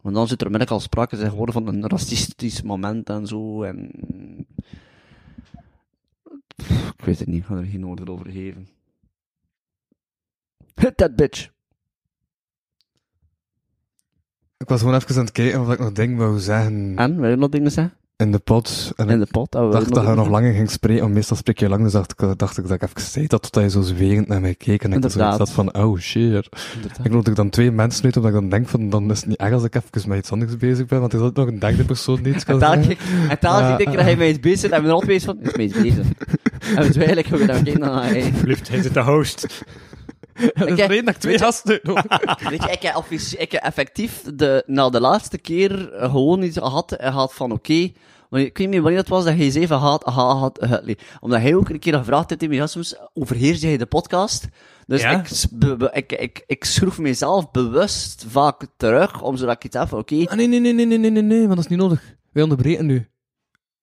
Speaker 3: Want dan zit er onmiddellijk al sprake zijn geworden van een racistisch moment en zo, en... Pff, Ik weet het niet, ik ga er geen oordeel over geven. Hit that bitch!
Speaker 1: Ik was gewoon even aan het kijken wat ik nog ding wou zeggen
Speaker 3: En, wil je nog dingen zeggen?
Speaker 1: in de pot. En
Speaker 3: In
Speaker 1: ik
Speaker 3: de pot? en wil je
Speaker 1: dacht dat je
Speaker 3: dingen
Speaker 1: nog
Speaker 3: zeggen?
Speaker 1: langer ging spreken, want meestal spreek je lang. Dus dacht ik, dacht ik dat ik even zei dat, totdat je zo zwerend naar mij keek. En ik
Speaker 3: Inderdaad.
Speaker 1: zoiets had van, oh shit.
Speaker 3: Inderdaad.
Speaker 1: Ik nodig dan twee mensen uit, omdat ik dan denk van, dan is het niet erg als ik even met iets anders bezig ben, want er is altijd nog een derde persoon die iets kan
Speaker 3: En taal
Speaker 1: zeggen.
Speaker 3: ik, en taal
Speaker 1: Ja,
Speaker 3: ik denk dat hij mee is bezig en we er altijd bezig van, is mee eens bezig. En we zwijgen gewoon naar kinderen naar hij.
Speaker 4: Lift, hij zit de host.
Speaker 5: dat is de
Speaker 3: Oké,
Speaker 5: reden dat ik twee
Speaker 3: weet je-
Speaker 5: gasten heb.
Speaker 3: Weet je, ik heb, offici- ik heb effectief de, na de laatste keer eh, gewoon iets gehad en gehad van oké, maar ik weet niet meer wanneer dat was dat hij zei van haat, haat, haat, haat, nee. Omdat hij ook een keer gevraagd heeft in mijn soms overheers jij de podcast? Dus
Speaker 5: Ja.
Speaker 3: ik, s- be- be- ik, ik, ik schroef mezelf bewust vaak terug, om zodat ik iets heb van oké.
Speaker 5: Ah, nee, nee, nee, nee, nee, nee, nee, nee, want dat is niet nodig. Wij onderbreken nu.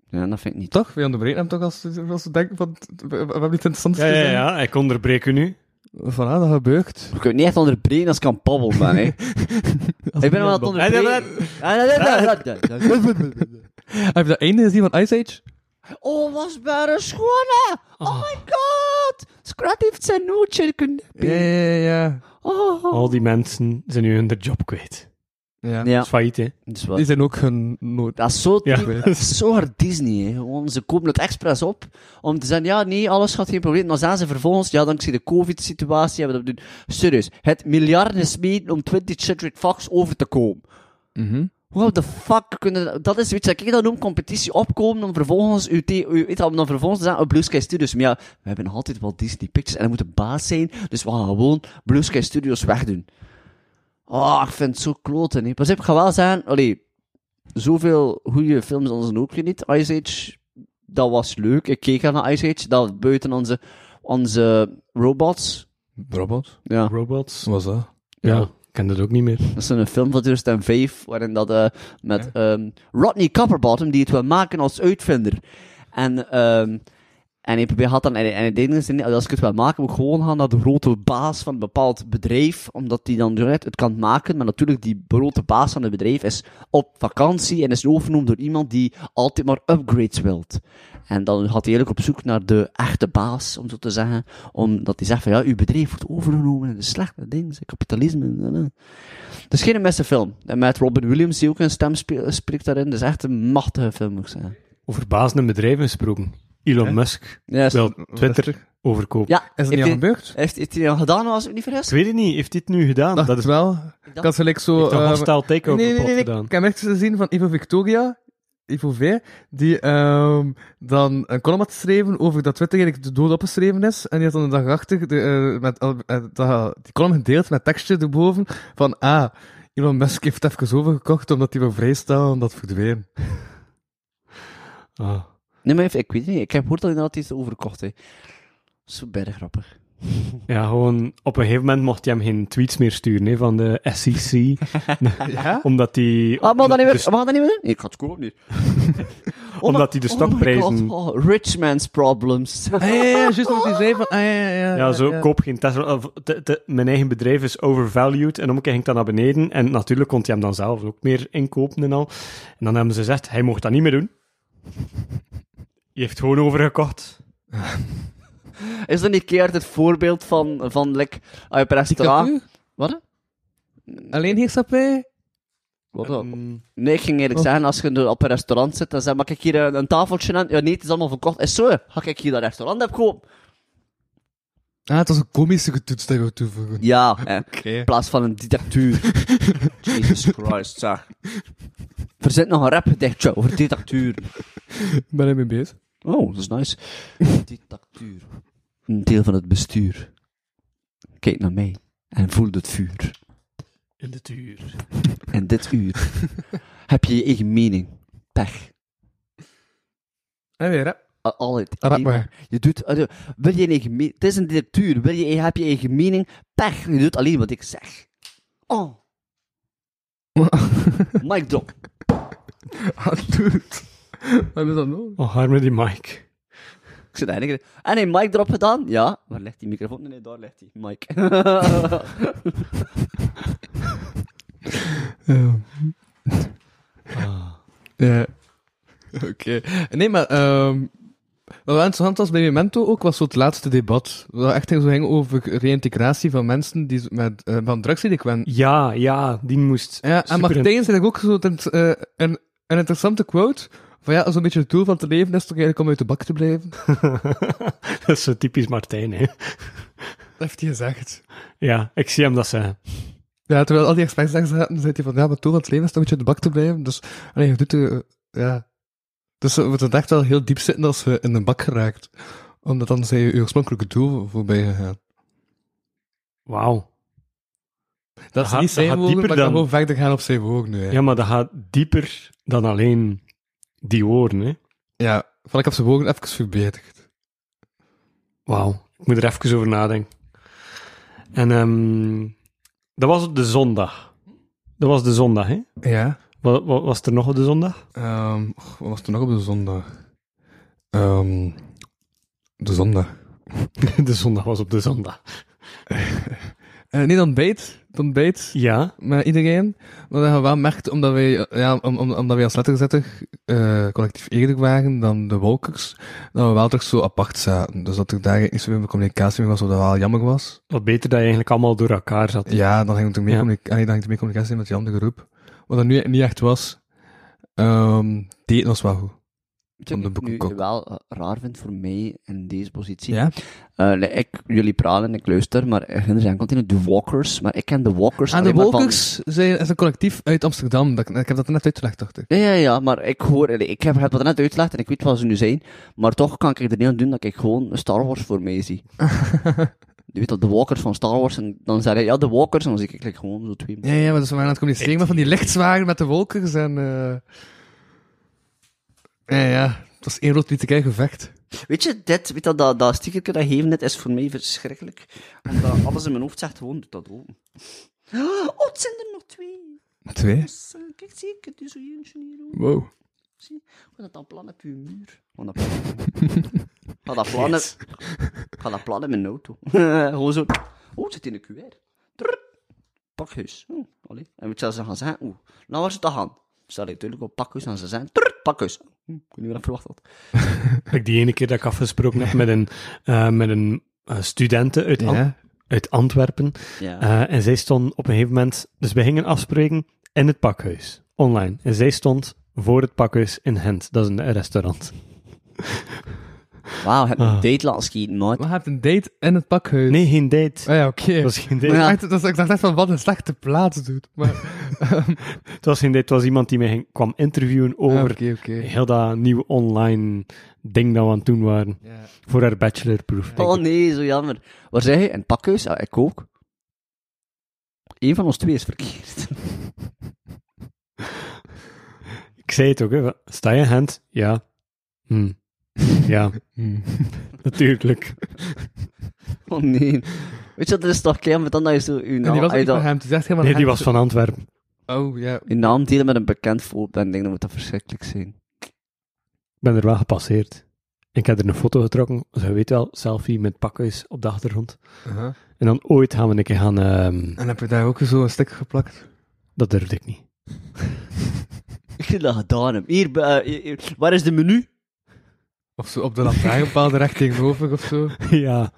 Speaker 3: Ja, dat vind ik niet.
Speaker 5: Toch? Wij onderbreken hem toch als, als we denken van, we, we hebben iets interessants
Speaker 4: Ja, ja,
Speaker 5: gezien.
Speaker 4: ja. Ik onderbreek u nu.
Speaker 5: Voilà, dat gebeurt.
Speaker 3: Ik kan het niet echt onderbreken als ik aan babbelen ben, hè. ik ben wel aan het onderbreken.
Speaker 5: Heb je dat einde gezien van Ice Age?
Speaker 3: Oh, was bij een schone! Oh, my god! Scrat heeft zijn nootje kunnen
Speaker 5: Ja, ja, ja.
Speaker 3: Oh.
Speaker 4: Al die mensen zijn nu hun job kwijt.
Speaker 5: ja.
Speaker 4: Dat
Speaker 3: Ja,
Speaker 4: is failliet, hè.
Speaker 3: dus wat.
Speaker 5: Die zijn ook hun nood.
Speaker 3: Dat is zo,
Speaker 4: Ja.
Speaker 3: dat is zo hard Disney, hè. Gewoon, ze kopen het expres op om te zeggen, ja, nee, alles gaat geen probleem. Dan zijn ze vervolgens, ja, dankzij de covid-situatie hebben we dat doen. Serieus, het miljarden smeden om 20th Century Fox over te komen. What the fuck? Kunnen, dat is zoiets dat ik dat noem, competitie opkomen, dan vervolgens uw, the- uw- weet je, om dan vervolgens te zeggen, oh, Blue Sky Studios. Maar ja, we hebben nog altijd wel Disney Pictures en dat moet de baas zijn, dus we gaan gewoon Blue Sky Studios wegdoen. Ah, ik vind het zo kloten, hè. Pas op, ik ga wel zeggen, allee, zoveel goede films anders ook weer niet. Ice Age, dat was leuk. Ik keek naar Ice Age, dat was buiten onze, onze robots.
Speaker 1: Robot?
Speaker 3: Ja.
Speaker 4: Robots.
Speaker 1: Wat was dat?
Speaker 4: Ja, ik ken dat ook niet meer.
Speaker 3: Dat is een film van 2005, waarin dat eh, met ehm, Rodney Copperbottom, die het wil maken als uitvinder. En, ehm, en hij probeert had dan, en hij, en hij deed dus niet, als ik het wil maken, moet ik gewoon gaan naar de grote baas van een bepaald bedrijf, omdat die dan direct het kan maken. Maar natuurlijk, die grote baas van het bedrijf is op vakantie en is overgenomen door iemand die altijd maar upgrades wilt. En dan gaat hij eigenlijk op zoek naar de echte baas, om zo te zeggen. Omdat hij zegt van, ja, uw bedrijf wordt overgenomen en de slechte dingen, kapitalisme. en, eh, het is geen beste film. En met Robin Williams, die ook een stem speel- spreekt daarin. Het is echt een machtige film, moet ik zeggen.
Speaker 4: Over bazende bedrijven gesproken. Elon Musk
Speaker 3: Yes.
Speaker 4: wil Twitter overkopen.
Speaker 3: ja,
Speaker 5: Is dat
Speaker 3: heeft
Speaker 5: niet
Speaker 3: hij-
Speaker 5: al gebeurd?
Speaker 3: Heeft, heeft hij dat gedaan, als ik me niet
Speaker 4: Ik
Speaker 3: vergis?
Speaker 4: weet het niet, heeft dit nu gedaan?
Speaker 5: Dat,
Speaker 4: Dat is
Speaker 5: is wel. Ik had gelijk zo...
Speaker 4: heeft een
Speaker 5: ehm,
Speaker 4: hostile takeover
Speaker 5: nee, nee, nee,
Speaker 4: bot
Speaker 5: nee.
Speaker 4: gedaan.
Speaker 5: Ik heb echt gezien van Ivo Victoria, Ivo V, die ehm, dan een column had geschreven over dat Twitter eigenlijk de dood opgeschreven is. En die had dan de dag achter de, eh, met, al- eh, dat- die column gedeeld met tekstje erboven van ah, Elon Musk heeft het even overgekocht omdat hij wil vrijstellen en dat verdween.
Speaker 4: Ah.
Speaker 3: Nee, maar even, ik weet het niet. Ik heb gehoord dat hij inderdaad iets overkocht heeft. Zo berg grappig.
Speaker 4: Ja, gewoon op een gegeven moment mocht hij hem geen tweets meer sturen hè, van de SEC.
Speaker 5: Ja?
Speaker 4: Omdat hij.
Speaker 3: Ah, maar dan niet
Speaker 4: omdat dus-
Speaker 3: meer?
Speaker 4: de st-
Speaker 3: Mag dat niet meer? Nee, ik had het gewoon niet.
Speaker 4: Omdat hij de stokprijzen-
Speaker 3: Oh, my God, oh, rich man's problems.
Speaker 5: Ah, ja, ja, juist wat hij zei van ah, ja, ja, ja.
Speaker 4: Ja, zo
Speaker 5: ja.
Speaker 4: koop geen Tesla. of, te- te- mijn eigen bedrijf is overvalued. En omkeer ging dat naar beneden. En natuurlijk kon hij hem dan zelf ook meer inkopen en al. En dan hebben ze gezegd: hij mocht dat niet meer doen. Je heeft gewoon overgekocht.
Speaker 3: Is dat niet keer het voorbeeld van, van like, als je op een restaurant...
Speaker 5: Dictatuur?
Speaker 3: Wat?
Speaker 5: Alleen heerschappij?
Speaker 3: Wat?
Speaker 4: Mm,
Speaker 3: Nee, ik ging eerlijk zeggen, als je door- op een restaurant zit en zegt, mag ik hier een, een tafeltje aan? Ja, nee, het is allemaal verkocht. Is zo, ga ik hier dat restaurant heb kopen?
Speaker 5: Ah, het was een komische getoetst dat ik wou toevoegen.
Speaker 3: Ja, hè.
Speaker 5: Oké.
Speaker 3: in plaats van een dictatuur. Jesus Christ, zeg. Er zit nog een rapgedichtje over dictatuur.
Speaker 5: Ben je mee bezig?
Speaker 3: Oh, dat is nice. Dictatuur. Een deel van het bestuur. Kijk naar mij en voel het vuur.
Speaker 4: in de tuur.
Speaker 3: En dit uur heb je je eigen mening. Pech.
Speaker 5: En Ah, weer, hè?
Speaker 3: Al- Altijd.
Speaker 5: Rap maar.
Speaker 3: Je doet, eh, wil je een eigen me- het is een dictatuur, wil je, heb je eigen mening, pech, je doet alleen wat ik zeg. Oh. Mike drop.
Speaker 5: Ah, dude. Wat is dat nou?
Speaker 4: Oh, harme die Mike.
Speaker 3: Ik zit eigenlijk... En een mic drop gedaan? Ja. Waar ligt die microfoon? Nee, nee, daar ligt die. Mike.
Speaker 5: Ja. Oké. Nee, maar ehm wat wel interessant was bij Memento ook, was zo het laatste debat. Dat echt zo ging over reïntegratie van mensen die z- met, eh, van drugsdelinquenten.
Speaker 4: Ja, ja, die moest.
Speaker 5: Ja, en
Speaker 4: super-
Speaker 5: Martijn zei ook zo tent- eh, een, een interessante quote. Van ja, zo'n beetje het doel van het leven is toch eigenlijk om uit de bak te blijven. Dat
Speaker 4: dat is zo typisch Martijn, hè.
Speaker 5: heeft hij gezegd.
Speaker 4: Ja, ik zie hem dat zeggen.
Speaker 5: Ja, terwijl al die experts daar zaten, zei hij van ja, maar het doel van het leven is toch een beetje uit de bak te blijven. Dus, allee, je doet eh, ja. Dus eh, we moeten echt wel heel diep zitten als ze in de bak geraakt. Omdat dan zijn je je oorspronkelijke doel voorbij gegaan.
Speaker 4: Wauw.
Speaker 5: Dat is
Speaker 4: gaat-
Speaker 5: niet
Speaker 4: dat
Speaker 5: zijn
Speaker 4: gaat
Speaker 5: wogen,
Speaker 4: dieper
Speaker 5: maar
Speaker 4: dan-
Speaker 5: dan gewoon verder gaan op zijn wogen nu. hè.
Speaker 4: Ja, maar dat gaat dieper dan alleen die woorden, hè.
Speaker 5: Ja, van ik heb zijn wogen even verbeterd.
Speaker 4: Wauw. Ik moet er even over nadenken. En ehm, dat was op de zondag. Dat was de zondag, hè?
Speaker 5: Ja.
Speaker 4: Wat, was er nog op de zondag?
Speaker 5: Ehm, och, wat was er nog op de zondag? Ehm, de zondag.
Speaker 4: de zondag was op de zondag.
Speaker 5: Eh, nee, dan bijt. Dan bijt
Speaker 4: Ja,
Speaker 5: met iedereen. Maar dat je wel merkt, omdat wij, eh, ja, om, om, omdat wij als letterzetter eh, collectief eerder waren dan de wolkers, dat we wel toch zo apart zaten. Dus dat er daar eigenlijk niet zoveel communicatie mee was, wat wel jammer was.
Speaker 4: wat beter dat je eigenlijk allemaal door elkaar zat.
Speaker 5: Ja, dan ging het er meer,
Speaker 4: Ja.
Speaker 5: communi- allee, dan ging er meer communicatie in met die andere groep. Wat dat nu niet echt was, Ehm die eten was wel goed.
Speaker 3: Weet
Speaker 1: Van
Speaker 3: je
Speaker 1: de
Speaker 3: wat ik nu
Speaker 1: boekenkok.
Speaker 3: wel eh, raar vind voor mij in deze positie.
Speaker 1: Ja?
Speaker 3: Eh, nee, ik, jullie pralen en ik luister, maar er zijn continu de Walkers, maar ik ken de Walkers
Speaker 1: Ah,
Speaker 5: En de
Speaker 3: alleen maar van-
Speaker 5: Walkers zijn, is een collectief uit Amsterdam. Dat, ik heb dat net uitgelegd, dacht ik.
Speaker 3: Ja, ja, ja, maar ik hoor, allee, ik heb het wat net uitgelegd en ik weet wat ze nu zijn, maar toch kan ik er niet aan doen dat ik gewoon Star Wars voor mij zie. Je weet dat, de Walkers van Star Wars, en dan zei hij, ja, de Walkers, en dan zie ik like, gewoon zo twee.
Speaker 5: Ja, ja, maar dat is waar aan het communiceren maar van die lichtzwagen met de Walkers en... eh, Ja, ja. Het was één rood witte gevecht.
Speaker 3: Weet je, dit, weet dat, dat, dat stickerke dat geven net is voor mij verschrikkelijk. Omdat alles in mijn hoofd zegt, gewoon doe dat open. Oh, het zijn er nog twee.
Speaker 1: Twee?
Speaker 3: Dus, eh, kijk, zie ik, het is zo eentje hier. hoor.
Speaker 1: Wow.
Speaker 3: Zie, ik dat dan plan op uw muur. Van dat plan. Ik Ga dat plannen. Ga dat plannen in mijn auto. Gewoon zo. Oh, het zit in de QR. Trrr. Pakhuis. Oh, allee. En weet je wat ze gaan zeggen? Oeh, nou waar ze dat gaan? Stel ik natuurlijk op pakhuis en ze zeggen. Trrr, pakhuis. Hm, Ik weet niet wat ik verwacht had.
Speaker 4: Ik die ene keer dat ik afgesproken heb met een, eh, met een eh, studenten uit, Am-
Speaker 1: Ja?
Speaker 4: uit Antwerpen.
Speaker 3: Ja.
Speaker 4: Eh, en zij stond op een gegeven moment... Dus we gingen afspreken in het pakhuis, online. En zij stond voor het pakhuis in Gent. Dat is een restaurant.
Speaker 3: Wauw, heb je een
Speaker 4: Ah.
Speaker 3: date laten schieten, maat.
Speaker 5: Maar je hebt een date in het pakhuis.
Speaker 4: Nee, geen date.
Speaker 5: Ah ja, oké.
Speaker 4: Het was geen date.
Speaker 3: Maar ja.
Speaker 5: Echt, dat is- Ik dacht echt van, wat een slechte plaats, doet. Maar,
Speaker 4: Het was geen date. Het was iemand die mij ging- kwam interviewen
Speaker 5: Ah,
Speaker 4: over
Speaker 5: oké, oké.
Speaker 4: heel dat nieuwe online ding dat we aan het doen waren.
Speaker 5: Ja.
Speaker 4: Voor haar bachelorproef. denk
Speaker 3: Oh
Speaker 4: ik.
Speaker 3: nee, zo jammer. Waar zeg je? Een pakhuis? Ja, ik ook. Eén van ons twee is verkeerd.
Speaker 4: Ik zei het ook, hè. Sta je in Gent? Ja. Hm. Ja,
Speaker 3: Hmm.
Speaker 4: natuurlijk.
Speaker 3: Oh nee. Weet je, dat is toch keer met dan dat je zo je
Speaker 5: En die
Speaker 3: naam,
Speaker 5: was
Speaker 3: als je
Speaker 5: ook
Speaker 3: dat-
Speaker 5: van hem. Die zegt helemaal
Speaker 4: Nee, die
Speaker 5: hem.
Speaker 4: was van Antwerpen.
Speaker 5: Oh, ja.
Speaker 3: je naam delen met een bekend volk, dan denk ik dat moet dat verschrikkelijk zijn.
Speaker 4: Ik ben er wel gepasseerd. Ik heb er een foto getrokken. Ze weet wel, selfie met pakhuis op de achtergrond.
Speaker 5: Aha.
Speaker 4: En dan ooit gaan we een keer gaan... ehm,
Speaker 5: En heb je daar ook zo een sticker geplakt?
Speaker 4: dat durfde ik niet.
Speaker 3: Ik vind dat gedaan heb. Hier, be- eh, hier- hier. waar is de menu?
Speaker 5: Of zo op de lantaarnpaal recht tegenover of zo?
Speaker 4: ja.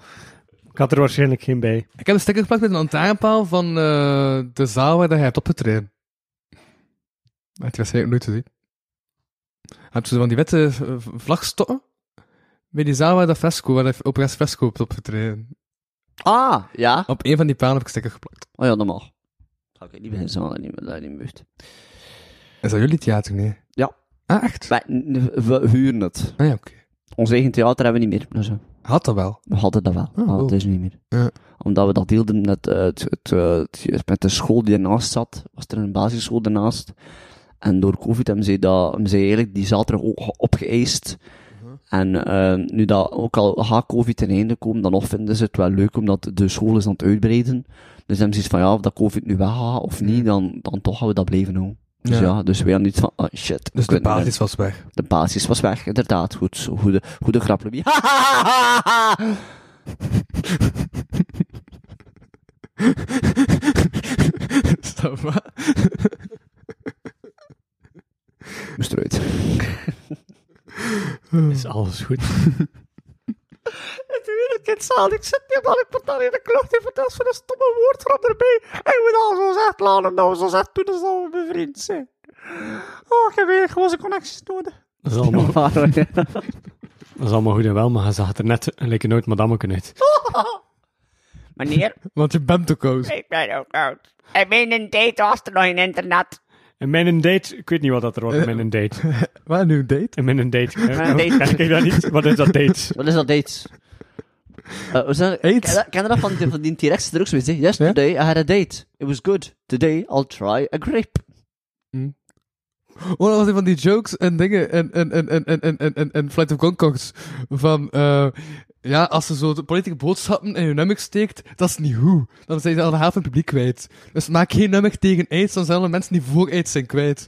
Speaker 4: Ik had er waarschijnlijk geen bij.
Speaker 5: Ik heb een sticker geplakt met een lantaarnpaal van eh, de zaal waar dat hij hebt opgetreden. Maar het was eigenlijk nooit te zien. Heb je zo van die witte eh, v- vlagstokken? Bij die zaal waar dat fresco, waar hij op Rest Fresco hebt opgetreden.
Speaker 3: Ah, ja.
Speaker 5: Op een van die palen heb ik een sticker geplakt.
Speaker 3: Oh ja, dat mag. Ga ik niet beginnen, dat niet, dat niet meurt.
Speaker 5: Is dat jullie theater, nee?
Speaker 3: Ja.
Speaker 5: Ah, echt?
Speaker 3: Wij- n- We huren het.
Speaker 5: Ah ja, oké.
Speaker 3: Ons eigen theater hebben we niet meer. Dus, eh,
Speaker 5: Had dat wel.
Speaker 3: we hadden dat wel, maar
Speaker 5: wow.
Speaker 3: dat is niet meer.
Speaker 5: Ah, Ja.
Speaker 3: Omdat we dat deelden met, eh, het, het, eh, het- met de school die ernaast zat. Was er een basisschool daarnaast. En door covid hebben ze, dat, hebben ze eigenlijk die zaterdag ook ge- opgeëist.
Speaker 5: Uh-huh.
Speaker 3: En eh, nu dat ook al gaat covid ten einde komen, dan nog vinden ze het wel leuk, omdat de school is aan het uitbreiden. Dus hebben ze iets van, ja, of dat covid nu weggaat of niet, dan, dan toch gaan we dat blijven doen. Dus
Speaker 5: Ja.
Speaker 3: ja, dus we hadden iets van, ah shit.
Speaker 5: Dus
Speaker 3: we
Speaker 5: de
Speaker 3: kunnen-
Speaker 5: basis was weg.
Speaker 3: de basis was weg, inderdaad. Goed, zo, goede, goede grap, Louis.
Speaker 5: Is dat waar?
Speaker 3: Moest eruit. Hm.
Speaker 4: Is alles goed?
Speaker 3: Natuurlijk, het zal. Ik zit niet maar ik moet daar in de klucht even dat voor een stomme woordgrap erbij. En ik moet al zo zegt laten, nou zo zegt toen is al mijn vriend zijn. Oh, ik heb weer gewoon zijn connecties nodig.
Speaker 4: Dat is allemaal, dat is allemaal goed en wel, maar ze had er net lekker nooit madammeken uit.
Speaker 8: Meneer,
Speaker 5: Want je bent ook koos.
Speaker 8: ik ben ook oud. En mijn date was er nog in internet.
Speaker 4: En mijn date, ik weet niet wat dat er
Speaker 3: Eh.
Speaker 4: wordt, mijn date.
Speaker 5: Waar nu een date?
Speaker 4: En mijn date. eh,
Speaker 8: Mijn date.
Speaker 4: Kijk dat niet, wat is dat date?
Speaker 3: Wat is dat, dates? Eh, we zijn- ken, je
Speaker 5: Aids?
Speaker 3: dat- ken je dat van die, van die T-Rex drugs? Weet je? Yesterday I had a date. It was good. Today I'll try a grape.
Speaker 5: Oh, dat was een van die jokes en dingen en, en, en, en, en, en, en, en, en Flight of Concords. Van, eh, ja, als ze zo de politieke boodschappen in hun nummer steekt, dat is niet hoe. Dan zijn ze al de helft van het publiek kwijt. Dus maak geen nummer tegen AIDS, dan zijn alle mensen die voor AIDS zijn kwijt.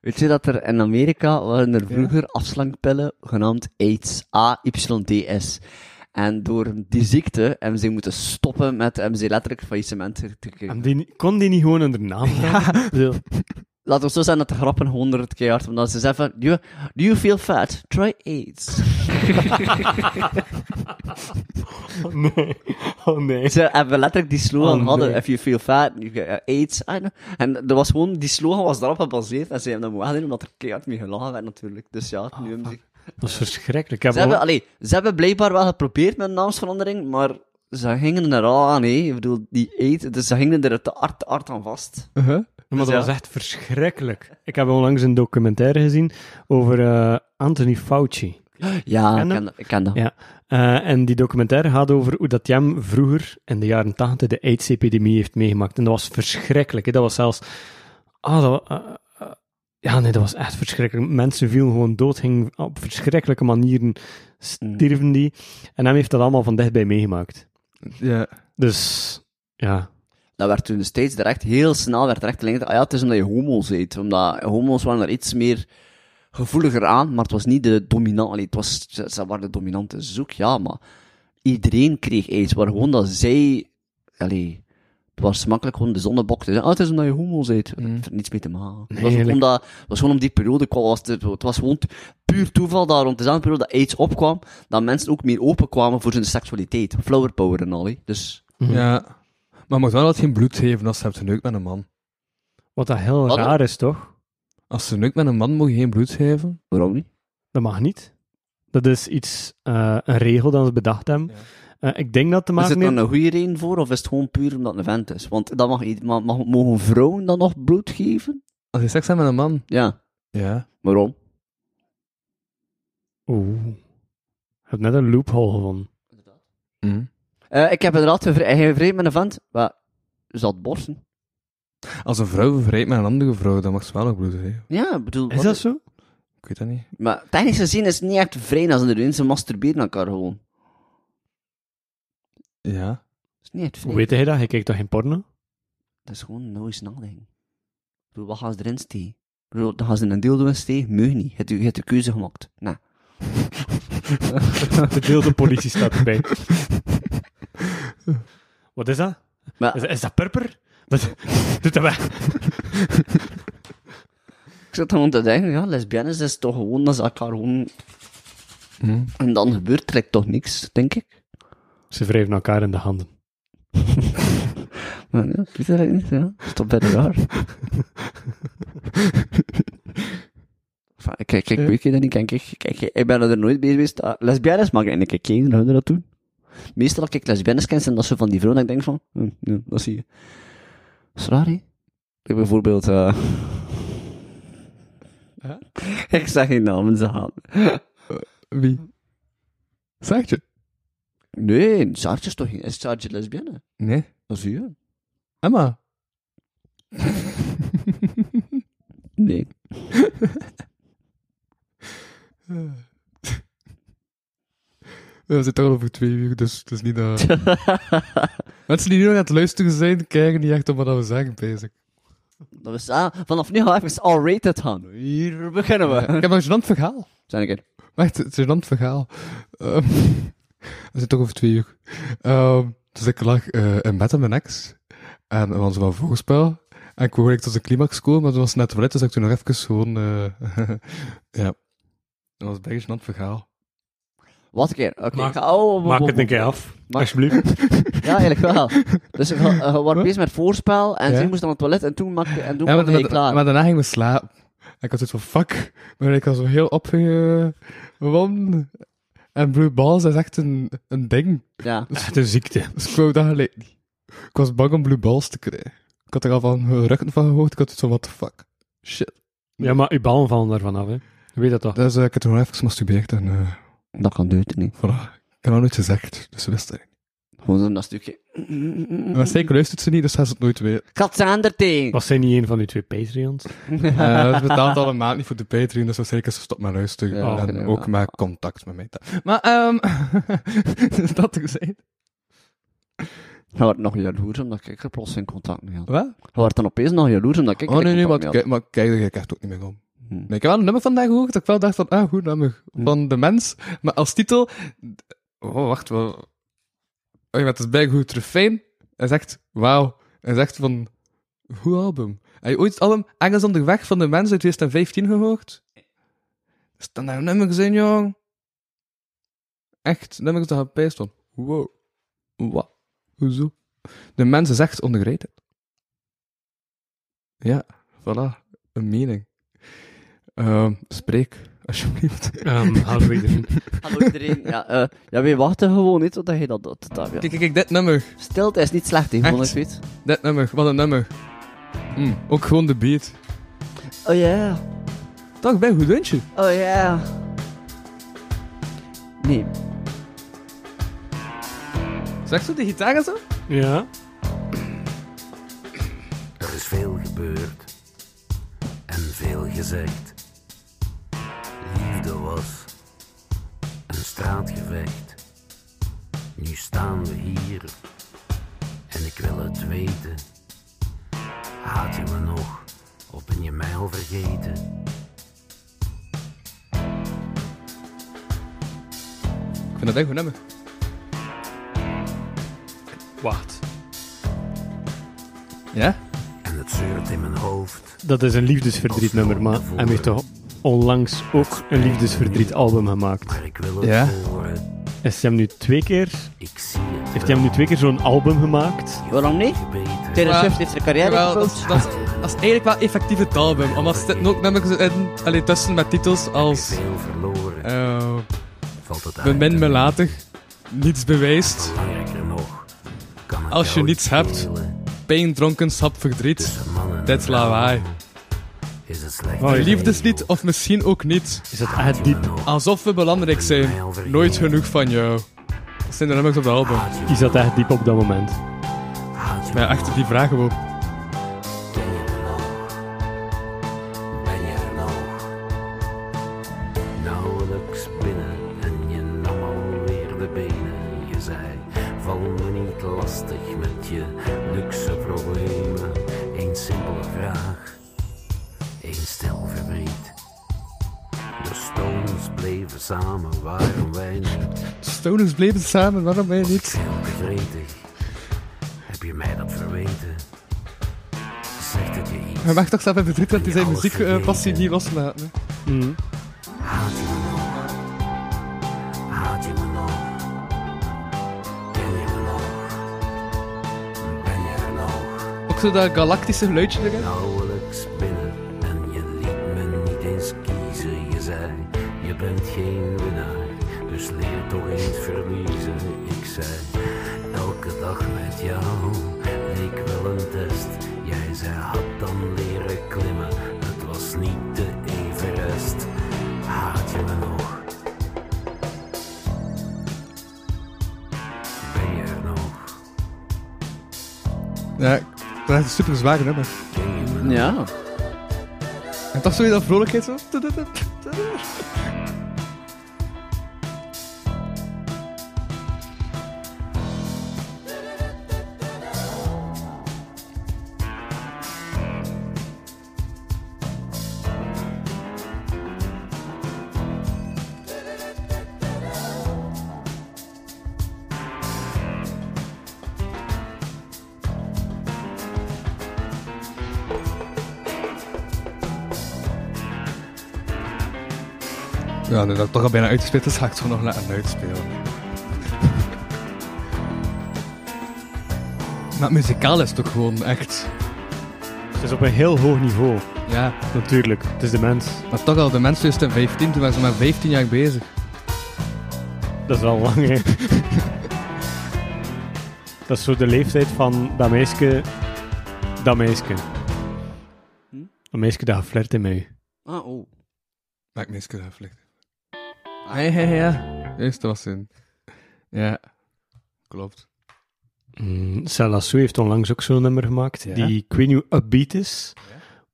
Speaker 3: Weet je dat er in Amerika waren er vroeger afslankpillen genaamd AIDS, A-Y-D-S. En door die ziekte hebben ze moeten stoppen met, hebben ze letterlijk faillissement gekregen.
Speaker 4: En die, ni- kon die niet gewoon onder naam gaan? Zo.
Speaker 3: Laten we zo zijn dat de grappen honderd keer hard, omdat ze zeggen van, do you, do you feel fat? Try AIDS.
Speaker 4: nee. Oh nee.
Speaker 3: Ze hebben letterlijk die slogan
Speaker 4: Oh,
Speaker 3: hadden,
Speaker 4: nee.
Speaker 3: if you feel fat, you get AIDS. I know. En er was gewoon, die slogan was daarop gebaseerd. En ze hebben dat moeten aannemen, omdat er keihard mee gelachen werd natuurlijk. Dus ja,
Speaker 4: Oh,
Speaker 3: nu hebben ze...
Speaker 4: Dat is verschrikkelijk. Ik heb
Speaker 3: Ze hebben,
Speaker 4: al-
Speaker 3: allee, ze hebben blijkbaar wel geprobeerd met een naamsverandering, maar ze gingen er al aan, hé. Ik bedoel, die AIDS, dus ze gingen er te hard, te hard aan vast.
Speaker 4: Maar
Speaker 3: Dus
Speaker 4: dat
Speaker 3: ja.
Speaker 4: was echt verschrikkelijk. Ik heb onlangs een documentaire gezien over eh, Anthony Fauci.
Speaker 3: Ja, ik
Speaker 4: Ken
Speaker 3: ken
Speaker 4: hem?
Speaker 3: dat. Ik ken dat.
Speaker 4: Ja, eh, en die documentaire gaat over hoe dat Jam vroeger in de jaren 80 de AIDS-epidemie heeft meegemaakt. En dat was verschrikkelijk. Hè? Dat was zelfs. Ah, dat, wa- eh, eh, ja, nee, dat was echt verschrikkelijk. Mensen vielen gewoon dood, gingen op verschrikkelijke manieren stierven die. En hem heeft dat allemaal van dichtbij meegemaakt.
Speaker 1: Ja.
Speaker 4: Dus ja.
Speaker 3: Dat werd toen dus steeds direct, heel snel werd direct gelinkt. Ah ja, het is omdat je homo's eet. Omdat homo's waren er iets meer gevoeliger aan, maar het was niet de dominant. allee, het was, ze, ze waren de dominante zoek, ja, maar iedereen kreeg aids. Maar gewoon dat zij, allee, het was makkelijk gewoon de zonnebok te zeggen. Ah, het is omdat je homo's eet. Het heeft er niets mee te maken. het, was ook
Speaker 4: eigenlijk.
Speaker 3: omdat, het was gewoon om die periode kwam. Was het, het was gewoon t- puur toeval dat rond dezelfde periode dat aids opkwam, dat mensen ook meer open kwamen voor hun seksualiteit. Flower power en al, hè. Dus,
Speaker 4: Mhm.
Speaker 1: ja. Maar je moet wel altijd geen bloed geven als je hebt geneukt met een man.
Speaker 4: Wat dat heel
Speaker 3: Wat?
Speaker 4: raar is, toch?
Speaker 1: Als ze neukt met een man, moet je geen bloed geven.
Speaker 3: waarom niet?
Speaker 4: Dat mag niet. Dat is iets, eh, een regel dat ze bedacht hebben. Eh, ik denk dat te
Speaker 3: Is
Speaker 4: maken
Speaker 3: het dan
Speaker 4: heeft-
Speaker 3: een goede reden voor, of is het gewoon puur omdat het een vent is? Want dan mag, ied- ma- mag, mogen vrouwen dan nog bloed geven?
Speaker 1: Als je seks hebt met een man.
Speaker 3: Ja,
Speaker 1: Ja.
Speaker 3: waarom?
Speaker 4: Oeh. Ik heb net een loophole gevonden.
Speaker 1: Hm.
Speaker 3: Eh, ik heb inderdaad gevre- hij gevreemd met een vent, maar zat borsten.
Speaker 1: Als een vrouw vervrijdt met een andere vrouw, dan mag ze wel nog bloed geven.
Speaker 3: Ja, ik bedoel...
Speaker 4: Is
Speaker 3: wat-
Speaker 4: dat zo?
Speaker 1: Ik weet dat niet.
Speaker 3: Maar technisch gezien is het niet echt vreemd als ze erin ze masturberen naar elkaar gewoon.
Speaker 1: Ja.
Speaker 3: Dat is niet echt
Speaker 4: Hoe
Speaker 3: vreemd.
Speaker 4: weet hij dat? Hij kijkt toch geen porno?
Speaker 3: Dat is gewoon nou eens nadenken. Ik bedoel, wat gaan ze erin steken? Ik bedoel, dan gaan ze een dildo in steken? Meug niet. Je hebt, je hebt de keuze gemaakt. Nou, Nee.
Speaker 4: De wilde politie staat erbij. Wat is dat?
Speaker 3: Maar-
Speaker 4: Is, is dat purper? Dat, doet dat weg.
Speaker 3: Ik zat gewoon te denken, ja, lesbiennes is toch gewoon dat ze elkaar gewoon...
Speaker 4: Hm?
Speaker 3: En dan gebeurt er like, toch niks, denk ik.
Speaker 4: Ze wrijven elkaar in de handen.
Speaker 3: Maar ja, ik weet dat eigenlijk niet, ja. Stop bij de raar. Enfin, kijk, kijk, weet je dat niet? Kijk, ik- kijk, ik ben er nooit bezig geweest. Ah, lesbiennes mag ik eigenlijk geen, dan houden dat doen. Meestal als ik lesbiennes ken, zijn dat zo van die vrouwen dat ik denk van, hm, nee, dat zie je. Dat is raar, hè? Ik bijvoorbeeld... eh, ik zeg geen namen, ze gaan.
Speaker 1: Wie? Zegt je?
Speaker 3: Nee, Saartje is toch geen... Is Saartje lesbienne?
Speaker 1: Nee.
Speaker 3: Dat zie je.
Speaker 1: Emma.
Speaker 3: Nee.
Speaker 1: We zitten toch al over twee uur, dus het is niet dat... Mensen die nu nog aan het luisteren zijn, kijken niet echt op wat we zeggen, bezig.
Speaker 3: Dat is, ah, vanaf nu gaan we even all-rated gaan. Hier beginnen we.
Speaker 1: Ik heb een gênant verhaal.
Speaker 3: Zijn ik er?
Speaker 1: Maar echt, het is een verhaal. Ehm, we zijn toch over twee uur. Ehm, dus ik lag eh, in bed met mijn ex. En we hadden zo'n voorspel. En ik wou eigenlijk tot de climax komen, maar toen was het net toilet, dus ik toen nog even gewoon... eh, ja. Dat was best een verhaal.
Speaker 3: Wat een keer? Oké,
Speaker 4: Maak-
Speaker 3: ik ga- oh, oh, oh,
Speaker 4: Maak
Speaker 3: oh,
Speaker 4: het
Speaker 3: oh.
Speaker 4: een keer af.
Speaker 3: Maar-
Speaker 4: Alsjeblieft.
Speaker 3: Ja, eigenlijk wel. Dus we waren bezig met voorspel en
Speaker 1: Ja.
Speaker 3: zij moest naar het toilet en toen maakte en toen
Speaker 1: Ja, maar,
Speaker 3: maakte hij
Speaker 1: maar-
Speaker 3: klaar.
Speaker 1: maar daarna ging we slapen. En ik had zoiets van, fuck. Maar ik was zo heel opgewonden. En Blue Balls is echt een, een ding.
Speaker 3: ja.
Speaker 4: Echt een ziekte.
Speaker 1: Dus ik wou dat gelijk niet. Ik was bang om Blue Balls te krijgen. Ik had er al van eh, rukken van gehoord. Ik had zoiets van, what the fuck. Shit.
Speaker 4: Ja, maar uw ballen vallen daarvan af, hè. Je weet dat toch?
Speaker 1: Dus eh, ik heb toen gewoon even gemasturbeerd en eh
Speaker 3: Dat kan duurt niet.
Speaker 1: voilà. Ik heb nog nooit gezegd, dus ze wist het niet.
Speaker 3: Gewoon zo'n dat stukje.
Speaker 1: Maar zeker luistert ze niet, dus gaat ze het nooit weten.
Speaker 3: Katsanderteen!
Speaker 4: Was zij niet een van uw twee Patreons?
Speaker 1: Eh, ze betaalt al een maand niet voor de Patreon, dus waarschijnlijk is ze stop met luisteren.
Speaker 3: Ja,
Speaker 1: en
Speaker 3: oké,
Speaker 1: ook
Speaker 3: ja.
Speaker 1: met contact met mij. Maar, ehm... is dat gezegd?
Speaker 3: Hij wordt nog jaloers omdat ik er plots geen contact mee had.
Speaker 1: Wat?
Speaker 3: Hij wordt dan opeens nog jaloers omdat ik
Speaker 1: Oh
Speaker 3: er
Speaker 1: nee, nee, maar,
Speaker 3: contact mee
Speaker 1: kijk, maar kijk, daar ga ik echt ook niet meer om.
Speaker 3: Hm.
Speaker 1: Nee, ik heb wel een nummer vandaag gehoord, dat ik wel dacht van, ah, goed nummer. Van de mens, maar als titel... Oh, wacht, wel. Oh ja, het is bijgehoed refijn. Hij zegt, wauw. Hij zegt van, goed album. Heb je ooit het album Engels onderweg van de mens uit 2015 gehoord? Is dat nou een nummer gezien, jong? echt nummers dat gaan pijst van, wow, wat, hoezo? De mens is echt underrated. Ja, voilà, een mening. Ehm, spreek, alsjeblieft.
Speaker 4: Ehm, houden we erin.
Speaker 3: Hallo iedereen. Ja, eh ja, wij wachten gewoon niet totdat je dat doet. Dat, ja.
Speaker 1: Kijk, kijk, kijk, dit nummer,
Speaker 3: Stilte is niet slecht, hè, gewoon
Speaker 1: Echt?
Speaker 3: even iets.
Speaker 1: dit nummer, wat een nummer. Hm, ook gewoon de beat.
Speaker 3: Oh ja,
Speaker 1: Dag, bij goed lunchje.
Speaker 3: oh ja. Nee,
Speaker 1: Zeg zo, die gitaar en zo?
Speaker 4: Ja.
Speaker 9: Er is veel gebeurd en veel gezegd. Liefde was een straatgevecht. Nu staan we hier en ik wil het weten. Haat je me nog of ben je mij al vergeten?
Speaker 1: Ik vind dat echt goed nummer.
Speaker 4: Wacht.
Speaker 1: Ja?
Speaker 9: En het zeurt in mijn hoofd.
Speaker 4: Dat is een liefdesverdrietnummer, maar hij heeft toch onlangs ook een liefdesverdrietalbum gemaakt.
Speaker 9: Maar ik wil het
Speaker 1: Ja.
Speaker 9: horen.
Speaker 4: Is hij hem nu twee keer...
Speaker 9: Ik zie het.
Speaker 4: Heeft hij hem nu twee keer zo'n album gemaakt?
Speaker 3: waarom niet?
Speaker 9: Beter.
Speaker 3: Taylor Swift heeft zijn carrière
Speaker 1: Jawel, dat is,
Speaker 3: gecoacht.
Speaker 1: dat, is, dat is eigenlijk wel effectieve taalbum. Omdat ze zitten ook namelijk in, allee, tussen met titels als...
Speaker 9: Veel verloren.
Speaker 1: eh
Speaker 9: Valt het uit.
Speaker 1: Bemin me later. Niets bewijst.
Speaker 9: Belangrijker nog. Kan het
Speaker 1: Als je
Speaker 9: jou
Speaker 1: niets
Speaker 9: iets
Speaker 1: hebt.
Speaker 9: schelen?
Speaker 1: Pijn, dronkenschap, verdriet.
Speaker 9: Tussen mannen en
Speaker 1: Dit is lawaai.
Speaker 9: Is het slecht?
Speaker 4: Oh, ja.
Speaker 1: Liefdeslied of misschien ook niet.
Speaker 4: Is dat echt diep?
Speaker 1: Alsof we belangrijk zijn. Nooit genoeg van jou. Dat zijn de nummers op de album.
Speaker 4: Is dat echt diep op dat moment?
Speaker 1: Maar ja, achter die vraag gewoon.
Speaker 9: Ben je er nog? Ben je er nog? Nauwelijks binnen en je nam alweer de benen. Je zei, val me niet lastig met je luxe problemen. Eén simpele vraag, één stil verdriet. De stones bleven samen, waren wij niet
Speaker 1: Stoners bleven samen, waarom ben je niet?
Speaker 9: heel bevredigd. Heb je mij dat verweten? Zegt het je iets?
Speaker 1: Hij mag toch zelf in verdriet dat hij zijn muziekpassie niet loslaat. hè?
Speaker 9: Haat je me nog? Haat je me nog? Ken je me nog? Ben je er nog?
Speaker 1: Ook zo dat galactische geluidje erin.
Speaker 9: Nauwelijks binnen en je liet me niet eens kiezen. Je zei, je bent geen winnaar, dus leer toch eens verliezen. Ik zei, elke dag met jou leek wel een test. Jij zei, had dan leren klimmen, het was niet de Everest. Haat je me nog? Ben je er nog?
Speaker 1: Ja, dat is een super zware nummer.
Speaker 3: Ja.
Speaker 1: En toch zo je dat vrolijkheid zo. Ja, nu dat ik toch al bijna uitgespeeld is, ga ik het gewoon nog laten uitspelen. Maar muzikaal is het ook gewoon echt.
Speaker 4: Het is op een heel hoog niveau,
Speaker 1: Ja,
Speaker 4: natuurlijk. Het is de mens.
Speaker 1: maar toch al, de mensen in 2015, toen waren ze maar 15 jaar bezig.
Speaker 4: Dat is wel lang, hè. Dat is zo de leeftijd van dat meisje... Dat meisje.
Speaker 3: Hm?
Speaker 4: Dat meisje dat geflirt in mij.
Speaker 3: Ah, oh.
Speaker 1: Maak me eens kunnen vliegen. Ja, ja, ja. Juist, dat was zin. Ja, klopt.
Speaker 4: Mm, Selassou heeft onlangs ook zo'n nummer gemaakt,
Speaker 1: Ja.
Speaker 4: die ik weet niet hoe upbeat is,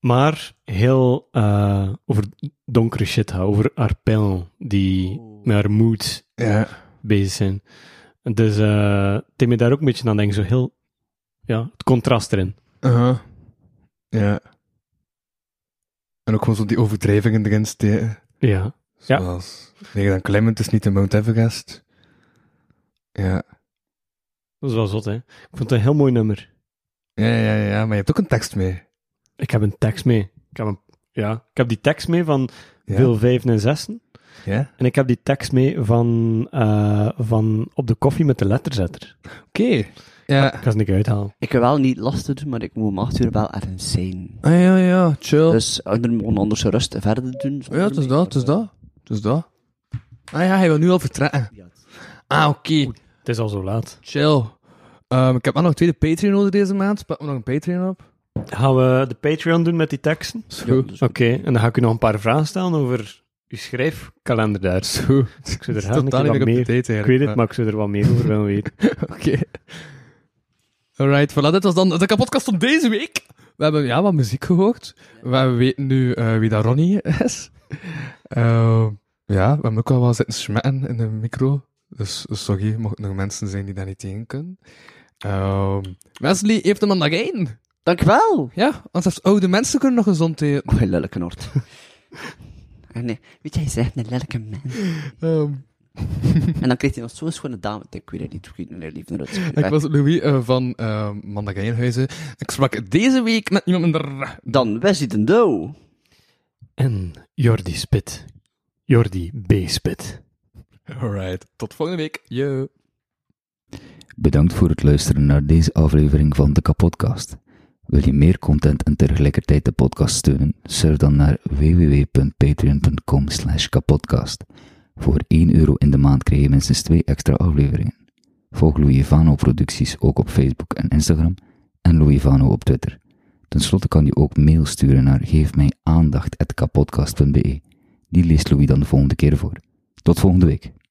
Speaker 4: maar heel eh, over donkere shit gaat, over haar pijl, die met haar moed
Speaker 1: Ja.
Speaker 4: bezig zijn. Dus eh het deed me daar ook een beetje aan denken, zo heel, ja, het contrast erin.
Speaker 1: Uh-huh. Ja. En ook gewoon zo die overdrijvingen erin steken.
Speaker 4: Ja. Ja.
Speaker 1: Zoals, nee, dan klimmen, het is niet de Mount Everest. Ja.
Speaker 4: Dat is wel zot, hè. Ik vond het een heel mooi nummer.
Speaker 1: Ja, ja, ja, ja, maar je hebt ook een tekst mee.
Speaker 4: Ik heb een tekst mee. Ik heb, een, ja, ik heb die tekst mee van
Speaker 1: Ja.
Speaker 4: deel 5 en 6.
Speaker 1: Ja?
Speaker 4: En ik heb die tekst mee van, eh, van op de koffie met de letterzetter.
Speaker 1: Oké. Ja.
Speaker 4: Ik ga ze niet uithalen.
Speaker 3: Ik wil wel niet lastig doen, maar ik moet om 8 uur wel ergens zijn.
Speaker 1: Ah, ja, ja, chill.
Speaker 3: Dus onder mogen anders rust verder doen.
Speaker 1: ja, het is dat, het is dat. Het is dat. Ah ja, hij wil nu al vertrekken. Ah, oké.
Speaker 4: Het is al zo laat.
Speaker 1: Chill. Ehm, ik heb wel nog een tweede Patreon nodig deze maand. Pak me nog een Patreon op.
Speaker 4: Gaan we de Patreon doen met die teksten?
Speaker 1: Is goed.
Speaker 4: Oké, en dan ga ik u nog een paar vragen stellen over uw schrijfkalender daar.
Speaker 1: Is goed.
Speaker 4: Ik zou
Speaker 1: Het is
Speaker 4: er gaan
Speaker 1: totaal niet
Speaker 4: wat
Speaker 1: meer
Speaker 4: meer...
Speaker 1: op de date eigenlijk.
Speaker 4: Ik weet het, maar ik zou er wat meer over willen weten.
Speaker 1: Oké. Alright, voilà. Dit was dan de kapotkast van deze week. We hebben ja, wat muziek gehoord. We weten nu eh, wie dat Ronnie is. Ehm, ja, we hebben ook al wel zitten smetten in de micro. Dus dus sorry, mochten er mensen zijn die daar niet tegen kunnen. Ehm, Wesley heeft hem aan dag één.
Speaker 3: Dankjewel!
Speaker 1: Ja, want zelfs oude mensen kunnen nog gezond eten.
Speaker 3: Oh, lelijke Noord. En nee, weet je, hij is echt een lelijke mens.
Speaker 1: Ehm,
Speaker 3: En dan kreeg hij nog zo'n schone dame. Ik weet het niet, ik weet het niet, lief naar het.
Speaker 1: ik was Louis eh, van uh, Mandagijnhuizen. Ik sprak deze week met iemand minder.
Speaker 3: Dan Wesley den Do.
Speaker 4: En Jordi Spit. Jordi B. Spit.
Speaker 1: Alright, tot volgende week. Yo.
Speaker 10: Bedankt voor het luisteren naar deze aflevering van de Kapodcast. Wil je meer content en tegelijkertijd de podcast steunen? Surf dan naar www.patreon.com slash kapodcast. Voor 1 euro in de maand krijg je minstens 2 extra afleveringen. Volg Louis Vano producties ook op Facebook en Instagram en Louis Vano op Twitter. Ten slotte kan je ook mail sturen naar geefmijaandacht.kapodcast.be. Die leest Louis dan de volgende keer voor. Tot volgende week.